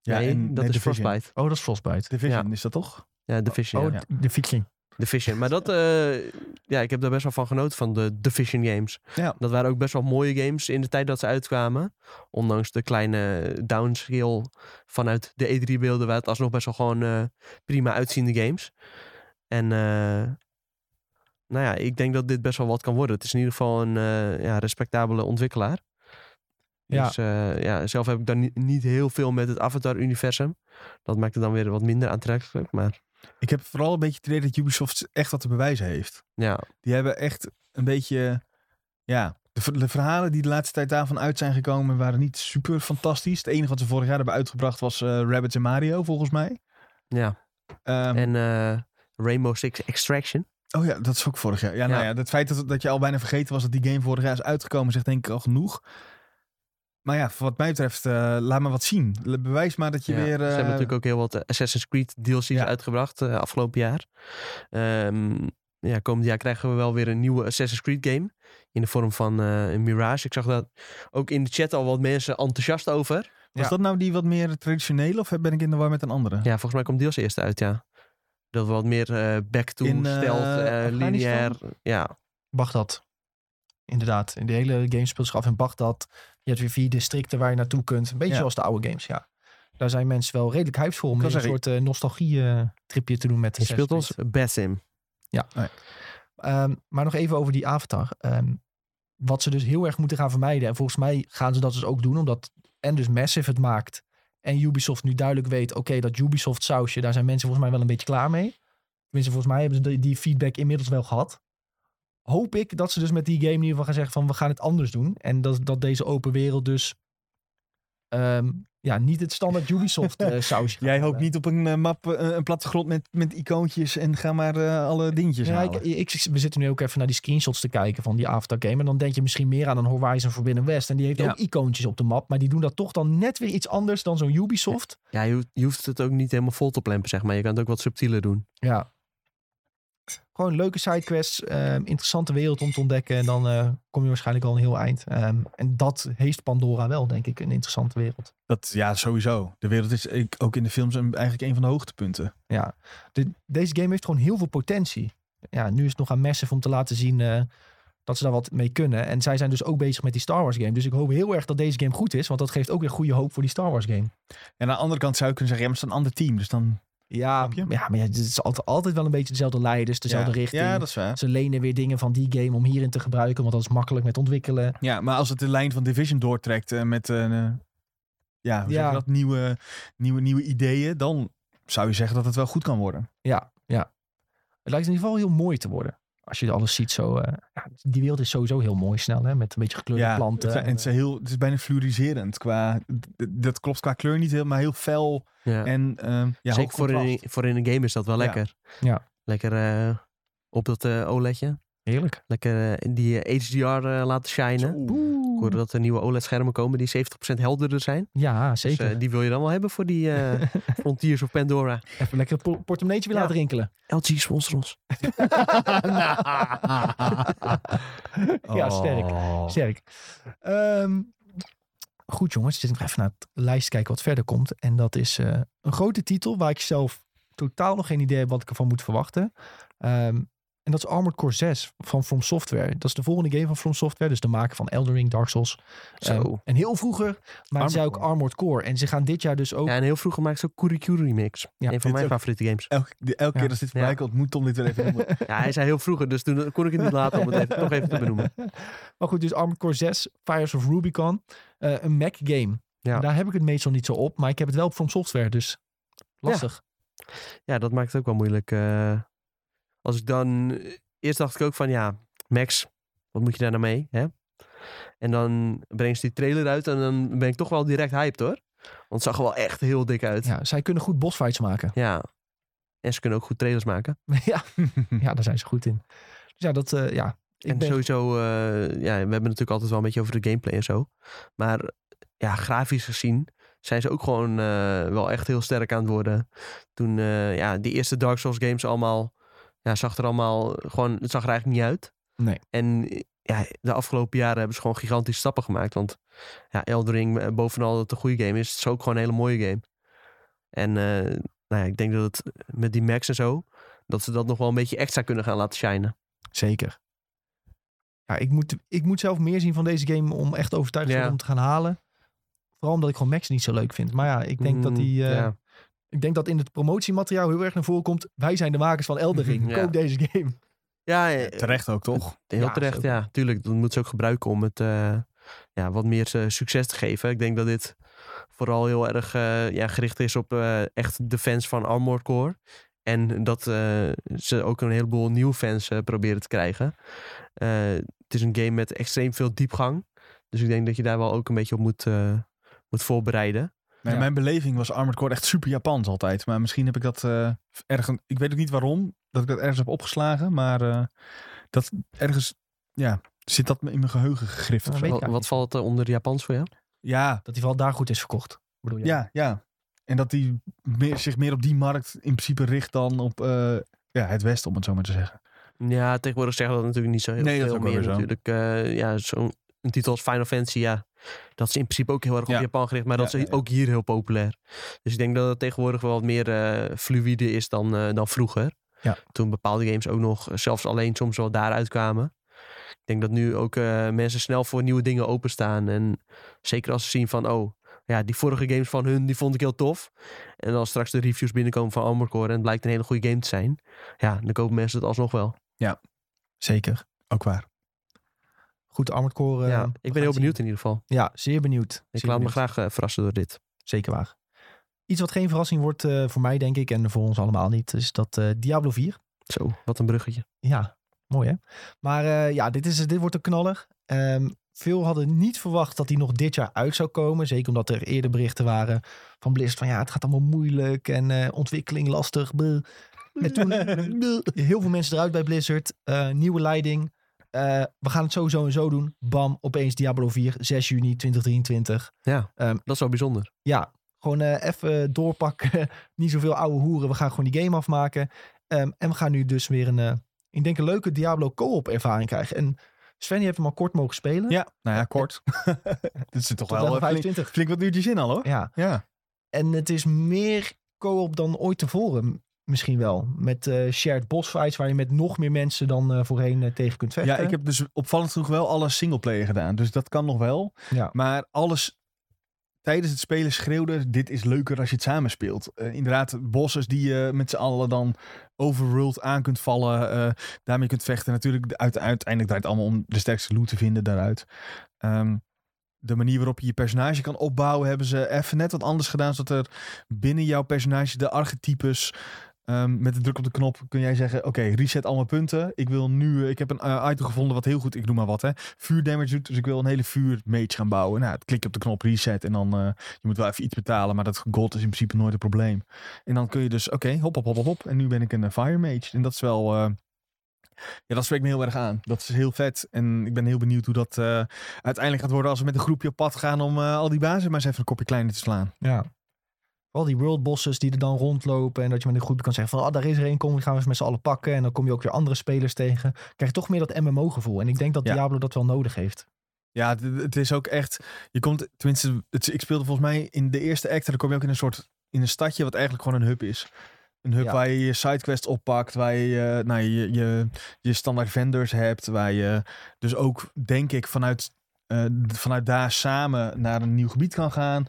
[SPEAKER 2] Ja,
[SPEAKER 3] nee,
[SPEAKER 2] en-
[SPEAKER 3] dat
[SPEAKER 2] nee,
[SPEAKER 3] is
[SPEAKER 2] Division.
[SPEAKER 3] Frostbite.
[SPEAKER 1] Oh, dat is Frostbite.
[SPEAKER 2] Division, is dat toch?
[SPEAKER 3] Ja, Division.
[SPEAKER 1] Oh,
[SPEAKER 3] ja.
[SPEAKER 1] d- de Viking.
[SPEAKER 3] Division. Maar dat, eh, ja, ik heb daar best wel van genoten van de Division games.
[SPEAKER 2] Ja.
[SPEAKER 3] Dat waren ook best wel mooie games in de tijd dat ze uitkwamen. Ondanks de kleine downscale vanuit de E E3-beelden waren het alsnog best wel gewoon eh, prima uitziende games. En eh, nou ja, ik denk dat dit best wel wat kan worden. Het is in ieder geval een eh, ja, respectabele ontwikkelaar.
[SPEAKER 1] Ja.
[SPEAKER 3] Dus eh, ja, zelf heb ik daar niet, niet heel veel met het Avatar-universum. Dat maakt het dan weer wat minder aantrekkelijk. Maar
[SPEAKER 2] Ik heb vooral een beetje het idee dat Ubisoft echt wat te bewijzen heeft.
[SPEAKER 3] ja,
[SPEAKER 2] Die hebben echt een beetje. Ja, de, ver- de verhalen die de laatste tijd daarvan uit zijn gekomen waren niet super fantastisch. Het enige wat ze vorig jaar hebben uitgebracht was eh Rabbits en Mario, volgens mij.
[SPEAKER 3] ja.
[SPEAKER 2] Ehm,
[SPEAKER 3] En eh, Rainbow Six Extraction.
[SPEAKER 2] Oh ja, dat is ook vorig jaar. Ja, nou
[SPEAKER 3] Ja.
[SPEAKER 2] ja, het feit dat, dat je al bijna vergeten was dat die game vorig jaar is uitgekomen, zegt denk ik al genoeg. Maar ja, wat mij betreft, eh, laat maar wat zien. Le- Bewijs maar dat je
[SPEAKER 3] Ja,
[SPEAKER 2] weer.
[SPEAKER 3] Ze
[SPEAKER 2] eh,
[SPEAKER 3] hebben natuurlijk ook heel wat eh, Assassin's Creed DLC's
[SPEAKER 2] Ja.
[SPEAKER 3] uitgebracht eh, afgelopen jaar. Ehm, ja, komend jaar krijgen we wel weer een nieuwe Assassin's Creed game. In de vorm van eh, een Mirage. Ik zag daar ook in de chat al wat mensen enthousiast over.
[SPEAKER 2] Was
[SPEAKER 1] Ja.
[SPEAKER 2] dat nou die wat meer traditionele of ben ik in de war met een andere?
[SPEAKER 3] Ja, volgens mij komt DLC eerst uit, ja. Dat we wat meer eh, back-to,
[SPEAKER 2] In, eh,
[SPEAKER 3] stelt, eh,
[SPEAKER 1] Afghanistan?
[SPEAKER 3] lineair. Ja,
[SPEAKER 1] Bagdad. Inderdaad. De hele game speelt zich af in Bagdad. Je hebt weer vier districten waar je naartoe kunt. Een beetje
[SPEAKER 2] Ja.
[SPEAKER 1] zoals de oude games, ja. Daar zijn mensen wel redelijk hyped voor om
[SPEAKER 2] Ik
[SPEAKER 1] weer
[SPEAKER 2] wil
[SPEAKER 1] een soort eh, nostalgie-tripje te doen met
[SPEAKER 3] je
[SPEAKER 1] de
[SPEAKER 3] speelt ons Basim.
[SPEAKER 1] Ehm, maar nog even over die avatar. Ehm, wat ze dus heel erg moeten gaan vermijden. En volgens mij gaan ze dat dus ook doen. Omdat en dus Massive het maakt. En Ubisoft nu duidelijk weet. Oké, dat Ubisoft sausje. Daar zijn mensen volgens mij wel een beetje klaar mee. Tenminste, volgens mij hebben ze die- die feedback inmiddels wel gehad. Hoop ik dat ze dus met die game in ieder geval gaan zeggen van we gaan het anders doen. En dat, dat deze open wereld dus ehm, ja, niet het standaard Ubisoft eh, sausje gaat
[SPEAKER 2] Jij hoopt
[SPEAKER 1] worden.
[SPEAKER 2] niet op een eh, map, eh, een plattegrond met, met icoontjes en ga maar eh, alle dingetjes
[SPEAKER 1] Ja, ik,
[SPEAKER 2] halen.
[SPEAKER 1] ik, we zitten nu ook even naar die screenshots te kijken van die Avatar game. En dan denk je misschien meer aan een Horizon Forbidden West. En die heeft
[SPEAKER 3] Ja.
[SPEAKER 1] ook icoontjes op de map. Maar die doen dat toch dan net weer iets anders dan zo'n Ubisoft.
[SPEAKER 3] Ja, je, hoeft- je hoeft het ook niet helemaal vol te plempen, zeg maar. Je kan het ook wat subtieler doen.
[SPEAKER 1] Ja. Gewoon leuke sidequests. ehm, interessante wereld om te ontdekken. En dan eh, kom je waarschijnlijk al een heel eind. Ehm, en dat heeft Pandora wel, denk ik. Een interessante wereld.
[SPEAKER 2] Dat, ja, sowieso. De wereld is ik- ook in de films een- eigenlijk een van de hoogtepunten.
[SPEAKER 1] Ja. De- deze game heeft gewoon heel veel potentie. Ja, nu is het nog aan Massive om te laten zien... eh, dat ze daar wat mee kunnen. En zij zijn dus ook bezig met die Star Wars game. Dus ik hoop heel erg dat deze game goed is. Want dat geeft ook weer goede hoop voor die Star Wars game.
[SPEAKER 2] En aan de andere kant zou je kunnen zeggen, ja, maar het is een ander team. Dus dan
[SPEAKER 1] Ja,
[SPEAKER 2] Snap je?
[SPEAKER 1] ja maar ja, het is altijd, altijd wel een beetje dezelfde leiders, dezelfde
[SPEAKER 2] ja.
[SPEAKER 1] richting.
[SPEAKER 2] Ja, dat is waar.
[SPEAKER 1] Ze lenen weer dingen van die game om hierin te gebruiken. Want dat is makkelijk met ontwikkelen.
[SPEAKER 2] Ja, maar als het de lijn van Division doortrekt eh, met eh, eh, ja, hoe zeg je
[SPEAKER 1] Ja.
[SPEAKER 2] dat, nieuwe, nieuwe, nieuwe ideeën, dan zou je zeggen dat het wel goed kan worden.
[SPEAKER 1] Ja, ja. Het lijkt in ieder geval heel mooi te worden. Als je alles ziet zo. eh, ja, die wereld is sowieso heel mooi snel. Hè? Met een beetje gekleurde
[SPEAKER 2] ja,
[SPEAKER 1] planten. eh.
[SPEAKER 2] Het, zijn- en het, is heel, het is bijna fluoriserend. Qua, d- d- dat klopt qua kleur niet heel, maar heel fel.
[SPEAKER 3] Ja.
[SPEAKER 2] En ehm ja, hoog
[SPEAKER 3] Zeker voor in,
[SPEAKER 2] contrast.
[SPEAKER 3] voor in een game is dat wel
[SPEAKER 2] Ja.
[SPEAKER 3] lekker.
[SPEAKER 1] Ja.
[SPEAKER 3] Lekker eh, op dat eh OLEDje.
[SPEAKER 1] Heerlijk.
[SPEAKER 3] Lekker eh, die eh, HDR eh, laten shinen.
[SPEAKER 2] Zo.
[SPEAKER 1] Oeh.
[SPEAKER 3] Ik hoorde dat er nieuwe OLED-schermen komen die 70% helderder zijn.
[SPEAKER 1] Ja,
[SPEAKER 3] Dus,
[SPEAKER 1] zeker.
[SPEAKER 3] eh, die wil je dan wel hebben voor die eh, Frontiers of Pandora.
[SPEAKER 1] Even lekker het po- portemonneetje weer
[SPEAKER 3] Ja.
[SPEAKER 1] laten rinkelen.
[SPEAKER 3] LG sponsor ons.
[SPEAKER 1] ja, sterk.
[SPEAKER 2] Oh.
[SPEAKER 1] Sterk. Ehm, Goed jongens, zit ik nog even naar het lijst te kijken wat verder komt. En dat is eh, een grote titel waar ik zelf totaal nog geen idee heb wat ik ervan moet verwachten. Ehm, en dat is Armored Core 6 van From Software. Dat is de volgende game van From Software. Dus de maker van Elden Ring, Dark Souls.
[SPEAKER 3] Zo.
[SPEAKER 1] Ehm, en heel vroeger maakten zij ook
[SPEAKER 2] Armored Core.
[SPEAKER 1] Armored Core. En ze gaan dit jaar dus ook...
[SPEAKER 3] Ja, en heel vroeger maakte ze ook Kurikuri Mix.
[SPEAKER 1] Ja,
[SPEAKER 3] een
[SPEAKER 2] dit
[SPEAKER 3] van mijn
[SPEAKER 2] ook.
[SPEAKER 3] favoriete games.
[SPEAKER 2] Elke, de- elke
[SPEAKER 1] Ja.
[SPEAKER 2] keer als dit voorbij
[SPEAKER 3] Ja.
[SPEAKER 2] komt, moet Tom dit weer even noemen.
[SPEAKER 3] Ja, hij zei heel vroeger, dus toen kon ik het niet laten om het even, toch even te benoemen.
[SPEAKER 1] Maar goed, dus Armored Core 6, Fires of Rubicon. eh, een Mac game.
[SPEAKER 3] Ja.
[SPEAKER 1] Daar heb ik het meestal niet zo op. Maar ik heb het wel op From Software, dus lastig.
[SPEAKER 3] Ja, dat maakt het ook wel moeilijk. eh. als ik dan... eh, Eerst dacht ik ook van, ja, Max, wat moet je daar nou mee? Hè? En dan brengen ze die trailer uit en dan ben ik toch wel direct hyped hoor. Want het zag er wel echt heel dik uit. Ja.
[SPEAKER 1] Ja, zij kunnen goed bossfights maken.
[SPEAKER 3] En ze kunnen ook goed trailers maken.
[SPEAKER 1] ja, ja, daar zijn ze goed in. Dus ja, dat... eh, ja. Ik
[SPEAKER 3] en
[SPEAKER 1] ben-
[SPEAKER 3] sowieso, eh, ja, we hebben het natuurlijk altijd wel een beetje over de gameplay en zo. Maar ja, grafisch gezien zijn ze ook gewoon eh, wel echt heel sterk aan het worden. Toen, eh, ja, die eerste Dark Souls games allemaal, ja, zag er allemaal gewoon, het zag er eigenlijk niet uit.
[SPEAKER 1] Nee.
[SPEAKER 3] En eh, ja, de afgelopen jaren hebben ze gewoon gigantische stappen gemaakt. Want ja, Eldering, eh, bovenal dat het een goede game is, het is ook gewoon een hele mooie game. En eh, nou ja, ik denk dat het met die Max en zo, dat ze dat nog wel een beetje extra kunnen gaan laten shinen.
[SPEAKER 1] Zeker. Ja, ik moet, ik moet zelf meer zien van deze game om echt overtuigd te
[SPEAKER 3] Ja.
[SPEAKER 1] worden om te gaan halen. Vooral omdat ik gewoon Max niet zo leuk vind. Maar ja, ik denk dat die...
[SPEAKER 3] Mm,
[SPEAKER 1] eh,
[SPEAKER 3] ja.
[SPEAKER 1] Ik denk dat in het promotiemateriaal heel erg naar voren komt. Wij zijn de makers van Elden Ring.
[SPEAKER 3] Ja.
[SPEAKER 1] Koop deze game.
[SPEAKER 3] Ja, eh,
[SPEAKER 2] Terecht ook, toch?
[SPEAKER 3] heel
[SPEAKER 1] Ja,
[SPEAKER 3] terecht.
[SPEAKER 1] zeker.
[SPEAKER 3] Ja, tuurlijk. Dat moeten ze ook gebruiken om het eh, ja, wat meer eh, succes te geven. Ik denk dat dit vooral heel erg eh, ja, gericht is op eh, echt de fans van Armored Core. En dat eh, ze ook een heleboel nieuwe fans eh, proberen te krijgen. Eh, het is een game met extreem veel diepgang. Dus ik denk dat je daar wel ook een beetje op moet, eh, moet voorbereiden.
[SPEAKER 2] Nou,
[SPEAKER 1] Ja.
[SPEAKER 2] Mijn beleving was Armored Core echt super Japans altijd. Maar misschien heb ik dat eh ergens... Ik weet ook niet waarom dat ik dat ergens heb opgeslagen. Maar eh, dat ergens... Ja, zit dat me in mijn geheugen gegrift
[SPEAKER 1] Ja,
[SPEAKER 2] of zo.
[SPEAKER 1] weet ik
[SPEAKER 3] Wat,
[SPEAKER 1] eigenlijk
[SPEAKER 3] wat
[SPEAKER 1] niet.
[SPEAKER 3] valt er onder Japans voor jou?
[SPEAKER 2] Ja,
[SPEAKER 1] Dat die wel daar goed is verkocht. Bedoel je?
[SPEAKER 2] Ja, ja. En dat die meer, zich meer op die markt in principe richt dan op eh, ja, het Westen, om het zo maar te zeggen.
[SPEAKER 3] Ja, tegenwoordig zeggen we dat natuurlijk niet zo heel
[SPEAKER 2] Nee, dat
[SPEAKER 3] veel
[SPEAKER 2] is ook wel
[SPEAKER 3] meer
[SPEAKER 2] weer zo.
[SPEAKER 3] natuurlijk. Eh, ja, zo'n een titel als Final Fantasy, ja, dat is in principe ook heel erg op
[SPEAKER 2] Ja.
[SPEAKER 3] Japan gericht, maar
[SPEAKER 2] Ja,
[SPEAKER 3] dat is
[SPEAKER 2] ja, ja.
[SPEAKER 3] ook hier heel populair. Dus ik denk dat het tegenwoordig wel wat meer eh, fluïde is dan, eh, dan vroeger.
[SPEAKER 1] Ja.
[SPEAKER 3] Toen bepaalde games ook nog eh, zelfs alleen soms wel daaruit kwamen. Ik denk dat nu ook eh, mensen snel voor nieuwe dingen openstaan. En zeker als ze zien van, oh, ja, die vorige games van hun, die vond ik heel tof. En als straks de reviews binnenkomen van Armored Core en het blijkt een hele goede game te zijn. Ja, dan kopen mensen het alsnog wel.
[SPEAKER 1] Zeker.
[SPEAKER 2] Ook waar.
[SPEAKER 1] Goed Armored Core. eh,
[SPEAKER 3] Ja,
[SPEAKER 1] we gaan
[SPEAKER 3] ik
[SPEAKER 1] het
[SPEAKER 3] ben heel
[SPEAKER 1] zien.
[SPEAKER 3] benieuwd in ieder geval.
[SPEAKER 1] Ja, zeer benieuwd.
[SPEAKER 3] Ik
[SPEAKER 1] Zeer
[SPEAKER 3] laat me
[SPEAKER 1] benieuwd.
[SPEAKER 3] graag eh, verrassen door dit.
[SPEAKER 1] Zeker waar. Iets wat geen verrassing wordt eh, voor mij, denk ik, en voor ons allemaal niet, is dat eh, Diablo 4.
[SPEAKER 3] Zo, wat een bruggetje.
[SPEAKER 1] Ja, mooi hè. Maar eh, ja, dit, is, dit wordt een knaller. Ehm, veel hadden niet verwacht dat die nog dit jaar uit zou komen. Zeker omdat er eerder berichten waren van Blizzard van ja, het gaat allemaal moeilijk en eh, ontwikkeling lastig. bleh. En toen heel veel mensen eruit bij Blizzard. eh, nieuwe leiding. Eh, we gaan het sowieso en zo doen. Bam, opeens Diablo 4, 6 juni 2023.
[SPEAKER 3] Dat is wel bijzonder.
[SPEAKER 1] Ja, gewoon eh, even doorpakken. Niet zoveel ouwe hoeren. We gaan gewoon die game afmaken. Ehm, en we gaan nu dus weer een, eh, ik denk een leuke Diablo co-op ervaring krijgen. En Sven, je hebt hem al kort mogen spelen.
[SPEAKER 2] Ja, nou ja, kort. Dit zit toch
[SPEAKER 1] tot
[SPEAKER 2] wel
[SPEAKER 1] level
[SPEAKER 2] eh, flink,
[SPEAKER 1] 25.
[SPEAKER 2] flink wat uurtjes in al, hoor.
[SPEAKER 1] Ja,
[SPEAKER 2] Ja.
[SPEAKER 1] en het is meer co-op dan ooit tevoren m- misschien wel. Met eh shared boss fights waar je met nog meer mensen dan eh, voorheen eh, tegen kunt vechten.
[SPEAKER 2] ja, ik heb dus opvallend genoeg wel alle singleplayer gedaan. Dus dat kan nog wel.
[SPEAKER 1] Ja.
[SPEAKER 2] Maar alles tijdens het spelen schreeuwde, dit is leuker als je het samen speelt. Eh, inderdaad, bosses die je met z'n allen dan overworld aan kunt vallen. eh, daarmee kunt vechten. Natuurlijk, de- uit, uiteindelijk draait het allemaal om de sterkste loot te vinden daaruit. Ehm, de manier waarop je je personage kan opbouwen, hebben ze even net wat anders gedaan. Zodat er binnen jouw personage de archetypes. ehm, met de druk op de knop kun jij zeggen: Oké, reset al mijn punten. Ik wil nu. eh, ik heb een eh, item gevonden wat heel goed. Ik noem maar wat, hè. Vuurdamage doet. Dus ik wil een hele vuurmage gaan bouwen. Nou, klik je op de knop reset. En dan. eh, je moet wel even iets betalen. Maar dat gold is in principe nooit een probleem. En dan kun je dus. Oké, hop, hop, hop, hop, hop. En nu ben ik een eh, fire mage. En dat is wel. eh, ja, dat spreekt me heel erg aan. Dat is heel vet. En ik ben heel benieuwd hoe dat eh, uiteindelijk gaat worden als we met een groepje op pad gaan om eh, al die bazen maar eens even een kopje kleiner te slaan.
[SPEAKER 1] Ja. Al die world bosses die er dan rondlopen. En dat je met een groep kan zeggen van ah, daar is er een, kom, die gaan we eens met z'n allen pakken. En dan kom je ook weer andere spelers tegen. Krijg je toch meer dat MMO gevoel. En ik denk dat
[SPEAKER 2] Ja.
[SPEAKER 1] Diablo dat wel nodig heeft.
[SPEAKER 2] Ja, d- d- het is ook echt. Je komt, tenminste, het- ik speelde volgens mij in de eerste act. en Dan kom je ook in een soort. in een stadje wat eigenlijk gewoon een hub is. Een hub
[SPEAKER 1] Ja.
[SPEAKER 2] waar je je sidequest oppakt. Waar je, eh, nou, je, je je standaard vendors hebt. Waar je dus ook, denk ik, vanuit, eh, vanuit daar samen naar een nieuw gebied kan gaan.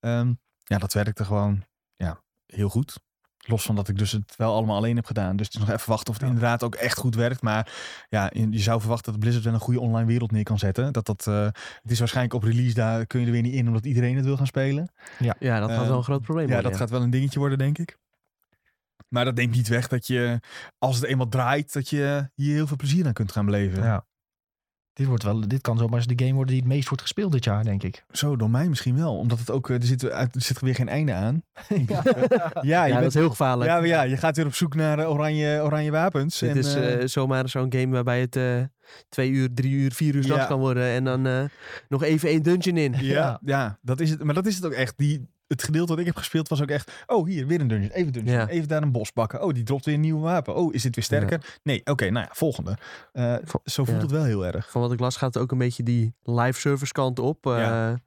[SPEAKER 2] Ehm, ja, dat werkte gewoon ja, heel goed. Los van dat ik dus het wel allemaal alleen heb gedaan. Dus het is nog even wachten of het
[SPEAKER 1] Ja.
[SPEAKER 2] inderdaad ook echt goed werkt. Maar ja, in- je zou verwachten dat Blizzard wel een goede online wereld neer kan zetten. Dat dat, eh, het is waarschijnlijk op release, daar kun je er weer niet in omdat iedereen het wil gaan spelen.
[SPEAKER 3] Ja, dat gaat
[SPEAKER 2] Eh,
[SPEAKER 3] wel een groot probleem
[SPEAKER 2] ja,
[SPEAKER 3] worden,
[SPEAKER 2] dat gaat wel een dingetje worden, denk ik. Maar dat neemt niet weg dat je, als het eenmaal draait, dat je hier heel veel plezier aan kunt gaan beleven.
[SPEAKER 1] Ja. Dit, wordt wel, dit kan zomaar eens de game worden die het meest wordt gespeeld dit jaar, denk ik.
[SPEAKER 2] Zo, door mij misschien wel. Omdat het ook, eh, er zit, er zit weer geen einde aan.
[SPEAKER 1] Ja.
[SPEAKER 2] Ja, je
[SPEAKER 3] Ja, dat
[SPEAKER 2] bent-
[SPEAKER 3] is heel gevaarlijk.
[SPEAKER 2] ja, maar ja, je gaat weer op zoek naar eh, oranje, oranje wapens.
[SPEAKER 3] Dit
[SPEAKER 2] en,
[SPEAKER 3] is
[SPEAKER 2] eh,
[SPEAKER 3] eh, zomaar zo'n game waarbij het eh, twee uur, drie uur, vier uur s'nachts
[SPEAKER 2] Ja.
[SPEAKER 3] kan worden. En dan eh, nog even één dungeon in.
[SPEAKER 2] ja, ja, dat is het. Maar dat is het ook echt. Die, het gedeelte wat ik heb gespeeld was ook echt... Oh, hier, weer een dungeon. Even een dungeon.
[SPEAKER 3] Ja.
[SPEAKER 2] Even daar een bos bakken. Oh, die dropt weer een nieuw wapen. Oh, is dit weer sterker? Nee, oké, nou ja, volgende. Eh,
[SPEAKER 3] Vo-
[SPEAKER 2] zo voelt
[SPEAKER 3] ja.
[SPEAKER 2] het wel heel erg.
[SPEAKER 3] Van wat ik las gaat het ook een beetje die live service kant op. Eh,
[SPEAKER 2] Ja.
[SPEAKER 3] ja.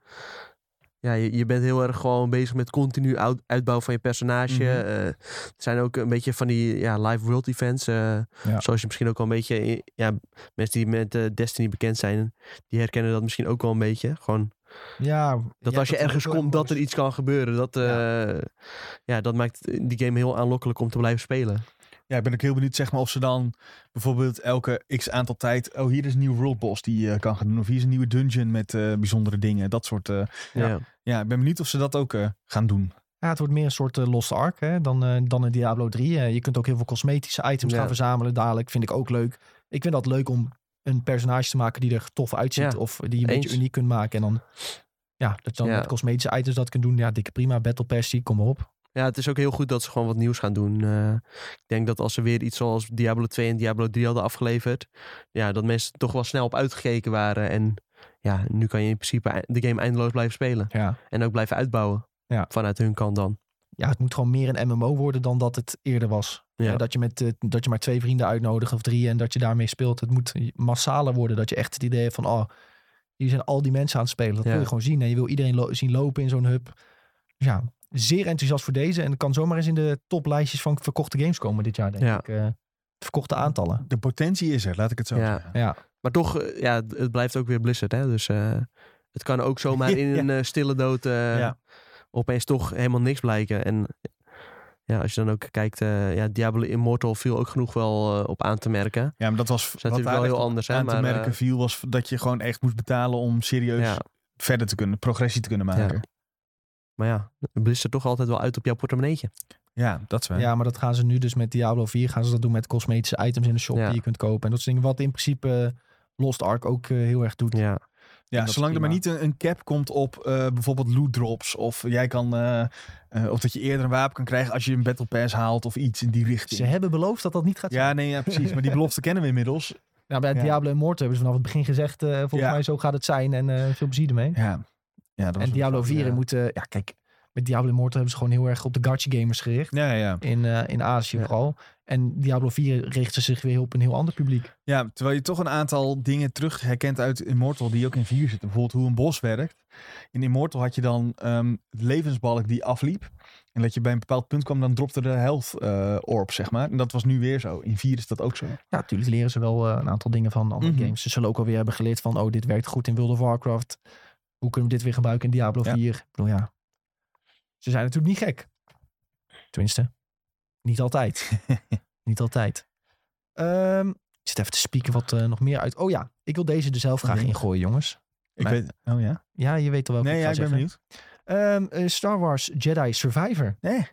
[SPEAKER 3] je, je bent heel erg gewoon bezig met continu uit- uitbouw van je personage.
[SPEAKER 2] Mhm.
[SPEAKER 3] Eh, er zijn ook een beetje van die ja, live world events. eh,
[SPEAKER 2] Ja.
[SPEAKER 3] Zoals je misschien ook al een beetje... in- Ja, mensen die met eh, Destiny bekend zijn, die herkennen dat misschien ook wel een beetje. Gewoon
[SPEAKER 1] Ja,
[SPEAKER 3] Dat
[SPEAKER 1] ja,
[SPEAKER 3] als je
[SPEAKER 1] is
[SPEAKER 3] ergens
[SPEAKER 1] ook wel
[SPEAKER 3] komt, dat er
[SPEAKER 1] mooi.
[SPEAKER 3] iets kan gebeuren. Dat, eh, ja. dat maakt die game heel aanlokkelijk om te blijven spelen.
[SPEAKER 2] Ja, ik ben ook heel benieuwd zeg maar, of ze dan bijvoorbeeld elke x aantal tijd... Oh, hier is een nieuw world boss die je kan gaan doen. Of hier is een nieuwe dungeon met eh, bijzondere dingen. Dat soort... eh,
[SPEAKER 1] Ja.
[SPEAKER 3] Ja.
[SPEAKER 2] ja, ik ben benieuwd of ze dat ook eh, gaan doen.
[SPEAKER 1] Ja, het wordt meer een soort eh, Lost Ark hè, dan, eh, dan een Diablo 3. Eh, je kunt ook heel veel cosmetische items
[SPEAKER 3] Ja.
[SPEAKER 1] gaan verzamelen dadelijk. Vind ik ook leuk. Ik vind dat leuk om een personage te maken die er tof uitziet.
[SPEAKER 3] Ja,
[SPEAKER 1] Of die je een
[SPEAKER 3] eens.
[SPEAKER 1] beetje uniek kunt maken. En dan, ja, dat je dan
[SPEAKER 3] Ja.
[SPEAKER 1] met cosmetische items dat kunt doen. Ja, dikke prima. Battle Pass, zie ik, kom maar op.
[SPEAKER 3] Ja, het is ook heel goed dat ze gewoon wat nieuws gaan doen. Eh, ik denk dat als ze weer iets zoals Diablo 2 en Diablo 3 hadden afgeleverd, ja, dat mensen toch wel snel op uitgekeken waren. En ja, nu kan je in principe ei- de game eindeloos blijven spelen.
[SPEAKER 1] Ja.
[SPEAKER 3] En ook blijven uitbouwen.
[SPEAKER 1] Ja.
[SPEAKER 3] Vanuit hun kant dan.
[SPEAKER 1] ja, het moet gewoon meer een MMO worden dan dat het eerder was.
[SPEAKER 3] Ja.
[SPEAKER 1] Eh, dat, je met, eh, dat je maar twee vrienden uitnodigt of drie en dat je daarmee speelt. Het moet massaler worden. Dat je echt het idee hebt van, oh, hier zijn al die mensen aan het spelen. Dat
[SPEAKER 3] Ja.
[SPEAKER 1] wil je gewoon zien. En je wil iedereen lo- zien lopen in zo'n hub. Dus ja, zeer enthousiast voor deze. En het kan zomaar eens in de toplijstjes van verkochte games komen dit jaar, denk
[SPEAKER 3] Ja.
[SPEAKER 1] ik. Eh, verkochte aantallen.
[SPEAKER 2] De potentie is er, laat ik het zo
[SPEAKER 3] Ja.
[SPEAKER 2] zeggen.
[SPEAKER 1] Ja,
[SPEAKER 3] Maar toch, eh, ja, het- het blijft ook weer Blizzard. Hè? Dus eh, het kan ook zomaar in
[SPEAKER 2] Ja.
[SPEAKER 3] een eh, stille dood eh,
[SPEAKER 2] Ja.
[SPEAKER 3] opeens toch helemaal niks blijken. En ja, als je dan ook kijkt, eh, ja, Diablo Immortal viel ook genoeg wel eh, op aan te merken.
[SPEAKER 2] Ja, maar dat was
[SPEAKER 3] Dat is natuurlijk
[SPEAKER 2] daar
[SPEAKER 3] wel
[SPEAKER 2] echt
[SPEAKER 3] heel
[SPEAKER 2] op
[SPEAKER 3] anders. Hè?
[SPEAKER 2] aan
[SPEAKER 3] Maar,
[SPEAKER 2] te merken dus.
[SPEAKER 3] eh,
[SPEAKER 2] viel was dat je gewoon echt moest betalen om serieus
[SPEAKER 3] ja,
[SPEAKER 2] verder te kunnen, progressie te kunnen maken.
[SPEAKER 3] maar ja, Blizzard toch altijd wel uit op jouw portemonneetje.
[SPEAKER 2] Ja, dat is waar.
[SPEAKER 1] Ja, maar dat gaan ze nu dus met Diablo 4 gaan ze dat doen met cosmetische items in de shop
[SPEAKER 3] Ja.
[SPEAKER 1] die je kunt kopen. En dat soort dingen wat in principe eh, Lost Ark ook eh, heel erg doet.
[SPEAKER 3] Ja,
[SPEAKER 2] Ja,
[SPEAKER 1] En dat
[SPEAKER 2] zolang
[SPEAKER 1] is
[SPEAKER 2] er maar niet
[SPEAKER 1] prima.
[SPEAKER 2] een, een cap komt op eh, bijvoorbeeld loot drops. Of jij kan. eh, eh, of dat je eerder een wapen kan krijgen als je een battle pass haalt of iets in die richting.
[SPEAKER 1] Ze hebben beloofd dat dat niet gaat
[SPEAKER 2] Ja, nee, ja, precies. Maar die belofte kennen we inmiddels.
[SPEAKER 1] Nou, bij
[SPEAKER 2] Ja.
[SPEAKER 1] Diablo Immortal hebben ze vanaf het begin gezegd, eh, volgens
[SPEAKER 2] Ja.
[SPEAKER 1] mij zo gaat het zijn en eh, veel plezier ermee.
[SPEAKER 2] Ja, ja dat was
[SPEAKER 1] en
[SPEAKER 2] een-
[SPEAKER 1] Diablo 4
[SPEAKER 3] ja.
[SPEAKER 1] moet, eh, ja kijk, met Diablo Immortal hebben ze gewoon heel erg op de gacha gamers gericht.
[SPEAKER 2] Ja, ja.
[SPEAKER 1] In, eh, in Azië
[SPEAKER 3] Ja.
[SPEAKER 1] vooral. En Diablo 4 richten zich weer op een heel ander publiek.
[SPEAKER 2] ja, terwijl je toch een aantal dingen terug herkent uit Immortal die ook in 4 zitten. Bijvoorbeeld hoe een bos werkt. In Immortal had je dan ehm de levensbalk die afliep. En dat je bij een bepaald punt kwam, dan dropte de health eh, orb, zeg maar. En dat was nu weer zo. In 4 is dat ook zo.
[SPEAKER 1] Ja, natuurlijk leren ze wel eh, een aantal dingen van andere
[SPEAKER 2] Mhm.
[SPEAKER 1] games. Ze zullen ook alweer hebben geleerd van, oh, dit werkt goed in World of Warcraft. Hoe kunnen we dit weer gebruiken in Diablo
[SPEAKER 2] Ja.
[SPEAKER 1] 4? Ik bedoel, ja. Ze zijn natuurlijk niet gek. Tenminste, niet altijd. niet altijd. Ehm, ik zit even te spieken wat eh, nog meer uit... Oh ja, ik wil deze er zelf graag
[SPEAKER 2] Oké.
[SPEAKER 1] in gooien, jongens.
[SPEAKER 2] Ik
[SPEAKER 1] Maar-
[SPEAKER 2] weet, oh ja?
[SPEAKER 1] Ja, je weet al welke
[SPEAKER 2] Nee,
[SPEAKER 1] ik
[SPEAKER 2] ja,
[SPEAKER 1] ga
[SPEAKER 2] ik ben
[SPEAKER 1] zeggen.
[SPEAKER 2] benieuwd.
[SPEAKER 1] Ehm, eh, Star Wars Jedi Survivor.
[SPEAKER 2] Nee.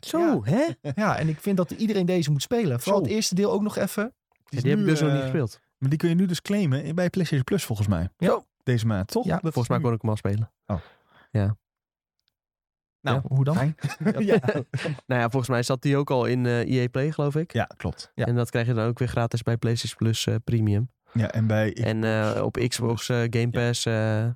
[SPEAKER 3] zo
[SPEAKER 1] Ja.
[SPEAKER 3] hè?
[SPEAKER 1] ja, en ik vind dat iedereen deze moet spelen. Vooral
[SPEAKER 2] Zo.
[SPEAKER 1] het eerste deel ook nog even.
[SPEAKER 2] is
[SPEAKER 3] die heb ik
[SPEAKER 2] nu,
[SPEAKER 3] dus nog niet
[SPEAKER 2] eh,
[SPEAKER 3] gespeeld.
[SPEAKER 2] Maar die kun je nu dus claimen bij PlayStation Plus volgens mij.
[SPEAKER 1] Ja. Zo.
[SPEAKER 2] Deze maand, toch?
[SPEAKER 1] Ja,
[SPEAKER 2] Dat is
[SPEAKER 3] Volgens mij
[SPEAKER 2] nu.
[SPEAKER 3] kon ik hem al spelen.
[SPEAKER 2] Nou,
[SPEAKER 1] Ja, hoe dan?
[SPEAKER 2] fijn. ja.
[SPEAKER 3] Nou ja, volgens mij zat die ook al in eh EA Play, geloof ik.
[SPEAKER 2] ja, klopt.
[SPEAKER 1] Ja.
[SPEAKER 3] En dat krijg je dan ook weer gratis bij PlayStation Plus eh, Premium.
[SPEAKER 2] Ja, en bij... ik-
[SPEAKER 3] En eh, op Xbox eh, Game Pass eh,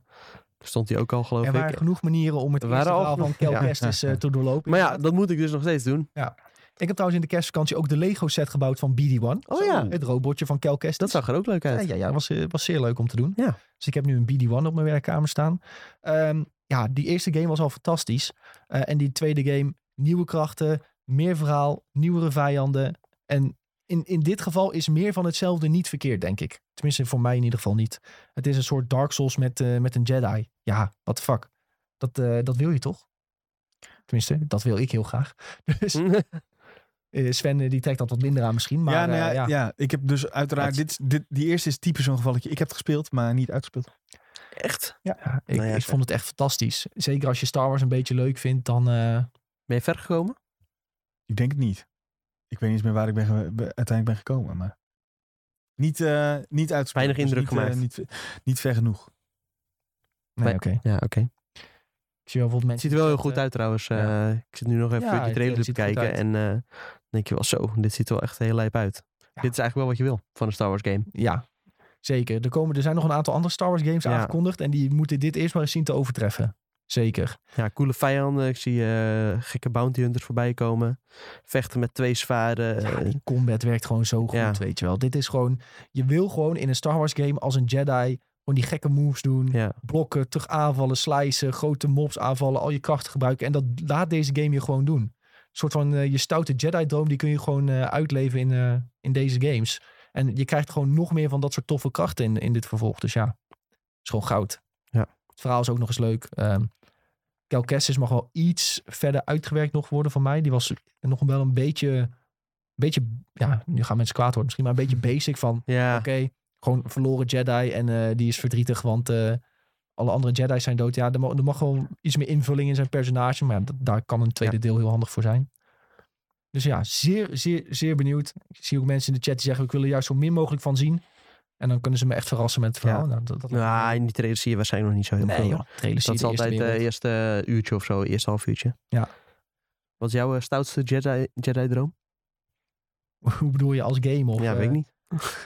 [SPEAKER 3] stond hij ook al, geloof
[SPEAKER 1] Er waren
[SPEAKER 3] ik.
[SPEAKER 1] genoeg manieren om het
[SPEAKER 3] Er
[SPEAKER 1] eerste
[SPEAKER 3] waren al
[SPEAKER 1] verhaal van
[SPEAKER 3] genoeg-
[SPEAKER 1] Kel
[SPEAKER 3] ja.
[SPEAKER 1] Kestis eh, te doorlopen.
[SPEAKER 3] Maar ja, dat moet ik dus nog steeds doen.
[SPEAKER 1] Ja. Ik heb trouwens in de kerstvakantie ook de Lego set gebouwd van BD-1.
[SPEAKER 3] Oh ja.
[SPEAKER 1] Het robotje van Kel Kestis.
[SPEAKER 3] Dat zag er ook leuk uit.
[SPEAKER 1] Ja, ja, ja was, eh, was zeer leuk om te doen.
[SPEAKER 3] Ja.
[SPEAKER 1] Dus ik heb nu een BD-1 op mijn werkkamer staan. Ehm, ja, die eerste game was al fantastisch. Eh, en die tweede game, nieuwe krachten, meer verhaal, nieuwere vijanden. En in, in dit geval is meer van hetzelfde niet verkeerd, denk ik. Tenminste, voor mij in ieder geval niet. Het is een soort Dark Souls met, eh, met een Jedi. Ja, what the fuck. Dat, eh, dat wil je toch? Tenminste, dat wil ik heel graag. Dus eh, Sven eh, die trekt dat wat minder aan misschien. Maar
[SPEAKER 2] Hm. ja, nou ja,
[SPEAKER 1] eh, ja.
[SPEAKER 2] ja. ik heb dus uiteraard...
[SPEAKER 1] Het-
[SPEAKER 2] Dit, dit, die eerste is typisch zo'n gevalletje. Ik heb het gespeeld, maar niet uitgespeeld.
[SPEAKER 3] Echt?
[SPEAKER 1] Ja, ik,
[SPEAKER 3] Nou ja,
[SPEAKER 1] ik
[SPEAKER 3] ze-
[SPEAKER 1] vond het echt fantastisch. Zeker als je Star Wars een beetje leuk vindt, dan... eh,
[SPEAKER 3] Ben je ver gekomen?
[SPEAKER 2] Ik denk het niet. Ik weet niet eens meer waar ik ben ge- be- uiteindelijk ben gekomen, maar... Niet, eh niet uitgespeeld.
[SPEAKER 3] Weinig indruk
[SPEAKER 2] niet, eh,
[SPEAKER 3] gemaakt.
[SPEAKER 2] niet, niet ver genoeg.
[SPEAKER 1] nee,
[SPEAKER 3] Nee.
[SPEAKER 1] oké.
[SPEAKER 3] Ja, oké.
[SPEAKER 1] Ik zie wel bijvoorbeeld mensen...
[SPEAKER 3] Het ziet er wel heel
[SPEAKER 1] die
[SPEAKER 3] goed
[SPEAKER 1] zetten-
[SPEAKER 3] uit trouwens.
[SPEAKER 1] ja.
[SPEAKER 3] Eh, ik zit nu nog even
[SPEAKER 1] Ja,
[SPEAKER 3] die
[SPEAKER 1] het-
[SPEAKER 3] trailer
[SPEAKER 1] het
[SPEAKER 3] te
[SPEAKER 1] ziet er goed
[SPEAKER 3] bekijken. En eh, dan denk je wel zo, dit ziet er wel echt heel lijp uit.
[SPEAKER 1] Ja.
[SPEAKER 3] Dit is eigenlijk wel wat je wil van een Star Wars game.
[SPEAKER 1] Ja, zeker. Er, komen, er zijn nog een aantal andere Star Wars games
[SPEAKER 3] Ja.
[SPEAKER 1] aangekondigd. En die moeten dit eerst maar eens zien te overtreffen. Zeker.
[SPEAKER 3] Ja, coole vijanden. Ik zie eh, gekke bounty hunters voorbij komen. Vechten met twee zwaarden.
[SPEAKER 1] Ja,
[SPEAKER 3] eh,
[SPEAKER 1] die combat werkt gewoon zo goed,
[SPEAKER 3] ja.
[SPEAKER 1] weet je wel. Dit is gewoon... Je wil gewoon in een Star Wars game als een Jedi... gewoon die gekke moves doen.
[SPEAKER 3] ja.
[SPEAKER 1] Blokken, terug aanvallen, slicen, grote mobs aanvallen. Al je krachten gebruiken. En dat laat deze game je gewoon doen. Een soort van eh, je stoute Jedi-droom... die kun je gewoon eh, uitleven in, eh, in deze games. En je krijgt gewoon nog meer van dat soort toffe krachten in, in dit vervolg. Dus ja, is gewoon goud.
[SPEAKER 3] Ja.
[SPEAKER 1] Het verhaal is ook nog eens leuk. Ehm Cal Kestis mag wel iets verder uitgewerkt nog worden van mij. Die was nog wel een beetje... beetje ja, nu gaan mensen kwaad worden misschien... maar een beetje basic van...
[SPEAKER 3] ja.
[SPEAKER 1] Oké, gewoon verloren Jedi en eh, die is verdrietig, want eh, alle andere Jedi's zijn dood. Ja, er, mo- er mag wel iets meer invulling in zijn personage, maar ja, dat- daar kan een tweede deel heel handig voor zijn. Dus ja, zeer, zeer, zeer benieuwd. Ik zie ook mensen in de chat die zeggen, ik wil er juist zo min mogelijk van zien. En dan kunnen ze me echt verrassen met het verhaal. Nou, dat, dat
[SPEAKER 3] Nou, in die trailer zie je waarschijnlijk nog niet zo heel
[SPEAKER 1] nee
[SPEAKER 3] veel.
[SPEAKER 1] joh, trailer zie
[SPEAKER 3] Dat
[SPEAKER 1] je
[SPEAKER 3] is
[SPEAKER 1] de eerste
[SPEAKER 3] altijd
[SPEAKER 1] wereld.
[SPEAKER 3] het eerste uurtje of zo, eerste half uurtje.
[SPEAKER 1] Ja.
[SPEAKER 3] Wat is jouw eh, stoutste Jedi- Jedi-droom?
[SPEAKER 1] Hoe bedoel je, als game of...
[SPEAKER 3] eh, ja,
[SPEAKER 1] eh,
[SPEAKER 3] weet ik niet.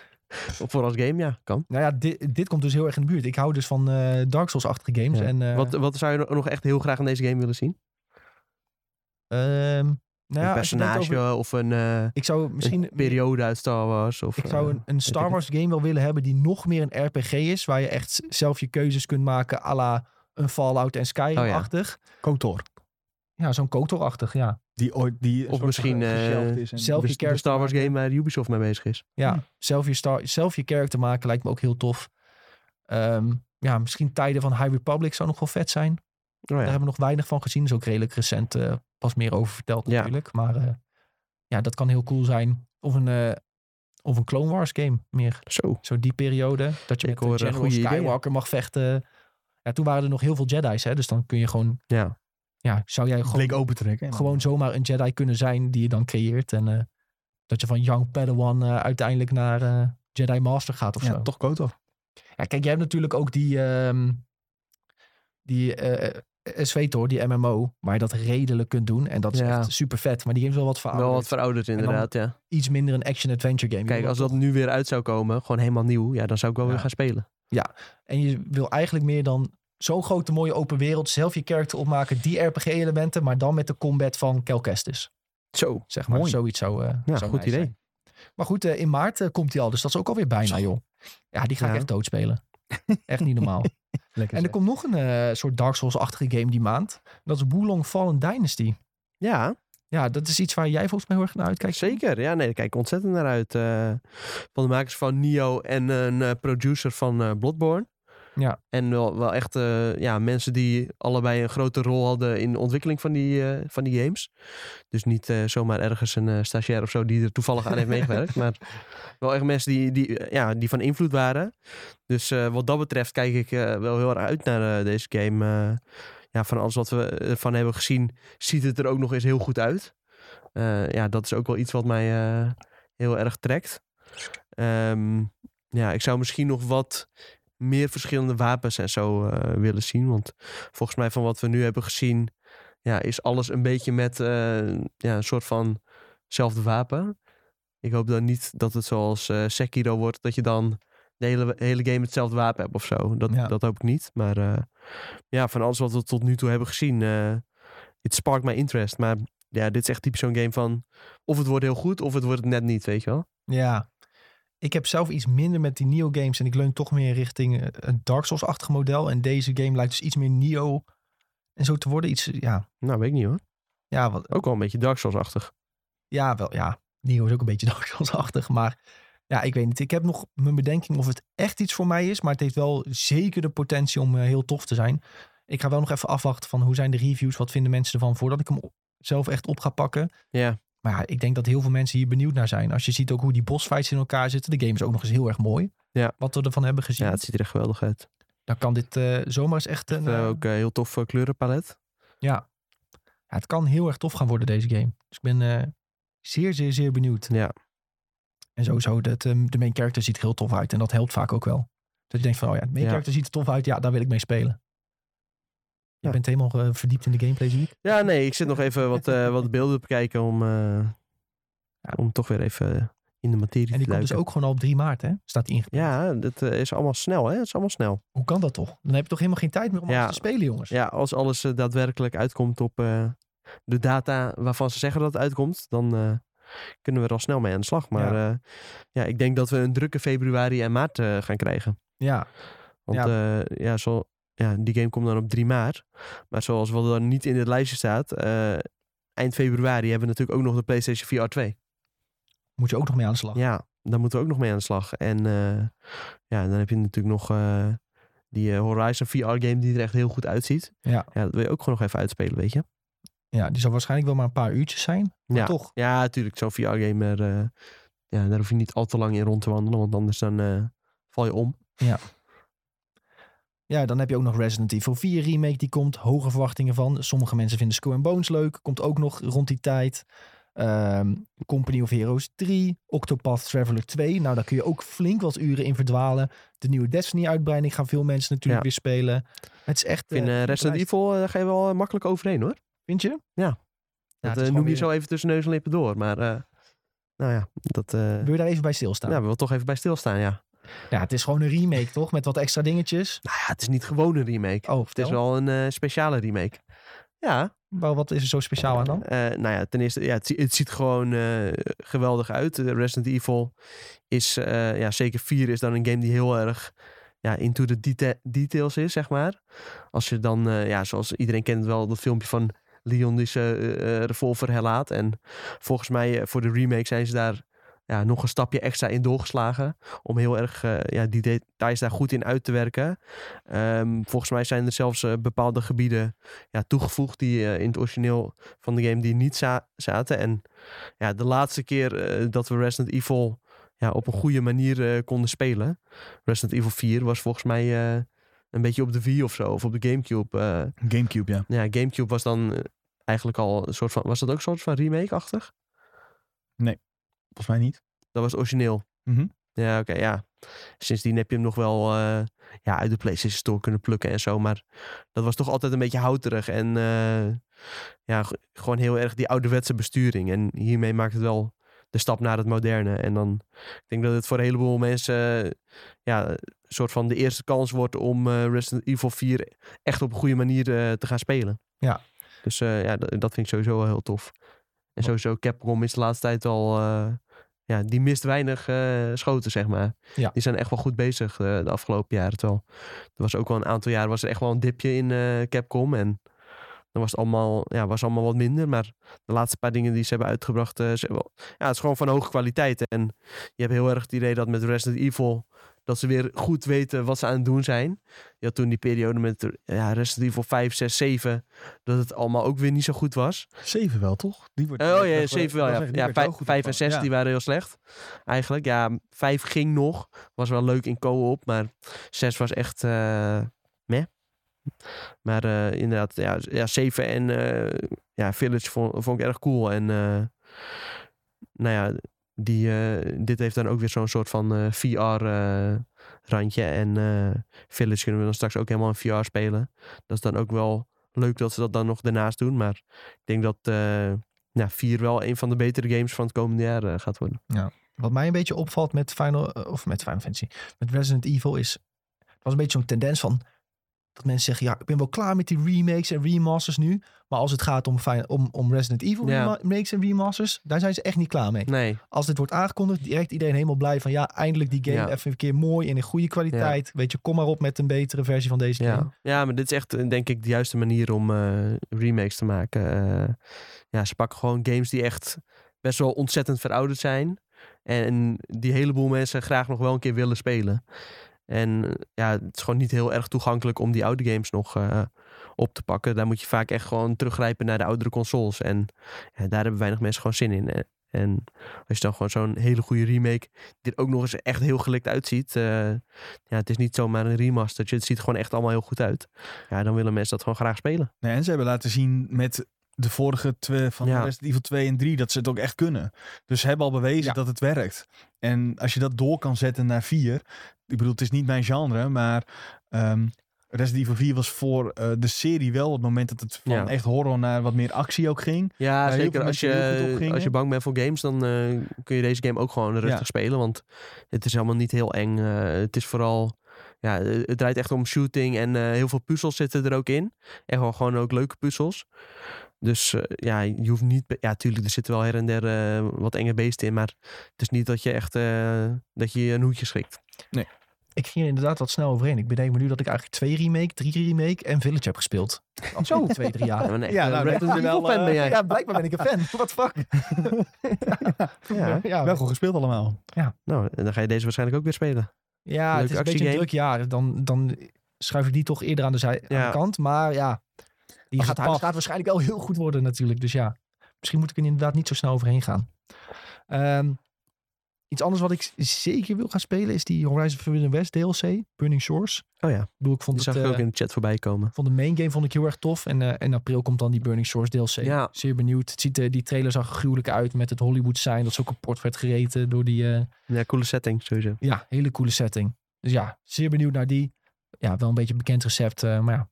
[SPEAKER 3] of voor als game, ja, kan.
[SPEAKER 1] Nou ja, dit, dit komt dus heel erg in de buurt. Ik hou dus van eh, Dark Souls-achtige games.
[SPEAKER 3] Ja.
[SPEAKER 1] En, eh,
[SPEAKER 3] Wat, wat zou je no- nog echt heel graag in deze game willen zien?
[SPEAKER 1] ehm, nou ja,
[SPEAKER 3] een
[SPEAKER 1] als je het hebt
[SPEAKER 3] personage
[SPEAKER 1] over-
[SPEAKER 3] of een, eh,
[SPEAKER 1] Ik zou misschien...
[SPEAKER 3] een periode uit Star Wars? Of,
[SPEAKER 1] Ik zou
[SPEAKER 3] eh,
[SPEAKER 1] een, een
[SPEAKER 3] ik
[SPEAKER 1] Star
[SPEAKER 3] het.
[SPEAKER 1] Wars game wel willen hebben die nog meer een RPG is. Waar je echt z- zelf je keuzes kunt maken à la een Fallout
[SPEAKER 3] Oh
[SPEAKER 1] en Skyrim-achtig.
[SPEAKER 2] Kotor.
[SPEAKER 1] ja. zo'n KOTOR-achtig, ja.
[SPEAKER 2] Die ooit... Die een
[SPEAKER 3] Of
[SPEAKER 2] soort
[SPEAKER 3] misschien,
[SPEAKER 2] ge-
[SPEAKER 3] eh,
[SPEAKER 2] geshelved is en-
[SPEAKER 1] zelf-
[SPEAKER 3] de-
[SPEAKER 1] je
[SPEAKER 3] de
[SPEAKER 1] character
[SPEAKER 3] Star Wars game waar Ubisoft mee bezig is.
[SPEAKER 1] ja. Zelf, je star, zelf je character maken lijkt me ook heel tof. Ehm, ja, misschien tijden van High Republic zou nog wel vet zijn.
[SPEAKER 3] Oh
[SPEAKER 1] Daar
[SPEAKER 3] ja.
[SPEAKER 1] hebben we nog weinig van gezien. Is ook redelijk recent eh, pas meer over verteld
[SPEAKER 3] Ja.
[SPEAKER 1] natuurlijk. Maar eh, ja, dat kan heel cool zijn. Of een, eh, of een Clone Wars game meer.
[SPEAKER 3] Zo.
[SPEAKER 1] Zo die periode. Dat je
[SPEAKER 3] Ik
[SPEAKER 1] met
[SPEAKER 3] hoor,
[SPEAKER 1] hoor,
[SPEAKER 3] eh,
[SPEAKER 1] General
[SPEAKER 3] goede ideeën.
[SPEAKER 1] Skywalker mag vechten. Ja, toen waren er nog heel veel Jedi's. Hè? Dus dan kun je gewoon...
[SPEAKER 3] Ja.
[SPEAKER 1] Ja, zou jij gewoon,
[SPEAKER 2] Bleek open te trekken. En-
[SPEAKER 1] gewoon zomaar een Jedi kunnen zijn die je dan creëert. En eh, dat je van Young Padawan eh, uiteindelijk naar eh, Jedi Master gaat of
[SPEAKER 2] Ja,
[SPEAKER 1] zo.
[SPEAKER 2] toch Kotor.
[SPEAKER 1] Ja, kijk, jij hebt natuurlijk ook die... ehm die eh SVTOR, die MMO, waar je dat redelijk kunt doen. En dat is
[SPEAKER 3] Ja.
[SPEAKER 1] echt super vet. Maar die game is wel wat
[SPEAKER 3] Wel wat
[SPEAKER 1] verouderd.
[SPEAKER 3] verouderd
[SPEAKER 1] dan-
[SPEAKER 3] inderdaad, ja.
[SPEAKER 1] Iets minder een action-adventure game. Je
[SPEAKER 3] Kijk,
[SPEAKER 1] wil
[SPEAKER 3] als dat nu weer uit zou komen, gewoon helemaal nieuw, ja, dan zou ik wel
[SPEAKER 2] Ja.
[SPEAKER 3] weer gaan spelen.
[SPEAKER 1] En je wil eigenlijk meer dan zo'n grote mooie open wereld. Zelf je karakter opmaken, die RPG-elementen. Maar dan met de combat van Cal Kestis.
[SPEAKER 3] Zo.
[SPEAKER 1] Zeg maar,
[SPEAKER 2] Mooi.
[SPEAKER 1] zoiets zou, eh
[SPEAKER 3] Ja,
[SPEAKER 1] zou
[SPEAKER 3] goed
[SPEAKER 1] nice
[SPEAKER 3] idee.
[SPEAKER 1] zijn. Maar goed, eh, in maart eh, komt hij al. Dus dat is ook alweer bijna, joh. Ja, die ga ik
[SPEAKER 3] Ja.
[SPEAKER 1] echt doodspelen. Echt niet normaal.
[SPEAKER 2] Lekker
[SPEAKER 1] en er
[SPEAKER 2] zeg.
[SPEAKER 1] komt nog een eh, soort Dark Souls-achtige game die maand. Dat is Wulong Fallen Dynasty.
[SPEAKER 3] Ja,
[SPEAKER 1] Ja, dat is iets waar jij volgens mij heel erg naar uitkijkt.
[SPEAKER 3] Zeker, ja, nee, daar kijk ik ontzettend naar uit. eh, van de makers van Nio en een eh, producer van eh, Bloodborne.
[SPEAKER 1] Ja.
[SPEAKER 3] En wel, wel echt eh, ja, mensen die allebei een grote rol hadden in de ontwikkeling van die, eh, van die games. Dus niet eh, zomaar ergens een eh, stagiair of zo die er toevallig aan heeft meegewerkt. Maar wel echt mensen die, die, eh, ja, die van invloed waren. Dus eh, wat dat betreft kijk ik eh, wel heel erg uit naar eh, deze game. eh. ja, van alles wat we ervan hebben gezien, ziet het er ook nog eens heel goed uit. Eh, ja, dat is ook wel iets wat mij eh, heel erg trekt. Ehm, ja, ik zou misschien nog wat meer verschillende wapens en zo eh, willen zien. Want volgens mij van wat we nu hebben gezien... Ja, is alles een beetje met eh, ja, een soort van zelfde wapen. Ik hoop dan niet dat het zoals eh, Sekiro wordt... dat je dan de hele, hele game hetzelfde wapen hebt of zo. Dat,
[SPEAKER 2] Ja.
[SPEAKER 3] dat hoop ik niet. Maar eh, ja, van alles wat we tot nu toe hebben gezien... eh het sparkt my interest. Maar ja, dit is echt typisch zo'n game van... Of het wordt heel goed, of het wordt het net niet, weet je wel.
[SPEAKER 1] Ja. Ik heb zelf iets minder met die Neo games en ik leun toch meer richting eh, een Dark Souls-achtig model. En deze game lijkt dus iets meer Neo en zo te worden. Iets, ja,
[SPEAKER 3] Nou, weet ik niet hoor.
[SPEAKER 1] ja, wat,
[SPEAKER 3] Ook wel een beetje Dark Souls-achtig.
[SPEAKER 1] ja, wel, ja. Neo is ook een beetje Dark Souls-achtig, maar ja, ik weet niet. Ik heb nog mijn bedenking of het echt iets voor mij is, maar het heeft wel zeker de potentie om eh, heel tof te zijn. Ik ga wel nog even afwachten van hoe zijn de reviews, wat vinden mensen ervan voordat ik hem op- zelf echt op ga pakken.
[SPEAKER 3] Ja.
[SPEAKER 1] Maar ja, ik denk dat heel veel mensen hier benieuwd naar zijn. Als je ziet ook hoe die bossfights in elkaar zitten. De game is ook nog eens heel erg mooi.
[SPEAKER 3] Ja.
[SPEAKER 1] Wat we ervan hebben gezien.
[SPEAKER 3] ja, het ziet er echt geweldig uit.
[SPEAKER 1] Dan kan dit eh, zomaar eens echt een...
[SPEAKER 3] Eh,
[SPEAKER 1] eh,
[SPEAKER 3] ook eh, heel tof eh, kleurenpalet.
[SPEAKER 1] ja, het kan heel erg tof gaan worden, deze game. Dus ik ben eh, zeer, zeer, zeer benieuwd.
[SPEAKER 3] Ja.
[SPEAKER 1] En sowieso, dat, eh, de main character ziet er heel tof uit. En dat helpt vaak ook wel. Dat je denkt van, oh ja, de main
[SPEAKER 3] Ja.
[SPEAKER 1] character ziet er tof uit. Ja, daar wil ik mee spelen. Je
[SPEAKER 3] Ja.
[SPEAKER 1] bent helemaal eh, verdiept in de gameplay, zie ik.
[SPEAKER 3] Ja, nee, ik zit nog even wat, eh, wat beelden te bekijken om, eh, om toch weer even in de materie
[SPEAKER 1] En
[SPEAKER 3] te
[SPEAKER 1] die komt
[SPEAKER 3] duiken.
[SPEAKER 1] dus ook gewoon al op 3 maart, hè? Staat die ingepland.
[SPEAKER 3] Ja, dat eh, is allemaal snel, hè? Het is allemaal snel.
[SPEAKER 1] Hoe kan dat toch? Dan heb je toch helemaal geen tijd meer om
[SPEAKER 3] Ja.
[SPEAKER 1] alles te spelen, jongens.
[SPEAKER 3] Ja, als alles eh, daadwerkelijk uitkomt op eh, de data waarvan ze zeggen dat het uitkomt, dan eh, kunnen we er al snel mee aan de slag. Maar ja, ja ik denk dat we een drukke februari en maart eh, gaan krijgen.
[SPEAKER 1] ja.
[SPEAKER 3] Want ja, ja, zo, ja, die game komt dan op 3 maart. Maar zoals wat er dan niet in dit lijstje staat, eh, eind februari hebben we natuurlijk ook nog de PlayStation VR 2.
[SPEAKER 1] Moet je ook nog mee aan de slag.
[SPEAKER 3] Ja, daar moeten we ook nog mee aan de slag. En eh, ja, dan heb je natuurlijk nog eh, die eh, Horizon VR game die er echt heel goed uitziet.
[SPEAKER 1] Ja.
[SPEAKER 3] Ja, dat wil je ook gewoon nog even uitspelen, weet je.
[SPEAKER 1] Ja, die zal waarschijnlijk wel maar een paar uurtjes zijn. Maar
[SPEAKER 3] Ja.
[SPEAKER 1] toch.
[SPEAKER 3] Ja, natuurlijk, zo'n VR game, daar, eh, ja, daar hoef je niet al te lang in rond te wandelen, want anders dan eh, val je om.
[SPEAKER 1] Ja, dan heb je ook nog Resident Evil 4 remake. Die komt hoge verwachtingen van. Sommige mensen vinden Skull and Bones leuk. Komt ook nog rond die tijd. Ehm, Company of Heroes 3. Octopath Traveler 2. Nou, daar kun je ook flink wat uren in verdwalen. De nieuwe Destiny uitbreiding gaan veel mensen natuurlijk
[SPEAKER 3] Ja.
[SPEAKER 1] weer spelen. Het is echt...
[SPEAKER 3] Ik vind
[SPEAKER 1] eh,
[SPEAKER 3] eh, Resident
[SPEAKER 1] prijs-
[SPEAKER 3] Evil, eh, daar ga je wel eh, makkelijk overheen, hoor.
[SPEAKER 1] Vind je? Nou, het
[SPEAKER 3] dat
[SPEAKER 1] is
[SPEAKER 3] eh,
[SPEAKER 1] gewoon
[SPEAKER 3] noem je
[SPEAKER 1] weer-
[SPEAKER 3] zo even tussen neus en lippen door, maar eh, nou ja, dat... eh
[SPEAKER 1] Wil je daar even bij
[SPEAKER 3] ja,
[SPEAKER 1] stilstaan?
[SPEAKER 3] we
[SPEAKER 1] Ja.
[SPEAKER 3] willen toch even bij stilstaan, ja.
[SPEAKER 1] het is gewoon een remake, toch? Met wat extra dingetjes.
[SPEAKER 3] Nou ja, het is niet gewoon een remake.
[SPEAKER 1] Oh,
[SPEAKER 3] Het is
[SPEAKER 1] vertel.
[SPEAKER 3] wel een eh, speciale remake. Ja,
[SPEAKER 1] Maar wat is er zo speciaal aan dan?
[SPEAKER 3] Eh, nou ja, ten eerste, ja, het, zie- het ziet gewoon eh, geweldig uit. Eh, Resident Evil is, eh, ja, zeker 4 is dan een game die heel erg ja, into the deta- details is, zeg maar. Als je dan, eh, ja, zoals iedereen kent wel dat filmpje van Leon die zijn eh, eh, revolver herlaat. En volgens mij eh, voor de remake zijn ze daar ja, nog een stapje extra in doorgeslagen. Om heel erg eh, ja, die details daar goed in uit te werken. Ehm, volgens mij zijn er zelfs eh, bepaalde gebieden ja, toegevoegd die eh, in het origineel van de game die niet za- zaten. En ja, de laatste keer eh, dat we Resident Evil ja, op een goede manier eh, konden spelen. Resident Evil 4 was volgens mij eh, een beetje op de Wii of zo. Of op de Gamecube. eh.
[SPEAKER 2] Gamecube, ja.
[SPEAKER 3] nou ja, Gamecube was dan eh, eigenlijk al een soort van... Was dat ook een soort van remake-achtig?
[SPEAKER 2] Volgens mij niet.
[SPEAKER 3] Dat was het origineel.
[SPEAKER 2] Mhm.
[SPEAKER 3] Ja, oké, ja. Sindsdien heb je hem nog wel eh, ja, uit de PlayStation Store kunnen plukken en zo. Maar dat was toch altijd een beetje houterig. En eh, ja, g- gewoon heel erg die ouderwetse besturing. En hiermee maakt het wel de stap naar het moderne. En dan, ik denk dat het voor een heleboel mensen... eh, ja, een soort van de eerste kans wordt om eh, Resident Evil 4 echt op een goede manier eh, te gaan spelen.
[SPEAKER 1] Ja.
[SPEAKER 3] Dus eh, ja, dat, dat vind ik sowieso wel heel tof. En sowieso Capcom is de laatste tijd al... eh, ja, die mist weinig eh, schoten, zeg maar.
[SPEAKER 1] Ja.
[SPEAKER 3] Die zijn echt wel goed bezig eh, de afgelopen jaren. Terwijl er was ook wel een aantal jaar was er echt wel een dipje in eh, Capcom. En dan was het allemaal, ja, was allemaal wat minder. Maar de laatste paar dingen die ze hebben uitgebracht, eh, ze hebben wel- ja, het is gewoon van hoge kwaliteit. En je hebt heel erg het idee dat met Resident Evil, dat ze weer goed weten wat ze aan het doen zijn. Je had toen die periode met ja, Resident Evil 5, 6, 7, dat het allemaal ook weer niet zo goed was.
[SPEAKER 2] 7 wel, toch? Die wordt,
[SPEAKER 3] Oh
[SPEAKER 2] die
[SPEAKER 3] ja,
[SPEAKER 2] werd-
[SPEAKER 3] 7 wel.
[SPEAKER 2] dat
[SPEAKER 3] Ja,
[SPEAKER 2] werd- die
[SPEAKER 3] ja
[SPEAKER 2] werd wel
[SPEAKER 3] 5,
[SPEAKER 2] goed
[SPEAKER 3] en
[SPEAKER 2] ontvangen.
[SPEAKER 3] 6
[SPEAKER 2] Ja.
[SPEAKER 3] die waren heel slecht. Eigenlijk, ja, 5 ging nog. Was wel leuk in co-op, maar 6 was echt eh meh. Maar eh, inderdaad, ja, ja, 7 en eh, ja, Village vond, vond ik erg cool. En eh, nou ja, die, eh, dit heeft dan ook weer zo'n soort van eh, VR-randje. eh, en eh, Village kunnen we dan straks ook helemaal in VR spelen. Dat is dan ook wel leuk dat ze dat dan nog daarnaast doen. Maar ik denk dat eh, nou, 4 wel een van de betere games van het komende jaar eh, gaat worden.
[SPEAKER 1] Wat mij een beetje opvalt met Final, eh, of met Final Fantasy, met Resident Evil is, het was een beetje zo'n tendens van, Dat mensen zeggen, ja, ik ben wel klaar met die remakes en remasters nu. Maar als het gaat om, Fi- om, om Resident Evil
[SPEAKER 3] Ja. Hm.
[SPEAKER 1] remakes en remasters, daar zijn ze echt niet klaar mee.
[SPEAKER 3] Nee,
[SPEAKER 1] Als dit wordt aangekondigd, direct iedereen helemaal blij van ja, eindelijk die game
[SPEAKER 3] Ja.
[SPEAKER 1] even een keer mooi en in goede kwaliteit. Weet je, kom maar op met een betere versie van deze game.
[SPEAKER 3] ja. ja, maar dit is echt eh, denk ik de juiste manier om eh, remakes te maken. Eh, ja, ze pakken gewoon games die echt best wel ontzettend verouderd zijn. En die een heleboel mensen graag nog wel een keer willen spelen. En eh, ja, het is gewoon niet heel erg toegankelijk om die oude games nog eh, op te pakken. Daar moet je vaak echt gewoon teruggrijpen naar de oudere consoles. En ja, daar hebben weinig mensen gewoon zin in. Eh, En als je dan gewoon zo'n hele goede remake, die er ook nog eens echt heel gelikt uitziet. eh, ja, het is niet zomaar een remaster. Het ziet er gewoon echt allemaal heel goed uit. Ja, dan willen mensen dat gewoon graag spelen.
[SPEAKER 2] Nee, en ze hebben laten zien met de vorige twee van
[SPEAKER 3] Ja.
[SPEAKER 2] Resident Evil 2 en 3 dat ze het ook echt kunnen. Dus ze hebben al bewezen
[SPEAKER 1] Ja.
[SPEAKER 2] dat het werkt. En als je dat door kan zetten naar 4. Ik bedoel, het is niet mijn genre, maar ehm Resident Evil 4 was voor eh, de serie wel op het moment dat het van
[SPEAKER 3] Ja.
[SPEAKER 2] echt horror naar wat meer actie ook ging.
[SPEAKER 3] Ja,
[SPEAKER 2] heel
[SPEAKER 3] zeker.
[SPEAKER 2] veel
[SPEAKER 3] Als
[SPEAKER 2] mensen die er goed op
[SPEAKER 3] je,
[SPEAKER 2] gingen.
[SPEAKER 3] als je bang bent voor games, dan eh, kun je deze game ook gewoon rustig
[SPEAKER 2] Ja.
[SPEAKER 3] spelen. Want het is allemaal niet heel eng. Eh, het is vooral... Ja, eh, het draait echt om shooting en eh, heel veel puzzels zitten er ook in. En gewoon, gewoon ook leuke puzzels. Dus eh, ja, je hoeft niet... be- Ja, tuurlijk, er zitten wel her en der eh, wat enge beesten in. Maar het is niet dat je echt... eh, dat je je een hoedje schrikt.
[SPEAKER 1] Ik ging er inderdaad wat snel overheen. Ik bedenk me nu dat ik eigenlijk twee remake, drie remake en Village heb gespeeld. Al zo twee, drie jaar.
[SPEAKER 3] maar nee,
[SPEAKER 2] Ja,
[SPEAKER 3] eh,
[SPEAKER 2] nou,
[SPEAKER 3] Resident
[SPEAKER 2] dat is
[SPEAKER 3] Evil
[SPEAKER 2] wel,
[SPEAKER 3] fan
[SPEAKER 2] eh,
[SPEAKER 3] ben jij.
[SPEAKER 1] Ja, blijkbaar ben ik een fan. Wat fuck?
[SPEAKER 3] Ja.
[SPEAKER 1] Ja,
[SPEAKER 2] Wel goed gespeeld allemaal.
[SPEAKER 3] Nou, en dan ga je deze waarschijnlijk ook weer spelen.
[SPEAKER 1] Ja, het
[SPEAKER 3] Leuk
[SPEAKER 1] is een beetje een
[SPEAKER 3] actiegame.
[SPEAKER 1] druk jaar. Dan, dan schuif ik die toch eerder aan de, zij- aan
[SPEAKER 3] Ja.
[SPEAKER 1] de kant. Maar ja, die
[SPEAKER 2] Als
[SPEAKER 1] gaat,
[SPEAKER 2] het
[SPEAKER 1] hij
[SPEAKER 2] past.
[SPEAKER 1] gaat waarschijnlijk wel heel goed worden natuurlijk. Dus ja, misschien moet ik er inderdaad niet zo snel overheen gaan. Ehm, iets anders wat ik z- zeker wil gaan spelen is die Horizon Forbidden West DLC, Burning Shores. Ik
[SPEAKER 3] Oh ja,
[SPEAKER 1] bedoel, ik vond,
[SPEAKER 3] die
[SPEAKER 1] het,
[SPEAKER 3] zag ik
[SPEAKER 1] eh,
[SPEAKER 3] ook in de chat voorbij komen.
[SPEAKER 1] vond de main game vond ik heel erg tof. En eh, in april komt dan die Burning Shores DLC.
[SPEAKER 3] Ja.
[SPEAKER 1] Zeer benieuwd. Het ziet, eh, die trailer zag er gruwelijk uit met het Hollywood zijn dat zo kapot werd gereten door die... eh,
[SPEAKER 3] Ja, coole setting sowieso.
[SPEAKER 1] ja, hele coole setting. Dus ja, zeer benieuwd naar die. Ja, wel een beetje een bekend recept. eh, maar ja,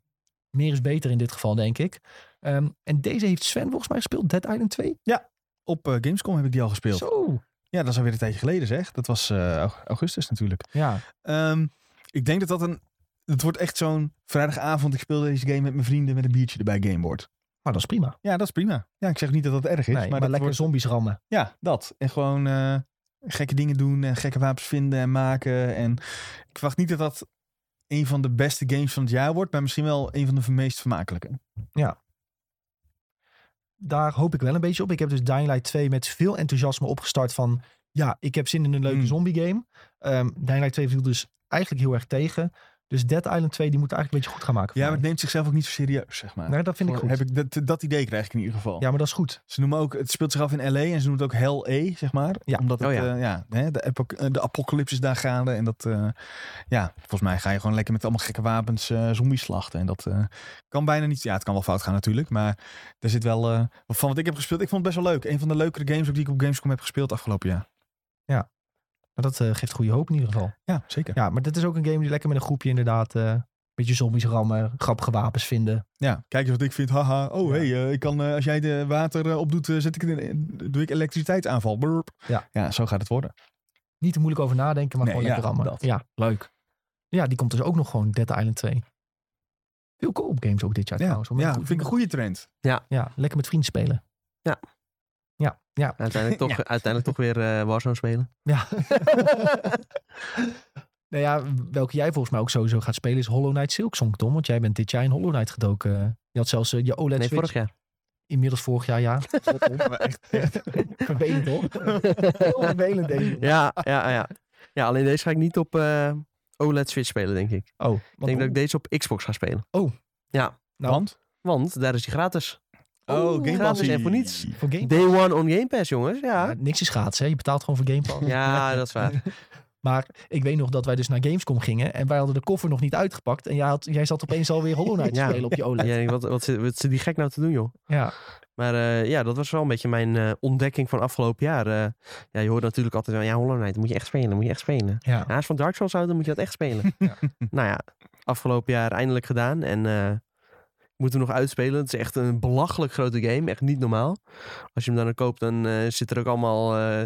[SPEAKER 1] meer is beter in dit geval, denk ik. Ehm, en deze heeft Sven volgens mij gespeeld. Dead Island 2?
[SPEAKER 2] Op eh, Gamescom heb ik die al gespeeld.
[SPEAKER 1] Zo.
[SPEAKER 2] Ja, dat is alweer een tijdje geleden zeg. Dat was eh, aug- augustus natuurlijk.
[SPEAKER 1] Ja.
[SPEAKER 2] Ehm, ik denk dat dat een... Het wordt echt zo'n vrijdagavond. Ik speel deze game met mijn vrienden met een biertje erbij game wordt.
[SPEAKER 1] Maar dat is prima.
[SPEAKER 2] Ja, dat is prima. Ja, ik zeg niet dat dat erg is.
[SPEAKER 1] Nee, maar
[SPEAKER 2] maar dat
[SPEAKER 1] lekker
[SPEAKER 2] wordt-
[SPEAKER 1] zombies rammen.
[SPEAKER 2] Ja, dat. En gewoon eh, gekke dingen doen en gekke wapens vinden en maken. En ik verwacht niet dat dat een van de beste games van het jaar wordt, maar misschien wel een van de meest vermakelijke.
[SPEAKER 1] Daar hoop ik wel een beetje op. Ik heb dus Dying Light 2 met veel enthousiasme opgestart van... Ja, ik heb zin in een leuke
[SPEAKER 2] Hmm.
[SPEAKER 1] zombie game. Ehm, Dying Light 2 viel dus eigenlijk heel erg tegen. Dus Dead Island 2 die moet eigenlijk een beetje goed gaan maken. voor
[SPEAKER 2] Ja, maar het
[SPEAKER 1] mij.
[SPEAKER 2] neemt zichzelf ook niet zo serieus, zeg maar.
[SPEAKER 1] Nee, dat vind ik
[SPEAKER 2] Voor-
[SPEAKER 1] goed.
[SPEAKER 2] Heb ik dat, dat idee krijg ik in ieder geval.
[SPEAKER 1] Ja, maar dat is goed.
[SPEAKER 2] Ze noemen ook, het speelt zich af in L.A. en ze noemen het ook Hell E, zeg maar.
[SPEAKER 1] Ja.
[SPEAKER 2] Omdat het,
[SPEAKER 3] Oh
[SPEAKER 2] eh,
[SPEAKER 3] ja.
[SPEAKER 2] ja. hè, de, epo- eh, de apocalypse is daar gaande. En dat, eh, ja, volgens mij ga je gewoon lekker met allemaal gekke wapens eh zombies slachten. En dat eh, kan bijna niet, ja, het kan wel fout gaan natuurlijk. Maar er zit wel, eh, van wat ik heb gespeeld, ik vond het best wel leuk. Een van de leukere games ook die ik op Gamescom heb gespeeld afgelopen jaar.
[SPEAKER 1] Maar dat eh, geeft goede hoop in ieder geval.
[SPEAKER 2] Ja, zeker.
[SPEAKER 1] Ja, maar dit is ook een game die lekker met een groepje inderdaad... eh beetje zombies rammen, grappige wapens vinden.
[SPEAKER 2] Ja, kijk eens wat ik vind. Haha, oh
[SPEAKER 1] Ja.
[SPEAKER 2] hey, eh, ik kan, eh, als jij de water eh, opdoet, eh, zet ik het in- doe ik elektriciteitsaanval. Burp.
[SPEAKER 1] Ja.
[SPEAKER 2] ja, zo gaat het worden.
[SPEAKER 1] niet te moeilijk over nadenken, maar
[SPEAKER 2] Nee,
[SPEAKER 1] gewoon lekker
[SPEAKER 2] ja,
[SPEAKER 1] rammen.
[SPEAKER 2] dat.
[SPEAKER 1] Ja, leuk. Ja, die komt dus ook nog gewoon Dead Island 2. Veel co-op games ook dit jaar
[SPEAKER 2] Ja,
[SPEAKER 1] trouwens. hoor. Met
[SPEAKER 2] ja
[SPEAKER 1] goed-
[SPEAKER 2] vind ik een goede trend.
[SPEAKER 1] ja, lekker met vrienden spelen.
[SPEAKER 3] Ja.
[SPEAKER 1] Ja, ja,
[SPEAKER 3] Uiteindelijk toch, uiteindelijk toch weer eh, Warzone spelen.
[SPEAKER 1] ja. nou ja, welke jij volgens mij ook sowieso gaat spelen is Hollow Knight Silksong, Tom. Want jij bent dit jaar in Hollow Knight gedoken. Je had zelfs eh, je OLED
[SPEAKER 3] Nee,
[SPEAKER 1] Switch.
[SPEAKER 3] vorig jaar.
[SPEAKER 1] Inmiddels vorig jaar, ja.
[SPEAKER 2] Maar echt, echt.
[SPEAKER 1] Vervelend hoor. Heel vervelend deze.
[SPEAKER 3] Ja, ja, ja. Ja, alleen deze ga ik niet op eh, OLED Switch spelen, denk ik.
[SPEAKER 1] Oh, want,
[SPEAKER 3] Ik denk dat ik deze op Xbox ga spelen.
[SPEAKER 1] Nou,
[SPEAKER 2] Want?
[SPEAKER 3] Want daar is hij gratis.
[SPEAKER 1] Oh,
[SPEAKER 2] Game
[SPEAKER 1] gratis
[SPEAKER 2] Pass.
[SPEAKER 3] en voor niets.
[SPEAKER 1] voor Game
[SPEAKER 3] Day one on Game Pass, jongens.
[SPEAKER 1] ja,
[SPEAKER 3] Ja,
[SPEAKER 1] niks is gratis, hè. Je betaalt gewoon voor Game Pass.
[SPEAKER 3] ja dat is waar.
[SPEAKER 1] Maar ik weet nog dat wij dus naar Gamescom gingen en wij hadden de koffer nog niet uitgepakt. En jij, had, jij zat opeens alweer Hollow Knight te
[SPEAKER 3] Ja.
[SPEAKER 1] spelen op je
[SPEAKER 3] Ja,
[SPEAKER 1] OLED.
[SPEAKER 3] ik denk, wat, wat, zit, wat zit die gek nou te doen, joh?
[SPEAKER 1] Ja,
[SPEAKER 3] Maar eh, ja, dat was wel een beetje mijn eh, ontdekking van afgelopen jaar. Eh, ja, je hoort natuurlijk altijd wel, ja, Hollow Knight, moet je echt spelen, moet je echt spelen.
[SPEAKER 1] ja.
[SPEAKER 3] Ja, als je van Dark Souls houdt, dan moet je dat echt spelen.
[SPEAKER 1] Ja.
[SPEAKER 3] Nou ja, afgelopen jaar eindelijk gedaan. En eh ik moet hem nog uitspelen. Het is echt een belachelijk grote game. Echt niet normaal. Als je hem dan ook koopt, dan eh, zit er ook allemaal eh,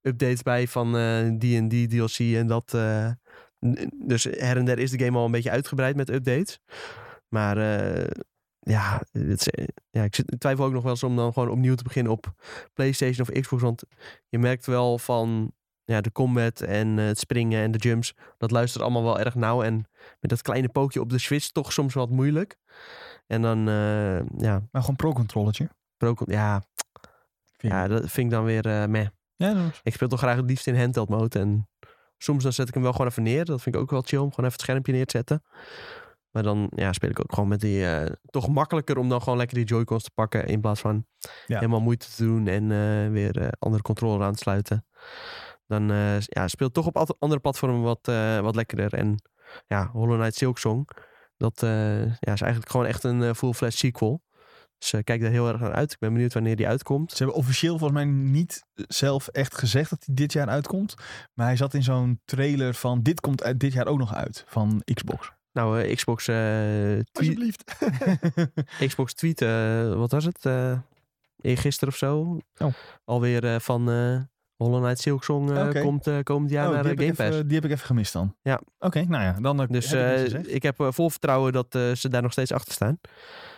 [SPEAKER 3] updates bij van eh, die en die DLC en dat. eh, N- Dus her en der is de game al een beetje uitgebreid met updates. Maar eh, ja, het is- eh, ja, ik zit- ik twijfel ook nog wel eens om dan gewoon opnieuw te beginnen op PlayStation of Xbox. Want je merkt wel van ja, de combat en eh, het springen en de jumps. Dat luistert allemaal wel erg nauw. En met dat kleine pookje op de Switch toch soms wat moeilijk. En dan, eh, ja,
[SPEAKER 2] Maar gewoon pro-controllertje.
[SPEAKER 3] Pro Con- ja,
[SPEAKER 2] Vind je?
[SPEAKER 3] ja, dat vind ik dan weer eh meh.
[SPEAKER 2] Ja, dat
[SPEAKER 3] Ik speel toch graag het liefst in handheld mode. En soms dan zet ik hem wel gewoon even neer. Dat vind ik ook wel chill. Om gewoon even het schermpje neer te zetten. Maar dan ja, speel ik ook gewoon met die... eh, toch makkelijker om dan gewoon lekker die Joy-Cons te pakken. In plaats van
[SPEAKER 2] Ja.
[SPEAKER 3] helemaal moeite te doen. En eh, weer eh, andere controller aan te sluiten. Dan eh, ja, speelt toch op at- andere platformen wat, eh, wat lekkerder. En ja, Hollow Knight Silksong. Dat eh, ja, is eigenlijk gewoon echt een eh, full-fledged sequel. Dus eh, kijk daar heel erg naar uit. Ik ben benieuwd wanneer die uitkomt.
[SPEAKER 2] Ze hebben officieel volgens mij niet zelf echt gezegd dat hij dit jaar uitkomt. Maar hij zat in zo'n trailer van dit komt uit, dit jaar ook nog uit van Xbox. Oh,
[SPEAKER 3] Nou, eh, Xbox, eh, twe-
[SPEAKER 2] Alsjeblieft.
[SPEAKER 3] Xbox tweet, eh, wat was het? eh eergisteren of zo.
[SPEAKER 2] Oh.
[SPEAKER 3] Alweer eh, van eh Hollow Knight Silksong eh,
[SPEAKER 2] Oké.
[SPEAKER 3] komt eh, komend jaar
[SPEAKER 2] Oh,
[SPEAKER 3] naar
[SPEAKER 2] die,
[SPEAKER 3] eh,
[SPEAKER 2] heb
[SPEAKER 3] Game
[SPEAKER 2] ik
[SPEAKER 3] Pass.
[SPEAKER 2] even, die heb ik even gemist dan.
[SPEAKER 3] Ja.
[SPEAKER 2] Oké, nou ja, dan eh,
[SPEAKER 3] dus
[SPEAKER 2] heb ik
[SPEAKER 3] eh,
[SPEAKER 2] niks
[SPEAKER 3] ik,
[SPEAKER 2] gezegd.
[SPEAKER 3] heb eh, vol vertrouwen dat eh, ze daar nog steeds achter staan.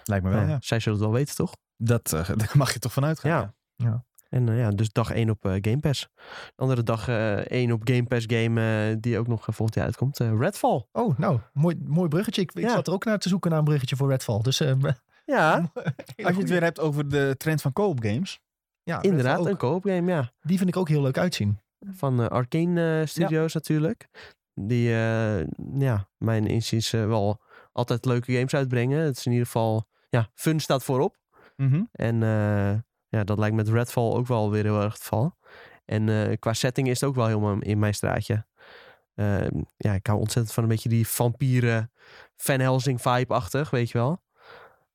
[SPEAKER 2] Lijkt me wel.
[SPEAKER 3] Nou,
[SPEAKER 2] ja.
[SPEAKER 3] Zij zullen het wel weten, toch?
[SPEAKER 2] Dat, eh, daar mag je toch vanuit gaan.
[SPEAKER 3] Ja.
[SPEAKER 2] ja.
[SPEAKER 3] En eh, ja, dus dag 1 op eh, Game Pass. Andere dag eh, één 1 op Game Pass game eh, die ook nog eh, volgend jaar uitkomt. eh, Redfall.
[SPEAKER 1] Oh, nou, mooi, mooi bruggetje. Ik, ik
[SPEAKER 3] Ja. Ah?
[SPEAKER 1] zat er ook naar te zoeken naar een bruggetje voor Redfall. Dus, eh,
[SPEAKER 3] Ja,
[SPEAKER 2] Als je het weer hebt over de trend van co-op games.
[SPEAKER 1] ja, Redfall
[SPEAKER 3] inderdaad.
[SPEAKER 1] ook.
[SPEAKER 3] Een co-op game, ja.
[SPEAKER 1] Die vind ik ook heel leuk uitzien.
[SPEAKER 3] Van eh, Arcane eh, Studios natuurlijk. Die, eh, ja, mijn inziens eh, wel altijd leuke games uitbrengen. Het is in ieder geval, ja, fun staat voorop.
[SPEAKER 2] Mhm.
[SPEAKER 3] En eh, ja, dat lijkt met Redfall ook wel weer heel erg het geval. En eh, qua setting is het ook wel helemaal in mijn straatje. Eh, ja, ik hou ontzettend van een beetje die vampieren Van Helsing vibe-achtig, weet je wel.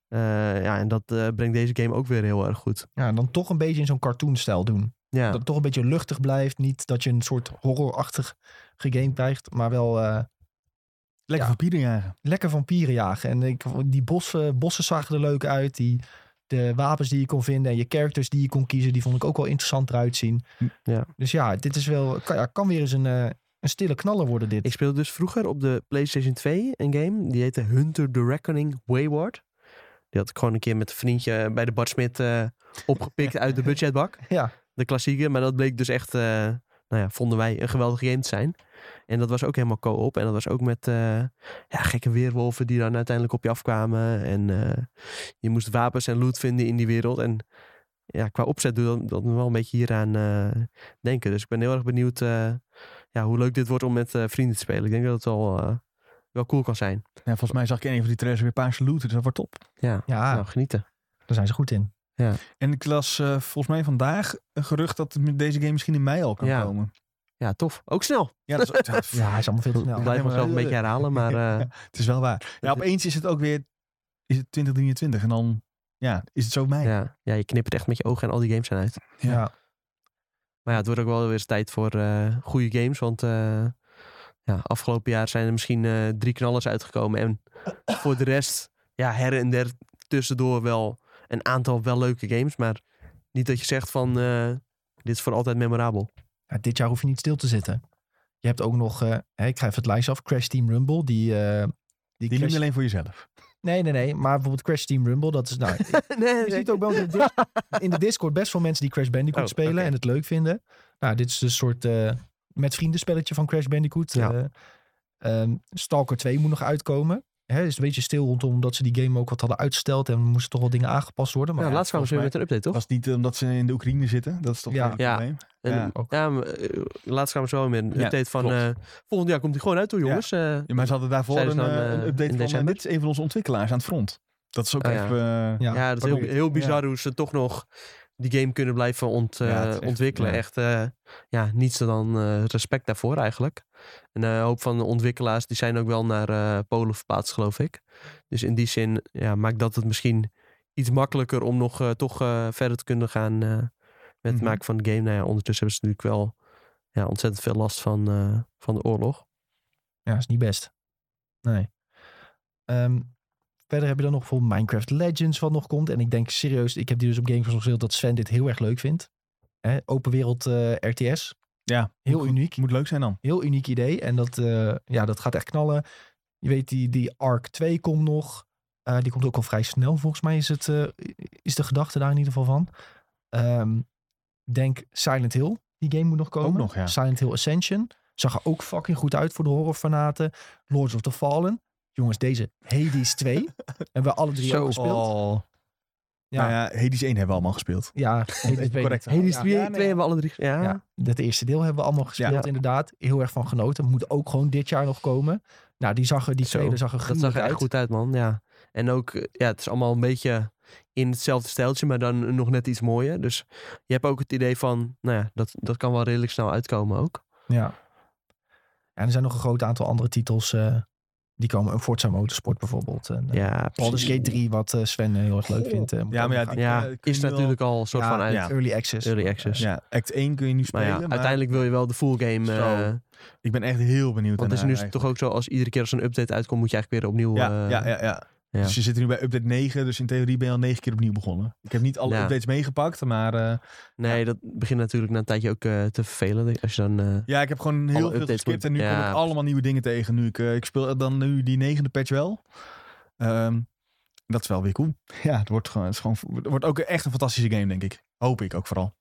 [SPEAKER 3] Eh, ja, en dat eh, brengt deze game ook weer heel erg goed.
[SPEAKER 1] Ja, en dan toch een beetje in zo'n cartoonstijl doen.
[SPEAKER 3] Ja.
[SPEAKER 1] Dat het toch een beetje luchtig blijft. Niet dat je een soort horrorachtig gegame krijgt, maar wel eh,
[SPEAKER 2] Lekker
[SPEAKER 1] Ja.
[SPEAKER 2] papieren jagen.
[SPEAKER 1] lekker vampieren jagen. En ik, die bossen, bossen zagen er leuk uit. Die, de wapens die je kon vinden en je characters die je kon kiezen, die vond ik ook wel interessant eruit zien.
[SPEAKER 3] Hm, Ja.
[SPEAKER 1] Dus ja, dit is wel, kan, ja, kan weer eens een, eh, een stille knaller worden dit.
[SPEAKER 3] Ik speelde dus vroeger op de PlayStation 2 een game. Die heette Hunter the Reckoning Wayward. Die had ik gewoon een keer met een vriendje bij de Bart Smit eh, opgepikt uit de budgetbak.
[SPEAKER 1] Ja.
[SPEAKER 3] De klassieke, maar dat bleek dus echt, eh, nou ja, vonden wij een geweldige game te zijn. En dat was ook helemaal co-op. En dat was ook met eh, ja, gekke weerwolven die dan uiteindelijk op je afkwamen. En eh, je moest wapens en loot vinden in die wereld. En ja, qua opzet doe dat, dat me wel een beetje hieraan eh, denken. Dus ik ben heel erg benieuwd eh, ja, hoe leuk dit wordt om met eh, vrienden te spelen. Ik denk dat het wel, eh, wel cool kan zijn.
[SPEAKER 2] Ja, volgens mij zag ik in een van die trailers weer paarse looten. Dus dat wordt top.
[SPEAKER 3] Ja,
[SPEAKER 1] Ja,
[SPEAKER 3] nou genieten.
[SPEAKER 1] daar zijn ze goed in.
[SPEAKER 2] En ik las eh, volgens mij vandaag een gerucht dat het met deze game misschien in mei al kan
[SPEAKER 3] Ja.
[SPEAKER 2] komen.
[SPEAKER 3] Ja, tof. Ook snel.
[SPEAKER 2] Ja, dat is, ja,
[SPEAKER 1] Ja, hij is allemaal veel te
[SPEAKER 3] ik
[SPEAKER 1] snel.
[SPEAKER 3] blijf
[SPEAKER 2] maar-
[SPEAKER 3] mezelf een beetje herhalen, maar eh,
[SPEAKER 2] het is wel waar. Ja, opeens is het ook weer is het 2023 en dan ja, is het zo mei.
[SPEAKER 3] ja, ja, je knippert echt met je ogen en al die games zijn uit.
[SPEAKER 2] Ja.
[SPEAKER 1] Ja.
[SPEAKER 3] Maar ja, het wordt ook wel weer eens tijd voor eh, goede games. Want eh, ja, afgelopen jaar zijn er misschien eh, drie knallers uitgekomen. En voor de rest, ja, her en der tussendoor wel een aantal wel leuke games. Maar niet dat je zegt van, eh, dit is voor altijd memorabel.
[SPEAKER 1] Ja, dit jaar hoef je niet stil te zitten. Je hebt ook nog, eh, hè, ik ga even het lijstje af, Crash Team Rumble. Die, eh, die
[SPEAKER 2] Die
[SPEAKER 1] Crash-
[SPEAKER 2] niet alleen voor jezelf.
[SPEAKER 1] Nee, nee, nee. Maar bijvoorbeeld Crash Team Rumble, dat is nou...
[SPEAKER 3] nee,
[SPEAKER 1] Je ziet ook wel in de, dis- in de Discord best veel mensen die Crash Bandicoot
[SPEAKER 3] Oh,
[SPEAKER 1] spelen
[SPEAKER 3] oké.
[SPEAKER 1] en het leuk vinden. Nou, dit is een soort eh, met vrienden spelletje van Crash Bandicoot.
[SPEAKER 3] Ja.
[SPEAKER 1] Eh, ehm, Stalker 2 moet nog uitkomen. Hè, is een beetje stil rondom omdat ze die game ook wat hadden uitgesteld en moesten toch wel dingen aangepast worden. Maar
[SPEAKER 3] ja,
[SPEAKER 1] ja,
[SPEAKER 3] laatst kwamen ze weer
[SPEAKER 2] volgens
[SPEAKER 3] met een update, toch?
[SPEAKER 2] Was het niet omdat ze in de Oekraïne zitten? Dat is toch
[SPEAKER 1] Ja.
[SPEAKER 2] weer een
[SPEAKER 3] Ja.
[SPEAKER 2] probleem.
[SPEAKER 3] En,
[SPEAKER 2] ja,
[SPEAKER 1] ook.
[SPEAKER 3] ja, maar, eh, laatst kwamen ze wel weer met een
[SPEAKER 2] Ja,
[SPEAKER 3] update van...
[SPEAKER 2] klopt.
[SPEAKER 3] eh, volgend jaar komt hij gewoon uit, hoor,
[SPEAKER 2] Ja.
[SPEAKER 3] jongens. Eh,
[SPEAKER 2] Ja, maar ze hadden daarvoor een,
[SPEAKER 3] Zeiden ze dan,
[SPEAKER 2] eh, een
[SPEAKER 3] eh, in
[SPEAKER 2] update van. En
[SPEAKER 3] december?
[SPEAKER 2] dit is een van onze ontwikkelaars aan het front. Dat is ook
[SPEAKER 3] Oh, ja.
[SPEAKER 2] echt. eh,
[SPEAKER 1] Ja.
[SPEAKER 3] Ja, dat is heel,
[SPEAKER 2] probeer.
[SPEAKER 3] heel bizar hoe ze toch nog die game kunnen blijven ont, eh,
[SPEAKER 2] Ja, het is echt-
[SPEAKER 3] ontwikkelen.
[SPEAKER 2] ja.
[SPEAKER 3] Echt, eh, ja, niets dan eh, respect daarvoor eigenlijk. En eh, een hoop van de ontwikkelaars die zijn ook wel naar eh, Polen verplaatst, geloof ik. Dus in die zin ja, maakt dat het misschien iets makkelijker om nog eh, toch eh, verder te kunnen gaan eh, met het
[SPEAKER 2] Mhm.
[SPEAKER 3] maken van de game. Nou ja, ondertussen hebben ze natuurlijk wel ja, ontzettend veel last van, eh, van de oorlog.
[SPEAKER 1] Ja, is niet best. Nee. Ehm, verder heb je dan nog bijvoorbeeld Minecraft Legends wat nog komt. En ik denk serieus, ik heb die dus op Gameforce nog gezien dat Sven dit heel erg leuk vindt. Hè, open wereld eh, RTS.
[SPEAKER 2] Ja,
[SPEAKER 1] Heel
[SPEAKER 2] moet-
[SPEAKER 1] uniek.
[SPEAKER 2] Moet leuk zijn dan.
[SPEAKER 1] Heel uniek idee. En dat, eh, ja, dat gaat echt knallen. Je weet, die, die Arc 2 komt nog. Eh, die komt ook al vrij snel, volgens mij is, het, eh, is de gedachte daar in ieder geval van. Ehm, denk Silent Hill. Die game moet nog komen.
[SPEAKER 2] Ook nog, ja.
[SPEAKER 1] Silent Hill Ascension. Zag er ook fucking goed uit voor de horrorfanaten. Lords of the Fallen. Jongens, deze Hades 2. hebben we alle drie ook gespeeld.
[SPEAKER 2] Oh.
[SPEAKER 1] Ja.
[SPEAKER 2] Nou ja, Hades 1 hebben we allemaal gespeeld.
[SPEAKER 1] Ja, Hades 2.
[SPEAKER 2] correct te
[SPEAKER 1] Hades
[SPEAKER 3] Hades
[SPEAKER 1] ja.
[SPEAKER 3] 2
[SPEAKER 2] Ja, nee, ja.
[SPEAKER 3] hebben we alle drie. Ja.
[SPEAKER 1] Ja, dat eerste deel hebben we allemaal gespeeld,
[SPEAKER 2] Ja.
[SPEAKER 1] inderdaad. Heel erg van genoten. Moet ook gewoon dit jaar nog komen. Nou, die, zag er, die
[SPEAKER 3] Zo,
[SPEAKER 1] trailer zag er
[SPEAKER 3] Dat zag er
[SPEAKER 1] gruwelijk
[SPEAKER 3] echt
[SPEAKER 1] uit.
[SPEAKER 3] goed uit, man. Ja. En ook, eh, ja, het is allemaal een beetje in hetzelfde stijltje, maar dan nog net iets mooier. Dus je hebt ook het idee van, nou ja, dat, dat kan wel redelijk snel uitkomen ook.
[SPEAKER 1] Ja. En er zijn nog een groot aantal andere titels. eh, die komen ook Forza Motorsport bijvoorbeeld. En, eh,
[SPEAKER 3] Ja,
[SPEAKER 1] Baldur's Gate 3, wat eh, Sven eh, heel erg leuk
[SPEAKER 2] Goh.
[SPEAKER 1] vindt. eh, moet
[SPEAKER 2] Ja,
[SPEAKER 1] ook
[SPEAKER 2] maar ja,
[SPEAKER 1] nog
[SPEAKER 2] die-
[SPEAKER 1] uit.
[SPEAKER 3] ja,
[SPEAKER 2] eh, kun
[SPEAKER 3] is
[SPEAKER 2] je wel-
[SPEAKER 3] natuurlijk al een soort
[SPEAKER 1] Ja,
[SPEAKER 3] van uit.
[SPEAKER 2] ja.
[SPEAKER 1] Early Access.
[SPEAKER 3] Early access.
[SPEAKER 2] Ja, act 1 kun je nu
[SPEAKER 3] Maar
[SPEAKER 2] spelen.
[SPEAKER 3] ja,
[SPEAKER 2] Maar
[SPEAKER 3] uiteindelijk wil je wel de full game.
[SPEAKER 2] Zo.
[SPEAKER 3] eh,
[SPEAKER 2] Ik ben echt heel benieuwd
[SPEAKER 3] want het is nu
[SPEAKER 2] daarnaar
[SPEAKER 3] toch ook zo, als iedere keer als een update uitkomt, moet je eigenlijk weer opnieuw...
[SPEAKER 2] eigenlijk.
[SPEAKER 3] eh,
[SPEAKER 2] Ja, ja, ja, ja.
[SPEAKER 3] ja.
[SPEAKER 2] Dus je zit nu bij update 9, dus in theorie ben je al 9 keer opnieuw begonnen. Ik heb niet alle
[SPEAKER 3] Ja.
[SPEAKER 2] updates meegepakt, maar eh,
[SPEAKER 3] Nee, dat begint natuurlijk na een tijdje ook eh, te vervelen. denk- Als je dan... eh,
[SPEAKER 2] ja, ik heb gewoon heel
[SPEAKER 3] Alle
[SPEAKER 2] veel
[SPEAKER 3] updates
[SPEAKER 2] geskipt en nu
[SPEAKER 3] moet-
[SPEAKER 2] kom
[SPEAKER 3] ja,
[SPEAKER 2] ik allemaal nieuwe dingen tegen. Nu ik, eh, ik speel dan nu die negende patch wel. Ehm, dat is wel weer cool. Ja, het wordt, gewoon, het, is gewoon, het wordt ook echt een fantastische game, denk ik. Hoop ik ook vooral.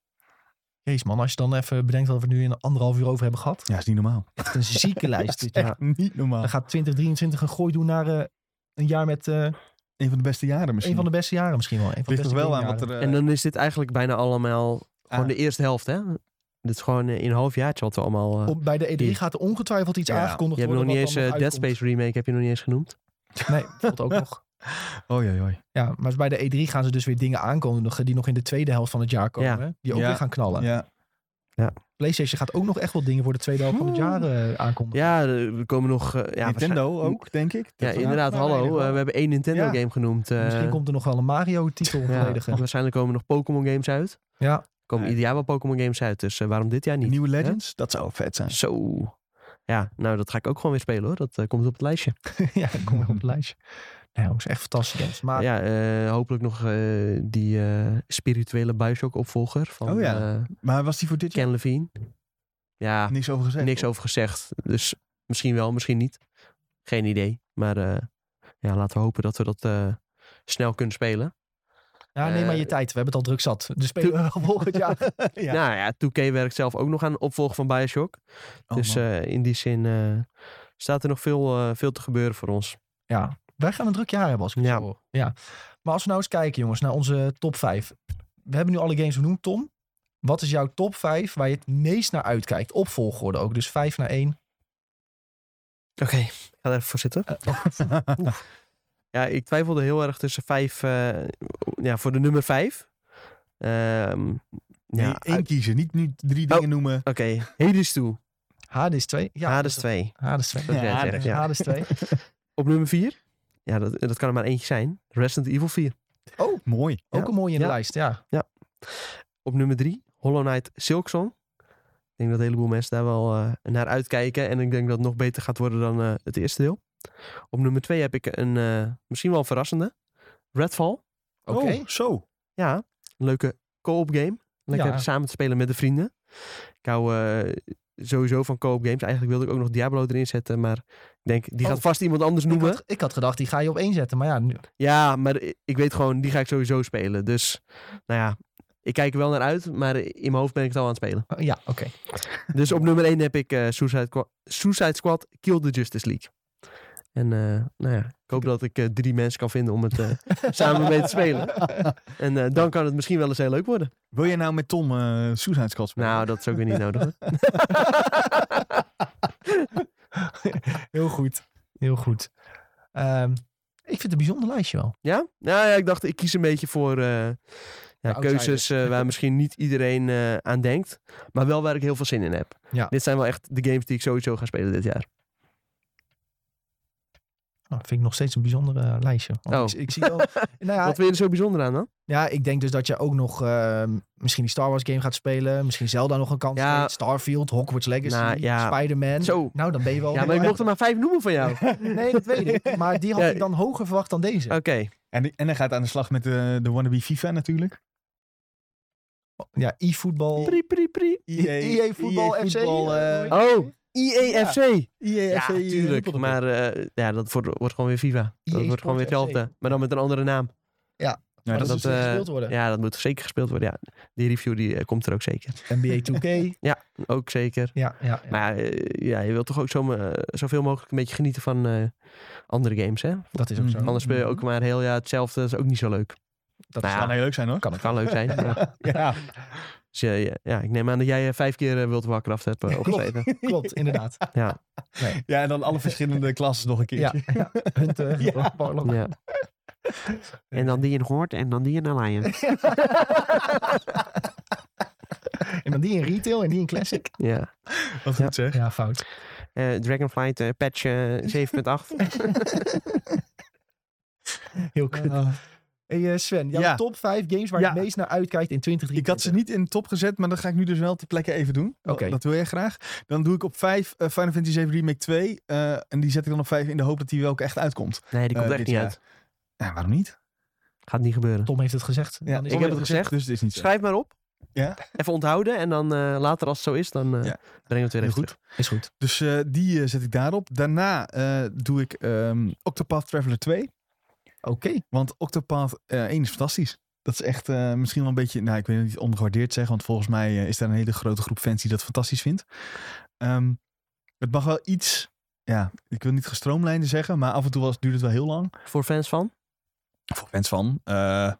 [SPEAKER 1] Jezus man, als je dan even bedenkt dat we er nu een anderhalf uur over hebben gehad.
[SPEAKER 2] Ja, is niet normaal.
[SPEAKER 1] Echt een zieke lijst dit jaar.
[SPEAKER 2] Echt niet normaal.
[SPEAKER 1] Dan gaat 2023 een gooi doen naar eh, een jaar met eh,
[SPEAKER 2] Een van de beste jaren misschien.
[SPEAKER 1] een van de beste jaren misschien wel. Een van de
[SPEAKER 2] Ligt
[SPEAKER 1] beste
[SPEAKER 2] er wel aan
[SPEAKER 1] gamejaren.
[SPEAKER 2] wat er... eh,
[SPEAKER 3] En dan is dit eigenlijk bijna allemaal gewoon
[SPEAKER 2] Ah.
[SPEAKER 3] de eerste helft, hè? Dit is gewoon eh, in een half jaartje wat we allemaal... eh,
[SPEAKER 1] Op- bij de E3 gaat er ongetwijfeld iets
[SPEAKER 2] Ja.
[SPEAKER 1] aangekondigd
[SPEAKER 3] je hebt nog
[SPEAKER 1] worden.
[SPEAKER 3] niet eens
[SPEAKER 1] wat dan
[SPEAKER 3] eh,
[SPEAKER 1] nog
[SPEAKER 3] Dead
[SPEAKER 1] uitkomt.
[SPEAKER 3] Space Remake, heb je nog niet eens genoemd.
[SPEAKER 1] Nee, dat ook nog.
[SPEAKER 2] Oei, oei, oei.
[SPEAKER 1] Ja, maar bij de E3 gaan ze dus weer dingen aankondigen die nog in de tweede helft van het jaar komen. Die ook
[SPEAKER 2] Ja.
[SPEAKER 1] weer gaan knallen.
[SPEAKER 2] Ja.
[SPEAKER 1] PlayStation gaat ook nog echt wel dingen voor de tweede helft van het jaar eh, aankondigen.
[SPEAKER 3] Ja, er er komen nog... eh, ja, waarschijn-
[SPEAKER 2] Nintendo ook, denk Nou, ik.
[SPEAKER 3] Ja, inderdaad,
[SPEAKER 2] maar
[SPEAKER 3] hallo.
[SPEAKER 2] weinig,
[SPEAKER 3] eh,
[SPEAKER 2] hoor.
[SPEAKER 3] we hebben één Nintendo
[SPEAKER 2] Ja.
[SPEAKER 3] game genoemd. eh,
[SPEAKER 1] Misschien komt er nog wel een Mario-titel
[SPEAKER 3] ja,
[SPEAKER 1] volledige. Ja.
[SPEAKER 3] Waarschijnlijk komen nog Pokémon games uit. Er komen
[SPEAKER 2] Ja.
[SPEAKER 3] ieder jaar wel Pokémon games uit, dus eh, waarom dit jaar niet?
[SPEAKER 2] Nieuwe Legends, dat zou vet zijn.
[SPEAKER 3] Zo. Ja, nou dat ga ik ook gewoon weer spelen hoor. Dat eh, komt op het lijstje.
[SPEAKER 1] ja, dat komt nog op het lijstje. Nou, dat is echt fantastisch. jongens. Maar
[SPEAKER 3] ja, eh, hopelijk nog eh, die eh, spirituele Bioshock opvolger van
[SPEAKER 2] Oh
[SPEAKER 3] oh,
[SPEAKER 2] ja. Maar was die voor dit jaar
[SPEAKER 3] Ken Levine. Ja,
[SPEAKER 2] niks over gezegd?
[SPEAKER 3] Ah, niks over gezegd. Dus misschien wel, misschien niet. Geen idee. Maar eh, ja, laten we hopen dat we dat eh, snel kunnen spelen.
[SPEAKER 1] ja, neem maar je
[SPEAKER 3] eh,
[SPEAKER 1] tijd. We hebben het al druk zat. Dus spelen we wel volgend jaar.
[SPEAKER 2] Ja.
[SPEAKER 3] Nou ja, 2K werkt zelf ook nog aan de opvolger van Bioshock.
[SPEAKER 2] Oh,
[SPEAKER 3] dus
[SPEAKER 2] man.
[SPEAKER 3] eh, in die zin eh, staat er nog veel, eh, veel te gebeuren voor ons.
[SPEAKER 1] Ja, wij gaan een druk jaar hebben als ik het
[SPEAKER 3] Ja.
[SPEAKER 1] zo hoor. Ja. Maar als we nou eens kijken jongens naar onze top 5. We hebben nu alle games genoemd. Tom, wat is jouw top 5 waar je het meest naar uitkijkt? Op volgorde ook. Dus 5 naar 1.
[SPEAKER 3] Oké, ik ga er even voor zitten.
[SPEAKER 1] Eh, oh,
[SPEAKER 3] eh, Ja, ik twijfelde heel erg tussen vijf, eh, ja, voor de nummer vijf. Ehm,
[SPEAKER 2] Nee,
[SPEAKER 3] ja,
[SPEAKER 2] één
[SPEAKER 3] uit-
[SPEAKER 2] kiezen, niet nu drie
[SPEAKER 3] Oh.
[SPEAKER 2] dingen noemen.
[SPEAKER 3] oké. Hades 2,
[SPEAKER 1] Hades 2. Ja, dus,
[SPEAKER 3] Hades 2.
[SPEAKER 1] Hades 2.
[SPEAKER 3] Dat jij het
[SPEAKER 2] Hades.
[SPEAKER 3] zegt,
[SPEAKER 1] Ja.
[SPEAKER 3] ja.
[SPEAKER 1] Hades 2.
[SPEAKER 3] Op nummer vier? Ja, dat, dat kan er maar eentje zijn. Resident Evil 4.
[SPEAKER 1] Oh,
[SPEAKER 2] Mooi.
[SPEAKER 1] ook een mooie in de
[SPEAKER 3] Ja.
[SPEAKER 1] lijst. Ja.
[SPEAKER 3] Op nummer 3, Hollow Knight Silksong. Ik denk dat een heleboel mensen daar wel eh, naar uitkijken. En ik denk dat het nog beter gaat worden dan eh, het eerste deel. Op nummer 2 heb ik een eh, misschien wel een verrassende. Redfall.
[SPEAKER 1] Oké.
[SPEAKER 2] Oh, zo.
[SPEAKER 3] Ja, een leuke co-op game. Lekker
[SPEAKER 1] Ja.
[SPEAKER 3] samen te spelen met de vrienden. Ik hou eh, sowieso van co-op games. Eigenlijk wilde ik ook nog Diablo erin zetten. Maar ik denk, die
[SPEAKER 1] Oh.
[SPEAKER 3] gaat vast iemand anders
[SPEAKER 1] Ik,
[SPEAKER 3] noemen.
[SPEAKER 1] had, ik had gedacht, die ga je op één zetten. Maar ja, nu,
[SPEAKER 3] Ja, maar i- ik weet gewoon, die ga ik sowieso spelen. Dus, nou ja, ik kijk er wel naar uit. Maar in mijn hoofd ben ik het al aan het spelen.
[SPEAKER 1] oh, ja oké.
[SPEAKER 3] Dus op nummer 1 heb ik eh, Suicide, Qua- Suicide Squad Kill the Justice League. En eh, nou ja, ik hoop dat ik eh, drie mensen kan vinden om het eh, samen mee te spelen. En eh, dan kan het misschien wel eens heel leuk worden.
[SPEAKER 2] Wil jij nou met Tom eh Suicide Squad spelen?
[SPEAKER 3] Nou, dat is ook weer niet nodig. hoor.
[SPEAKER 1] Heel goed. Heel goed. Ehm, ik vind het een bijzonder lijstje wel.
[SPEAKER 3] Ja? Nou ja, ik dacht, ik kies een beetje voor eh, ja,
[SPEAKER 1] outsiders.
[SPEAKER 3] keuzes eh, waar misschien niet iedereen eh, aan denkt. Maar wel waar ik heel veel zin in heb.
[SPEAKER 1] Ja.
[SPEAKER 3] Dit zijn wel echt de games die ik sowieso ga spelen dit jaar.
[SPEAKER 1] Oh, vind ik nog steeds een bijzonder eh, lijstje. Want
[SPEAKER 3] Oh.
[SPEAKER 1] ik, ik zie wel, nou ja,
[SPEAKER 3] Wat vind je er zo bijzonder aan dan?
[SPEAKER 1] Ja, ik denk dus dat je ook nog ehm, misschien die Star Wars game gaat spelen. Misschien Zelda nog een kans
[SPEAKER 3] Ja.
[SPEAKER 1] geeft. Starfield, Hogwarts Legacy,
[SPEAKER 3] Nou, ja.
[SPEAKER 1] Spider-Man.
[SPEAKER 3] Zo.
[SPEAKER 1] Nou, dan ben je wel...
[SPEAKER 3] Ja, maar ik mocht er maar vijf noemen van jou. Oké.
[SPEAKER 1] Nee, dat weet ik. Maar die had
[SPEAKER 3] Ja.
[SPEAKER 1] ik dan hoger verwacht dan deze.
[SPEAKER 2] eh, En, en hij gaat aan de slag met de, de wannabe FIFA natuurlijk.
[SPEAKER 1] Ja, e-voetbal.
[SPEAKER 3] Pri, pri, pri.
[SPEAKER 1] EA voetbal, FC, eh,
[SPEAKER 3] Oh, IEFC. Ja,
[SPEAKER 2] IEFC.
[SPEAKER 3] tuurlijk. Maar eh, ja, dat wordt, wordt gewoon weer FIFA. Dat
[SPEAKER 1] EA
[SPEAKER 3] wordt gewoon weer
[SPEAKER 1] Sports
[SPEAKER 3] hetzelfde.
[SPEAKER 1] FC.
[SPEAKER 3] Maar dan met een andere naam.
[SPEAKER 1] Maar
[SPEAKER 2] dat
[SPEAKER 1] dat,
[SPEAKER 3] dat,
[SPEAKER 1] moet
[SPEAKER 3] eh,
[SPEAKER 1] gespeeld worden.
[SPEAKER 3] Ja, dat moet zeker gespeeld worden. Ja. Die review die, eh, komt er ook zeker.
[SPEAKER 1] NBA 2K.
[SPEAKER 3] Ook zeker.
[SPEAKER 1] ja, ja, ja.
[SPEAKER 3] Maar eh, ja, je wilt toch ook zo, eh, zoveel mogelijk een beetje genieten van eh, andere games, hè?
[SPEAKER 1] dat is ook zo.
[SPEAKER 2] Mhm.
[SPEAKER 3] Anders speel je ook maar heel jaar hetzelfde. Dat is ook niet zo leuk.
[SPEAKER 1] Dat
[SPEAKER 3] Nou
[SPEAKER 1] is
[SPEAKER 3] ja.
[SPEAKER 2] kan heel leuk zijn hoor.
[SPEAKER 3] Dat kan leuk zijn. maar-
[SPEAKER 2] Ja.
[SPEAKER 3] Dus eh, ja, ja, ik neem aan dat jij eh, vijf keer eh, World of Warcraft hebt eh,
[SPEAKER 1] Ja, klopt.
[SPEAKER 3] opgeschreven.
[SPEAKER 1] Klopt, inderdaad.
[SPEAKER 2] ja, en dan alle verschillende klassen nog een keer.
[SPEAKER 1] Ja, ja. eh, Hunter,
[SPEAKER 2] Ja.
[SPEAKER 1] Warlock.
[SPEAKER 3] Ja. En dan die in Hoort en dan die in Alliance.
[SPEAKER 1] En dan die in retail en die in classic.
[SPEAKER 3] Ja.
[SPEAKER 2] Wat goed zeg.
[SPEAKER 1] Ja, fout.
[SPEAKER 3] Eh, Dragonflight eh, patch eh, 7.8.
[SPEAKER 1] Heel kut.
[SPEAKER 2] Eh,
[SPEAKER 1] Hey, eh, Sven, jouw
[SPEAKER 2] Ja.
[SPEAKER 1] top 5 games waar je
[SPEAKER 2] Ja.
[SPEAKER 1] het meest naar uitkijkt in 2023.
[SPEAKER 2] ik had ze niet in de top gezet, maar dat ga ik nu dus wel ter plekke even doen. Wel,
[SPEAKER 1] Oké.
[SPEAKER 2] Dat wil jij graag. Dan doe ik op 5 Final Fantasy 7 Remake 2. eh, en die zet ik dan op 5 in de hoop dat die wel ook echt uitkomt.
[SPEAKER 3] Nee, die komt
[SPEAKER 2] Eh,
[SPEAKER 3] echt
[SPEAKER 2] dit
[SPEAKER 3] niet
[SPEAKER 2] jaar.
[SPEAKER 3] uit.
[SPEAKER 2] Ja, waarom niet?
[SPEAKER 3] Gaat niet gebeuren.
[SPEAKER 1] Tom heeft het gezegd.
[SPEAKER 2] Ja,
[SPEAKER 1] Dan is
[SPEAKER 3] ik heb het gezegd.
[SPEAKER 2] Dus het is niet zo.
[SPEAKER 3] Schrijf maar op.
[SPEAKER 2] Ja.
[SPEAKER 3] Even onthouden. En dan eh, later als het zo is, dan eh brengen
[SPEAKER 2] Ja.
[SPEAKER 3] we het weer
[SPEAKER 2] Heel
[SPEAKER 3] even
[SPEAKER 2] goed.
[SPEAKER 3] terug.
[SPEAKER 1] Is goed.
[SPEAKER 2] Dus eh, die eh, zet ik daarop. Daarna eh, doe ik ehm, Octopath Traveler 2.
[SPEAKER 1] Oké.
[SPEAKER 2] Want Octopath eh 1 is fantastisch. Dat is echt eh, misschien wel een beetje, nou ik wil het niet ongewaardeerd zeggen, want volgens mij eh, is daar een hele grote groep fans die dat fantastisch vindt. Ehm, het mag wel iets, ja, ik wil niet gestroomlijnde zeggen, maar af en toe was, duurde het wel heel lang.
[SPEAKER 3] Voor fans van?
[SPEAKER 2] Voor fans van eh,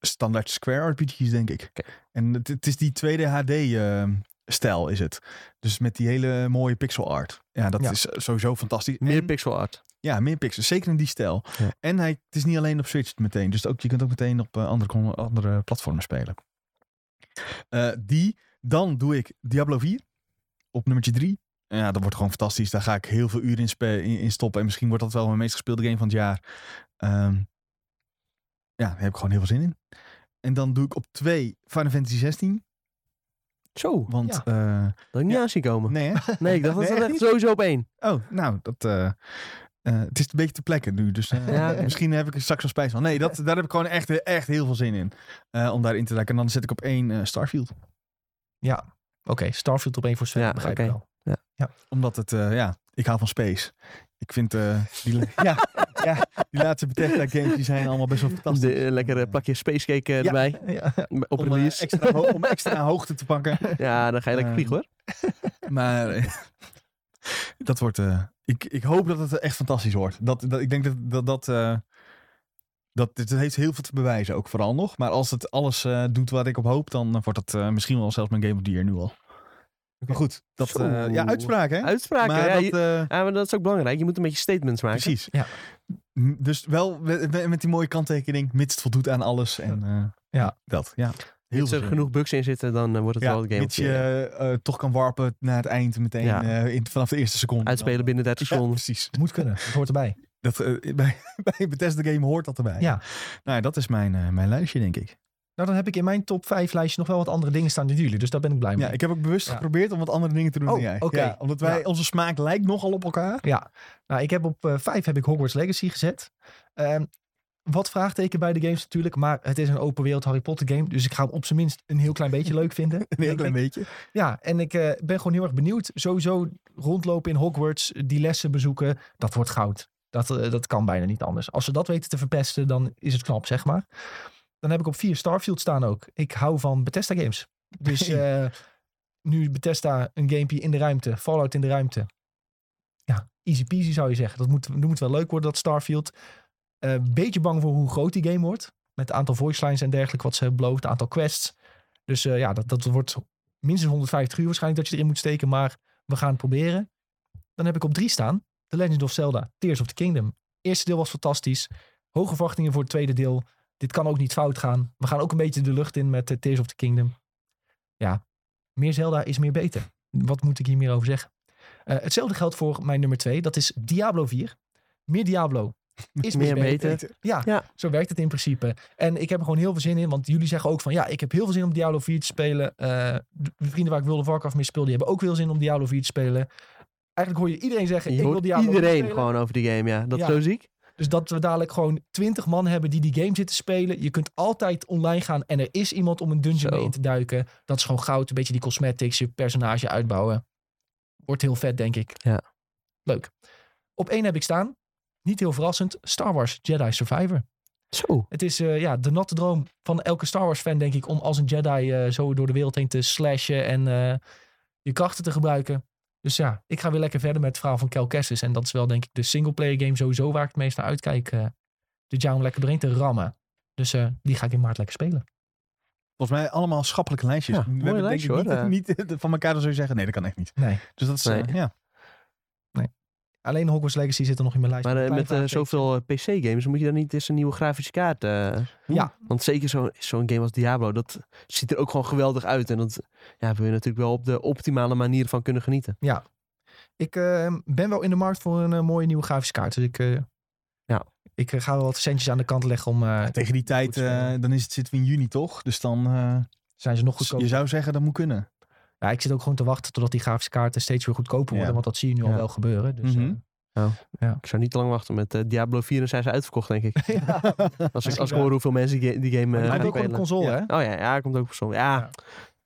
[SPEAKER 2] standaard Square RPG's, denk ik.
[SPEAKER 3] Oké.
[SPEAKER 2] En het, het is die 2D HD-stijl, ehm, is het. Dus met die hele mooie pixel art. Ja, dat
[SPEAKER 1] Ja.
[SPEAKER 2] is sowieso fantastisch.
[SPEAKER 3] Meer
[SPEAKER 2] En-
[SPEAKER 3] pixel art.
[SPEAKER 2] ja, meer pixels. Zeker in die stijl.
[SPEAKER 3] Ja.
[SPEAKER 2] En hij, het is niet alleen op Switch meteen. Dus ook, je kunt ook meteen op eh, andere, con- andere platformen spelen. Eh, die. Dan doe ik Diablo 4. Op nummertje 3. Ja, dat wordt gewoon fantastisch. Daar ga ik heel veel uren in, spe- in, in stoppen. En misschien wordt dat wel mijn meest gespeelde game van het jaar. Ehm, ja, daar heb ik gewoon heel veel zin in. En dan doe ik op 2 Final Fantasy 16.
[SPEAKER 3] Zo, dat
[SPEAKER 2] Want. eh,
[SPEAKER 3] had ik niet
[SPEAKER 2] Ja.
[SPEAKER 3] aan zien komen.
[SPEAKER 2] nee, hè?
[SPEAKER 3] Nee, ik dacht dat het
[SPEAKER 2] Nee, echt
[SPEAKER 3] echt
[SPEAKER 2] niet?
[SPEAKER 3] sowieso op één.
[SPEAKER 2] Oh, nou, dat, eh, eh, het is een beetje te plekken nu. Dus eh,
[SPEAKER 3] Ja, oké.
[SPEAKER 2] misschien heb ik er straks wel spijt van. Nee, dat, daar heb ik gewoon echt, echt heel veel zin in. eh, om daarin te duiken. En dan zet ik op één eh, Starfield.
[SPEAKER 1] Ja. Oké, Starfield op één voor Sven,
[SPEAKER 3] Ja,
[SPEAKER 1] begrijp
[SPEAKER 3] oké.
[SPEAKER 1] ik wel.
[SPEAKER 2] Omdat het, eh, ja, ik hou van space. Ik vind eh, die, la- ja, ja, die laatste Bethesda games die zijn allemaal best wel fantastisch.
[SPEAKER 3] De, eh, lekkere plakje spacecake eh,
[SPEAKER 2] Ja.
[SPEAKER 3] erbij.
[SPEAKER 1] Ja.
[SPEAKER 3] Op
[SPEAKER 2] om, eh,
[SPEAKER 3] release.
[SPEAKER 2] extra ho- om extra hoogte te pakken.
[SPEAKER 3] Ja, dan ga je lekker
[SPEAKER 2] Eh,
[SPEAKER 3] vliegen hoor.
[SPEAKER 2] Maar eh, dat wordt. eh, ik, ik hoop dat het echt fantastisch wordt. Dat, dat, ik denk dat dat. dat eh, dat, dit heeft heel veel te bewijzen, ook vooral nog. Maar als het alles eh, doet wat ik op hoop, dan eh, wordt dat eh, misschien wel zelfs mijn Game of the Year nu al. Maar goed, dat,
[SPEAKER 3] Zo.
[SPEAKER 2] eh, ja, uitspraak hè?
[SPEAKER 3] Uitspraken.
[SPEAKER 2] maar
[SPEAKER 3] ja,
[SPEAKER 2] dat,
[SPEAKER 3] je-
[SPEAKER 2] eh,
[SPEAKER 3] ja, maar dat is ook belangrijk. Je moet een beetje statements maken.
[SPEAKER 2] precies.
[SPEAKER 1] Ja.
[SPEAKER 2] M- Dus wel met, met- met die mooie kanttekening, mits het voldoet aan alles. En eh,
[SPEAKER 1] Ja.
[SPEAKER 2] dat, ja. Heel
[SPEAKER 3] Als er
[SPEAKER 2] zin in.
[SPEAKER 3] genoeg bugs in zitten, dan eh, wordt het
[SPEAKER 2] Ja,
[SPEAKER 3] wel een game.
[SPEAKER 2] mits
[SPEAKER 3] of the year.
[SPEAKER 2] je eh, toch kan warpen naar het eind meteen,
[SPEAKER 3] Ja.
[SPEAKER 2] eh, in, vanaf de eerste seconde.
[SPEAKER 3] Uitspelen binnen 30
[SPEAKER 2] Ja,
[SPEAKER 3] seconden.
[SPEAKER 2] precies.
[SPEAKER 1] Moet kunnen, dat hoort erbij.
[SPEAKER 2] Dat, eh, bij, bij Bethesda Game hoort dat erbij.
[SPEAKER 1] Ja.
[SPEAKER 2] Nou ja, dat is mijn, eh, mijn lijstje, denk ik.
[SPEAKER 1] Nou, dan heb ik in mijn top 5 lijstje nog wel wat andere dingen staan dan jullie, dus daar ben ik blij mee.
[SPEAKER 2] Ja, ik heb ook bewust
[SPEAKER 1] Ja.
[SPEAKER 2] geprobeerd om wat andere dingen te doen
[SPEAKER 1] Oh,
[SPEAKER 2] dan jij.
[SPEAKER 1] oké.
[SPEAKER 2] Ja, omdat wij,
[SPEAKER 1] Ja.
[SPEAKER 2] onze smaak lijkt nogal op elkaar.
[SPEAKER 1] Nou, ik heb op eh, vijf heb ik Hogwarts Legacy gezet. Ehm, wat vraagteken bij de games natuurlijk, maar het is een open wereld Harry Potter game. Dus ik ga hem op zijn minst een heel klein beetje leuk vinden.
[SPEAKER 2] Een heel
[SPEAKER 1] denk
[SPEAKER 2] klein
[SPEAKER 1] ik.
[SPEAKER 2] beetje.
[SPEAKER 1] Ja, en ik eh, ben gewoon heel erg benieuwd. Sowieso rondlopen in Hogwarts, die lessen bezoeken, dat wordt goud. Dat, eh, dat kan bijna niet anders. Als ze dat weten te verpesten, dan is het knap, zeg maar. Dan heb ik op vier Starfield staan ook. Ik hou van Bethesda games. Dus eh, nu Bethesda een gamepje in de ruimte, Fallout in de ruimte. Ja, easy peasy zou je zeggen. Dat moet, dat moet wel leuk worden, dat Starfield. Een beetje bang voor hoe groot die game wordt. Met het aantal voice lines en dergelijke wat ze hebben beloofd, het aantal quests. Dus eh, ja, dat, dat wordt minstens 150 uur waarschijnlijk dat je erin moet steken, maar we gaan het proberen. Dan heb ik op drie staan The Legend of Zelda, Tears of the Kingdom. Eerste deel was fantastisch. Hoge verwachtingen voor het tweede deel. Dit kan ook niet fout gaan. We gaan ook een beetje de lucht in met eh, Tears of the Kingdom. Ja, meer Zelda is meer beter. Wat moet ik hier meer over zeggen? Eh, hetzelfde geldt voor mijn nummer twee. Dat is Diablo 4. Meer Diablo is meer
[SPEAKER 3] Meer
[SPEAKER 1] beter.
[SPEAKER 3] beter.
[SPEAKER 1] Ja,
[SPEAKER 3] Ja.
[SPEAKER 1] zo werkt het in principe. En ik heb er gewoon heel veel zin in. Want jullie zeggen ook van ja, ik heb heel veel zin om Diablo 4 te spelen. Eh, de vrienden waar ik World of Warcraft mee speel, die hebben ook veel zin om Diablo 4 te spelen. Eigenlijk hoor je iedereen zeggen,
[SPEAKER 3] Je
[SPEAKER 1] ik wil
[SPEAKER 3] hoort
[SPEAKER 1] Diablo 4
[SPEAKER 3] iedereen
[SPEAKER 1] spelen.
[SPEAKER 3] gewoon over die game, ja. Dat
[SPEAKER 1] Ja.
[SPEAKER 3] is zo ziek.
[SPEAKER 1] Dus dat we dadelijk gewoon twintig man hebben die die game zitten spelen. Je kunt altijd online gaan en er is iemand om een dungeon
[SPEAKER 3] Zo.
[SPEAKER 1] mee in te duiken. Dat is gewoon goud. Een beetje die cosmetics, je personage uitbouwen. Wordt heel vet, denk ik.
[SPEAKER 3] Ja.
[SPEAKER 1] Leuk. Op één heb ik staan. Niet heel verrassend. Star Wars Jedi Survivor.
[SPEAKER 3] Zo.
[SPEAKER 1] Het is eh, ja, de natte droom van elke Star Wars fan, denk ik, om als een Jedi eh, zo door de wereld heen te slashen en eh, je krachten te gebruiken. Dus ja, ik ga weer lekker verder met het verhaal van Cal Kestis. En dat is wel, denk ik, de singleplayer game sowieso waar ik het meest naar uitkijk. eh dit jaar om lekker doorheen te rammen. Dus eh, die ga ik in maart lekker spelen.
[SPEAKER 2] Volgens mij allemaal schappelijke lijstjes.
[SPEAKER 3] Ja,
[SPEAKER 2] We
[SPEAKER 3] mooi
[SPEAKER 2] hebben
[SPEAKER 3] lijstje,
[SPEAKER 2] denk ik
[SPEAKER 3] hoor,
[SPEAKER 2] niet, niet van elkaar dan zou je zeggen, nee, dat kan echt niet.
[SPEAKER 1] Nee.
[SPEAKER 2] Dus dat is, eh,
[SPEAKER 3] Nee.
[SPEAKER 2] ja.
[SPEAKER 1] Alleen Hogwarts Legacy zit er nog in mijn lijst.
[SPEAKER 3] Maar eh,
[SPEAKER 1] Klein
[SPEAKER 3] met eh,
[SPEAKER 1] vraagteken.
[SPEAKER 3] zoveel PC-games moet je dan niet eens een nieuwe grafische kaart... eh,
[SPEAKER 1] Ja.
[SPEAKER 3] Want zeker zo- zo'n game als Diablo, dat ziet er ook gewoon geweldig uit. En dat ja, hebben we natuurlijk wel op de optimale manier van kunnen genieten.
[SPEAKER 1] Ik eh, ben wel in de markt voor een eh, mooie nieuwe grafische kaart. Dus ik, eh,
[SPEAKER 3] Ja.
[SPEAKER 1] ik eh, ga wel wat centjes aan de kant leggen om... eh,
[SPEAKER 2] Tegen die tijd,
[SPEAKER 1] Goed spelen.
[SPEAKER 2] eh, dan is het, zitten we in juni toch? Dus dan, eh,
[SPEAKER 1] zijn ze nog goedkoper?
[SPEAKER 2] je zou zeggen, dat moet kunnen.
[SPEAKER 1] Ja, ik zit ook gewoon te wachten totdat die grafische kaarten steeds weer goedkoper worden.
[SPEAKER 2] Ja.
[SPEAKER 1] Want dat zie je nu al
[SPEAKER 3] Ja.
[SPEAKER 1] wel gebeuren. Dus,
[SPEAKER 2] Mhm.
[SPEAKER 1] eh,
[SPEAKER 3] Ik zou niet te lang wachten met eh, Diablo 4 en zijn ze uitverkocht, denk ik.
[SPEAKER 1] ja.
[SPEAKER 3] Als
[SPEAKER 1] Misschien
[SPEAKER 3] ik, als ik
[SPEAKER 1] wel.
[SPEAKER 3] hoor hoeveel mensen die, ga- die game eh,
[SPEAKER 1] hij
[SPEAKER 3] gaan
[SPEAKER 1] heeft ook wel een
[SPEAKER 3] spelen.
[SPEAKER 1] console,
[SPEAKER 2] Ja.
[SPEAKER 1] hè?
[SPEAKER 3] Oh ja, ja, hij komt ook op zon. Ja,
[SPEAKER 1] Ja.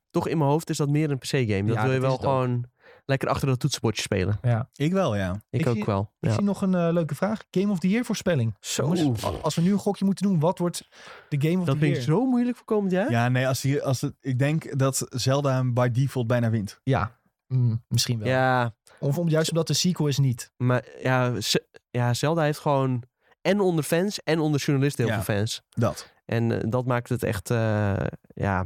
[SPEAKER 3] toch in mijn hoofd is dat meer een PC-game. Dat
[SPEAKER 1] Ja,
[SPEAKER 3] wil je
[SPEAKER 1] dat
[SPEAKER 3] wel
[SPEAKER 1] is het ook.
[SPEAKER 3] gewoon lekker achter dat toetsenbordje spelen.
[SPEAKER 2] Ik wel, ja.
[SPEAKER 3] Ik,
[SPEAKER 1] Ik
[SPEAKER 3] ook
[SPEAKER 1] zie-
[SPEAKER 3] wel.
[SPEAKER 1] Ik
[SPEAKER 3] Ja.
[SPEAKER 1] zie nog een eh, leuke vraag. Game of the Year voorspelling.
[SPEAKER 3] Zo.
[SPEAKER 1] Jongens, Als we nu een gokje moeten doen, wat wordt de Game of
[SPEAKER 3] Dat
[SPEAKER 1] the Year?
[SPEAKER 3] vind ik zo moeilijk voor komend jaar.
[SPEAKER 2] Ja, nee, als die, als het, ik denk dat Zelda hem by default bijna wint.
[SPEAKER 1] Ja, Mm, misschien wel.
[SPEAKER 3] ja
[SPEAKER 1] Of om, juist omdat de sequel is niet.
[SPEAKER 3] Maar ja, Ze- ja, Zelda heeft gewoon en onder fans en onder journalisten heel
[SPEAKER 2] Ja.
[SPEAKER 3] veel fans.
[SPEAKER 2] Dat.
[SPEAKER 3] En eh, dat maakt het echt, eh, ja.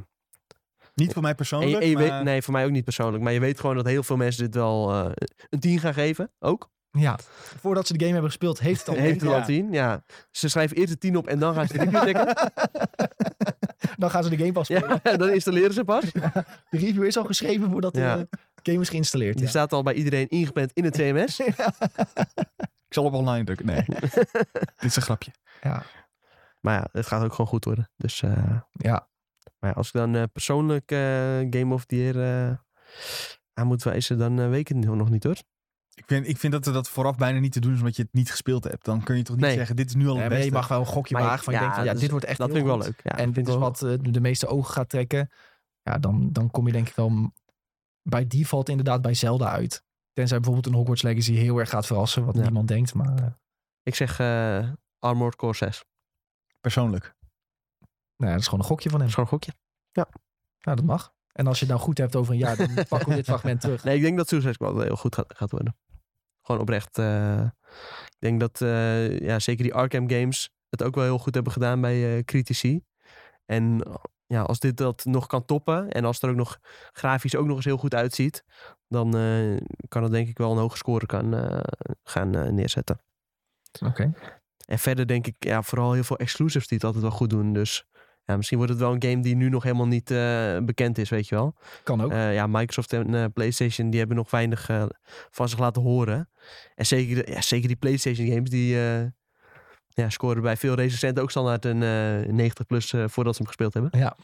[SPEAKER 2] Niet voor mij
[SPEAKER 3] En je-
[SPEAKER 2] persoonlijk,
[SPEAKER 3] en je
[SPEAKER 2] maar...
[SPEAKER 3] weet, nee, voor mij ook niet persoonlijk. Maar je weet gewoon dat heel veel mensen dit wel eh, een 10 gaan geven. Ook.
[SPEAKER 1] Ja, voordat ze de game hebben gespeeld, heeft het al.
[SPEAKER 3] Heeft er
[SPEAKER 2] ja.
[SPEAKER 3] al 10. Ja. Ze schrijven eerst de 10 op en dan gaan ze de review checken.
[SPEAKER 1] Dan gaan ze de game pas spelen.
[SPEAKER 3] Ja, dan installeren ze pas.
[SPEAKER 1] De review is al geschreven voordat
[SPEAKER 3] Ja.
[SPEAKER 1] de game is geïnstalleerd.
[SPEAKER 3] Die
[SPEAKER 1] Ja.
[SPEAKER 3] staat al bij iedereen ingepland in het CMS.
[SPEAKER 2] Ik zal op online drukken. Nee. Dit is een grapje.
[SPEAKER 1] Ja.
[SPEAKER 3] Maar ja, het gaat ook gewoon goed worden. Dus eh,
[SPEAKER 1] Ja.
[SPEAKER 3] maar ja, als ik dan eh, persoonlijk eh, Game of the Year eh, aan moet wijzen, dan eh, weet ik het nog niet hoor.
[SPEAKER 2] Ik vind, ik vind dat dat vooraf bijna niet te doen is omdat je het niet gespeeld hebt. Dan kun je toch niet
[SPEAKER 3] Nee.
[SPEAKER 2] zeggen, dit is nu al
[SPEAKER 1] Ja,
[SPEAKER 2] het
[SPEAKER 1] maar je
[SPEAKER 2] beste.
[SPEAKER 1] mag wel een gokje
[SPEAKER 3] Maar
[SPEAKER 1] wagen van je
[SPEAKER 3] ja,
[SPEAKER 1] denkt van, ja,
[SPEAKER 3] dus
[SPEAKER 1] dit wordt echt
[SPEAKER 3] dat
[SPEAKER 1] heel
[SPEAKER 3] vind ik wel
[SPEAKER 1] goed.
[SPEAKER 3] leuk. Ja,
[SPEAKER 1] en dit is wat eh, de meeste ogen gaat trekken. Ja, dan, dan kom je denk ik wel m- bij default inderdaad bij Zelda uit. Tenzij bijvoorbeeld een Hogwarts Legacy heel erg gaat verrassen, wat
[SPEAKER 3] Ja.
[SPEAKER 1] niemand denkt. Maar eh,
[SPEAKER 3] Ik zeg eh Armored Core 6. Dat
[SPEAKER 2] Persoonlijk.
[SPEAKER 1] nou ja, dat is gewoon een gokje van hem.
[SPEAKER 3] is gewoon een gokje.
[SPEAKER 1] Nou, dat mag. En als je het nou goed hebt over een jaar, dan pakken we dit fragment terug.
[SPEAKER 3] Nee, ik denk dat Suicide Squad wel heel goed gaat, gaat worden. Gewoon oprecht. eh, ik denk dat eh, ja, zeker die Arkham games het ook wel heel goed hebben gedaan bij eh, critici. En ja, als dit dat nog kan toppen en als het er ook nog grafisch ook nog eens heel goed uitziet, dan eh, kan het denk ik wel een hoge score kan, eh, gaan eh, neerzetten.
[SPEAKER 1] Oké.
[SPEAKER 3] En verder denk ik ja, vooral heel veel exclusives die het altijd wel goed doen. Dus ja, misschien wordt het wel een game die nu nog helemaal niet eh, bekend is, weet je wel.
[SPEAKER 1] Kan ook.
[SPEAKER 3] Eh, ja, Microsoft en eh, PlayStation die hebben nog weinig eh, van zich laten horen. En zeker, de- ja, zeker die PlayStation games die eh, ja, scoren bij veel recensenten ook standaard een eh, 90 plus eh, voordat ze hem gespeeld hebben.
[SPEAKER 1] Ja.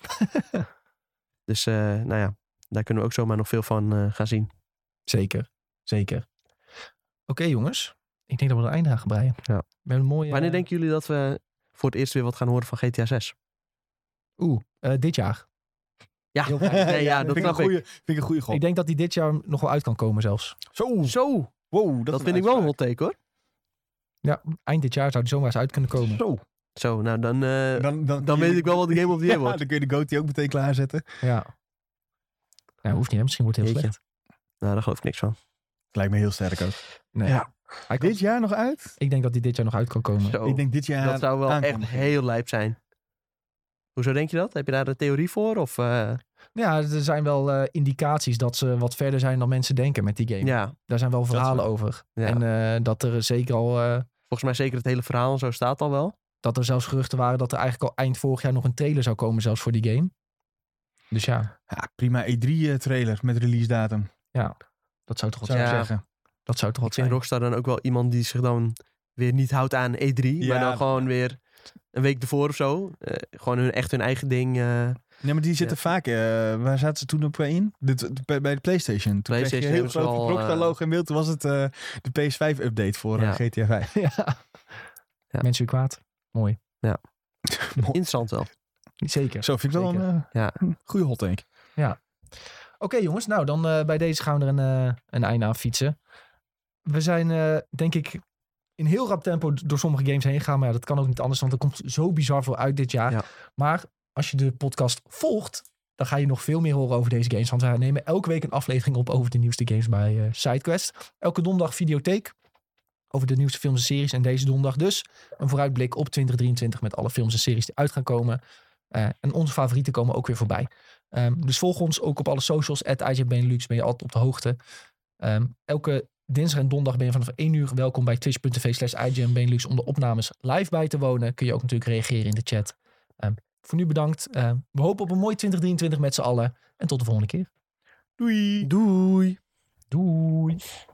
[SPEAKER 3] Dus eh, nou ja, daar kunnen we ook zomaar nog veel van eh, gaan zien.
[SPEAKER 1] Zeker. Zeker. Oké, jongens. Ik denk dat we er een einde aan gaan breien.
[SPEAKER 3] Ja.
[SPEAKER 1] We hebben een mooie...
[SPEAKER 3] Wanneer denken jullie dat we voor het eerst weer wat gaan horen van GTA 6?
[SPEAKER 1] Oeh, eh, dit jaar.
[SPEAKER 3] Ja,
[SPEAKER 1] Heel fijn.
[SPEAKER 3] nee, ja dat
[SPEAKER 2] vind ik een
[SPEAKER 3] snap ik.
[SPEAKER 2] goeie- vind ik een goede gok.
[SPEAKER 1] Ik denk dat die dit jaar nog wel uit kan komen zelfs.
[SPEAKER 2] Zo,
[SPEAKER 3] Zo, dat,
[SPEAKER 2] wow, dat, is een
[SPEAKER 3] vind ik wel een
[SPEAKER 2] uitspraak.
[SPEAKER 3] hot take hoor.
[SPEAKER 1] Eind dit jaar zou die zomaar eens uit kunnen komen.
[SPEAKER 2] Zo.
[SPEAKER 3] Zo, nou dan, eh,
[SPEAKER 2] Dan, dan,
[SPEAKER 3] dan weet ik wel wat de Game of the Year
[SPEAKER 2] Ja,
[SPEAKER 3] wordt.
[SPEAKER 2] dan kun je de goatee ook meteen klaarzetten.
[SPEAKER 1] Ja. Nou, hoeft niet, hè? misschien wordt het heel
[SPEAKER 3] Jeetje.
[SPEAKER 1] slecht.
[SPEAKER 3] Nou, daar geloof ik niks van.
[SPEAKER 2] Lijkt me heel sterk ook.
[SPEAKER 1] Nee.
[SPEAKER 3] Ja.
[SPEAKER 1] Hij kan-
[SPEAKER 2] Dit jaar nog uit?
[SPEAKER 1] ik denk dat die dit jaar nog uit kan komen.
[SPEAKER 3] Zo,
[SPEAKER 2] ik denk dit jaar
[SPEAKER 3] Oh. dat zou wel echt
[SPEAKER 2] aankondiging.
[SPEAKER 3] heel lijp zijn. Hoezo denk je dat? Heb je daar een theorie voor? Of, eh,
[SPEAKER 1] Ja, er zijn wel eh, indicaties dat ze wat verder zijn dan mensen denken met die game.
[SPEAKER 3] ja,
[SPEAKER 1] Daar zijn wel verhalen over.
[SPEAKER 3] ja.
[SPEAKER 1] En eh, dat er zeker al, eh,
[SPEAKER 3] volgens mij zeker het hele verhaal en zo staat al wel.
[SPEAKER 1] dat er zelfs geruchten waren dat er eigenlijk al eind vorig jaar nog een trailer zou komen zelfs voor die game. Dus ja,
[SPEAKER 2] Ja, prima E E3-trailer met release datum,
[SPEAKER 1] dat zou toch wat
[SPEAKER 2] zou
[SPEAKER 1] zijn.
[SPEAKER 2] ik
[SPEAKER 3] Ja.
[SPEAKER 2] zeggen.
[SPEAKER 1] Dat zou toch
[SPEAKER 3] Ik
[SPEAKER 1] wat
[SPEAKER 3] vind
[SPEAKER 1] zijn.
[SPEAKER 3] Rockstar dan ook wel iemand die zich dan weer niet houdt aan E3.
[SPEAKER 2] Ja,
[SPEAKER 3] maar dan
[SPEAKER 2] dat-
[SPEAKER 3] gewoon weer een week ervoor of zo. eh, gewoon hun, echt hun eigen ding. eh,
[SPEAKER 2] Nee, maar die zitten vaak... eh, waar zaten ze toen op in? Dit- dit- bij, bij de PlayStation. Toen
[SPEAKER 3] PlayStation
[SPEAKER 2] kreeg je heel
[SPEAKER 3] hebben ze
[SPEAKER 2] groot
[SPEAKER 3] al,
[SPEAKER 2] Rockstar
[SPEAKER 3] eh,
[SPEAKER 2] logo in beeld. Toen was het eh, de PS5-update voor
[SPEAKER 3] Ja.
[SPEAKER 2] eh, GTA 5.
[SPEAKER 1] Ja.
[SPEAKER 3] Ja.
[SPEAKER 1] Mensen weer kwaad. Mooi.
[SPEAKER 3] Interessant wel.
[SPEAKER 1] Zeker.
[SPEAKER 2] Zo vind ik wel
[SPEAKER 1] Zeker.
[SPEAKER 2] een eh,
[SPEAKER 3] Ja.
[SPEAKER 2] goede hot take.
[SPEAKER 1] Oké jongens, nou dan eh, bij deze gaan we er een, eh, een einde aan fietsen. We zijn eh, denk ik in heel rap tempo d- door sommige games heen gegaan. Maar ja, dat kan ook niet anders, want er komt zo bizar veel uit dit jaar.
[SPEAKER 3] Ja.
[SPEAKER 1] Maar als je de podcast volgt, dan ga je nog veel meer horen over deze games. Want wij nemen elke week een aflevering op over de nieuwste games bij eh, SideQuest. Elke donderdag videotheek over de nieuwste films en series. En deze donderdag dus een vooruitblik op 2023 met alle films en series die uit gaan komen. Eh, en onze favorieten komen ook weer voorbij. Ehm, dus volg ons ook op alle socials. At Benelux ben je altijd op de hoogte. Ehm, elke dinsdag en donderdag ben je vanaf 1 uur welkom bij twitch.tv slash Benelux om de opnames live bij te wonen. Kun je ook natuurlijk reageren in de chat. Ehm, voor nu bedankt. Ehm, we hopen op een mooi 2023 met z'n allen. En tot de volgende keer.
[SPEAKER 2] Doei.
[SPEAKER 3] Doei.
[SPEAKER 1] Doei.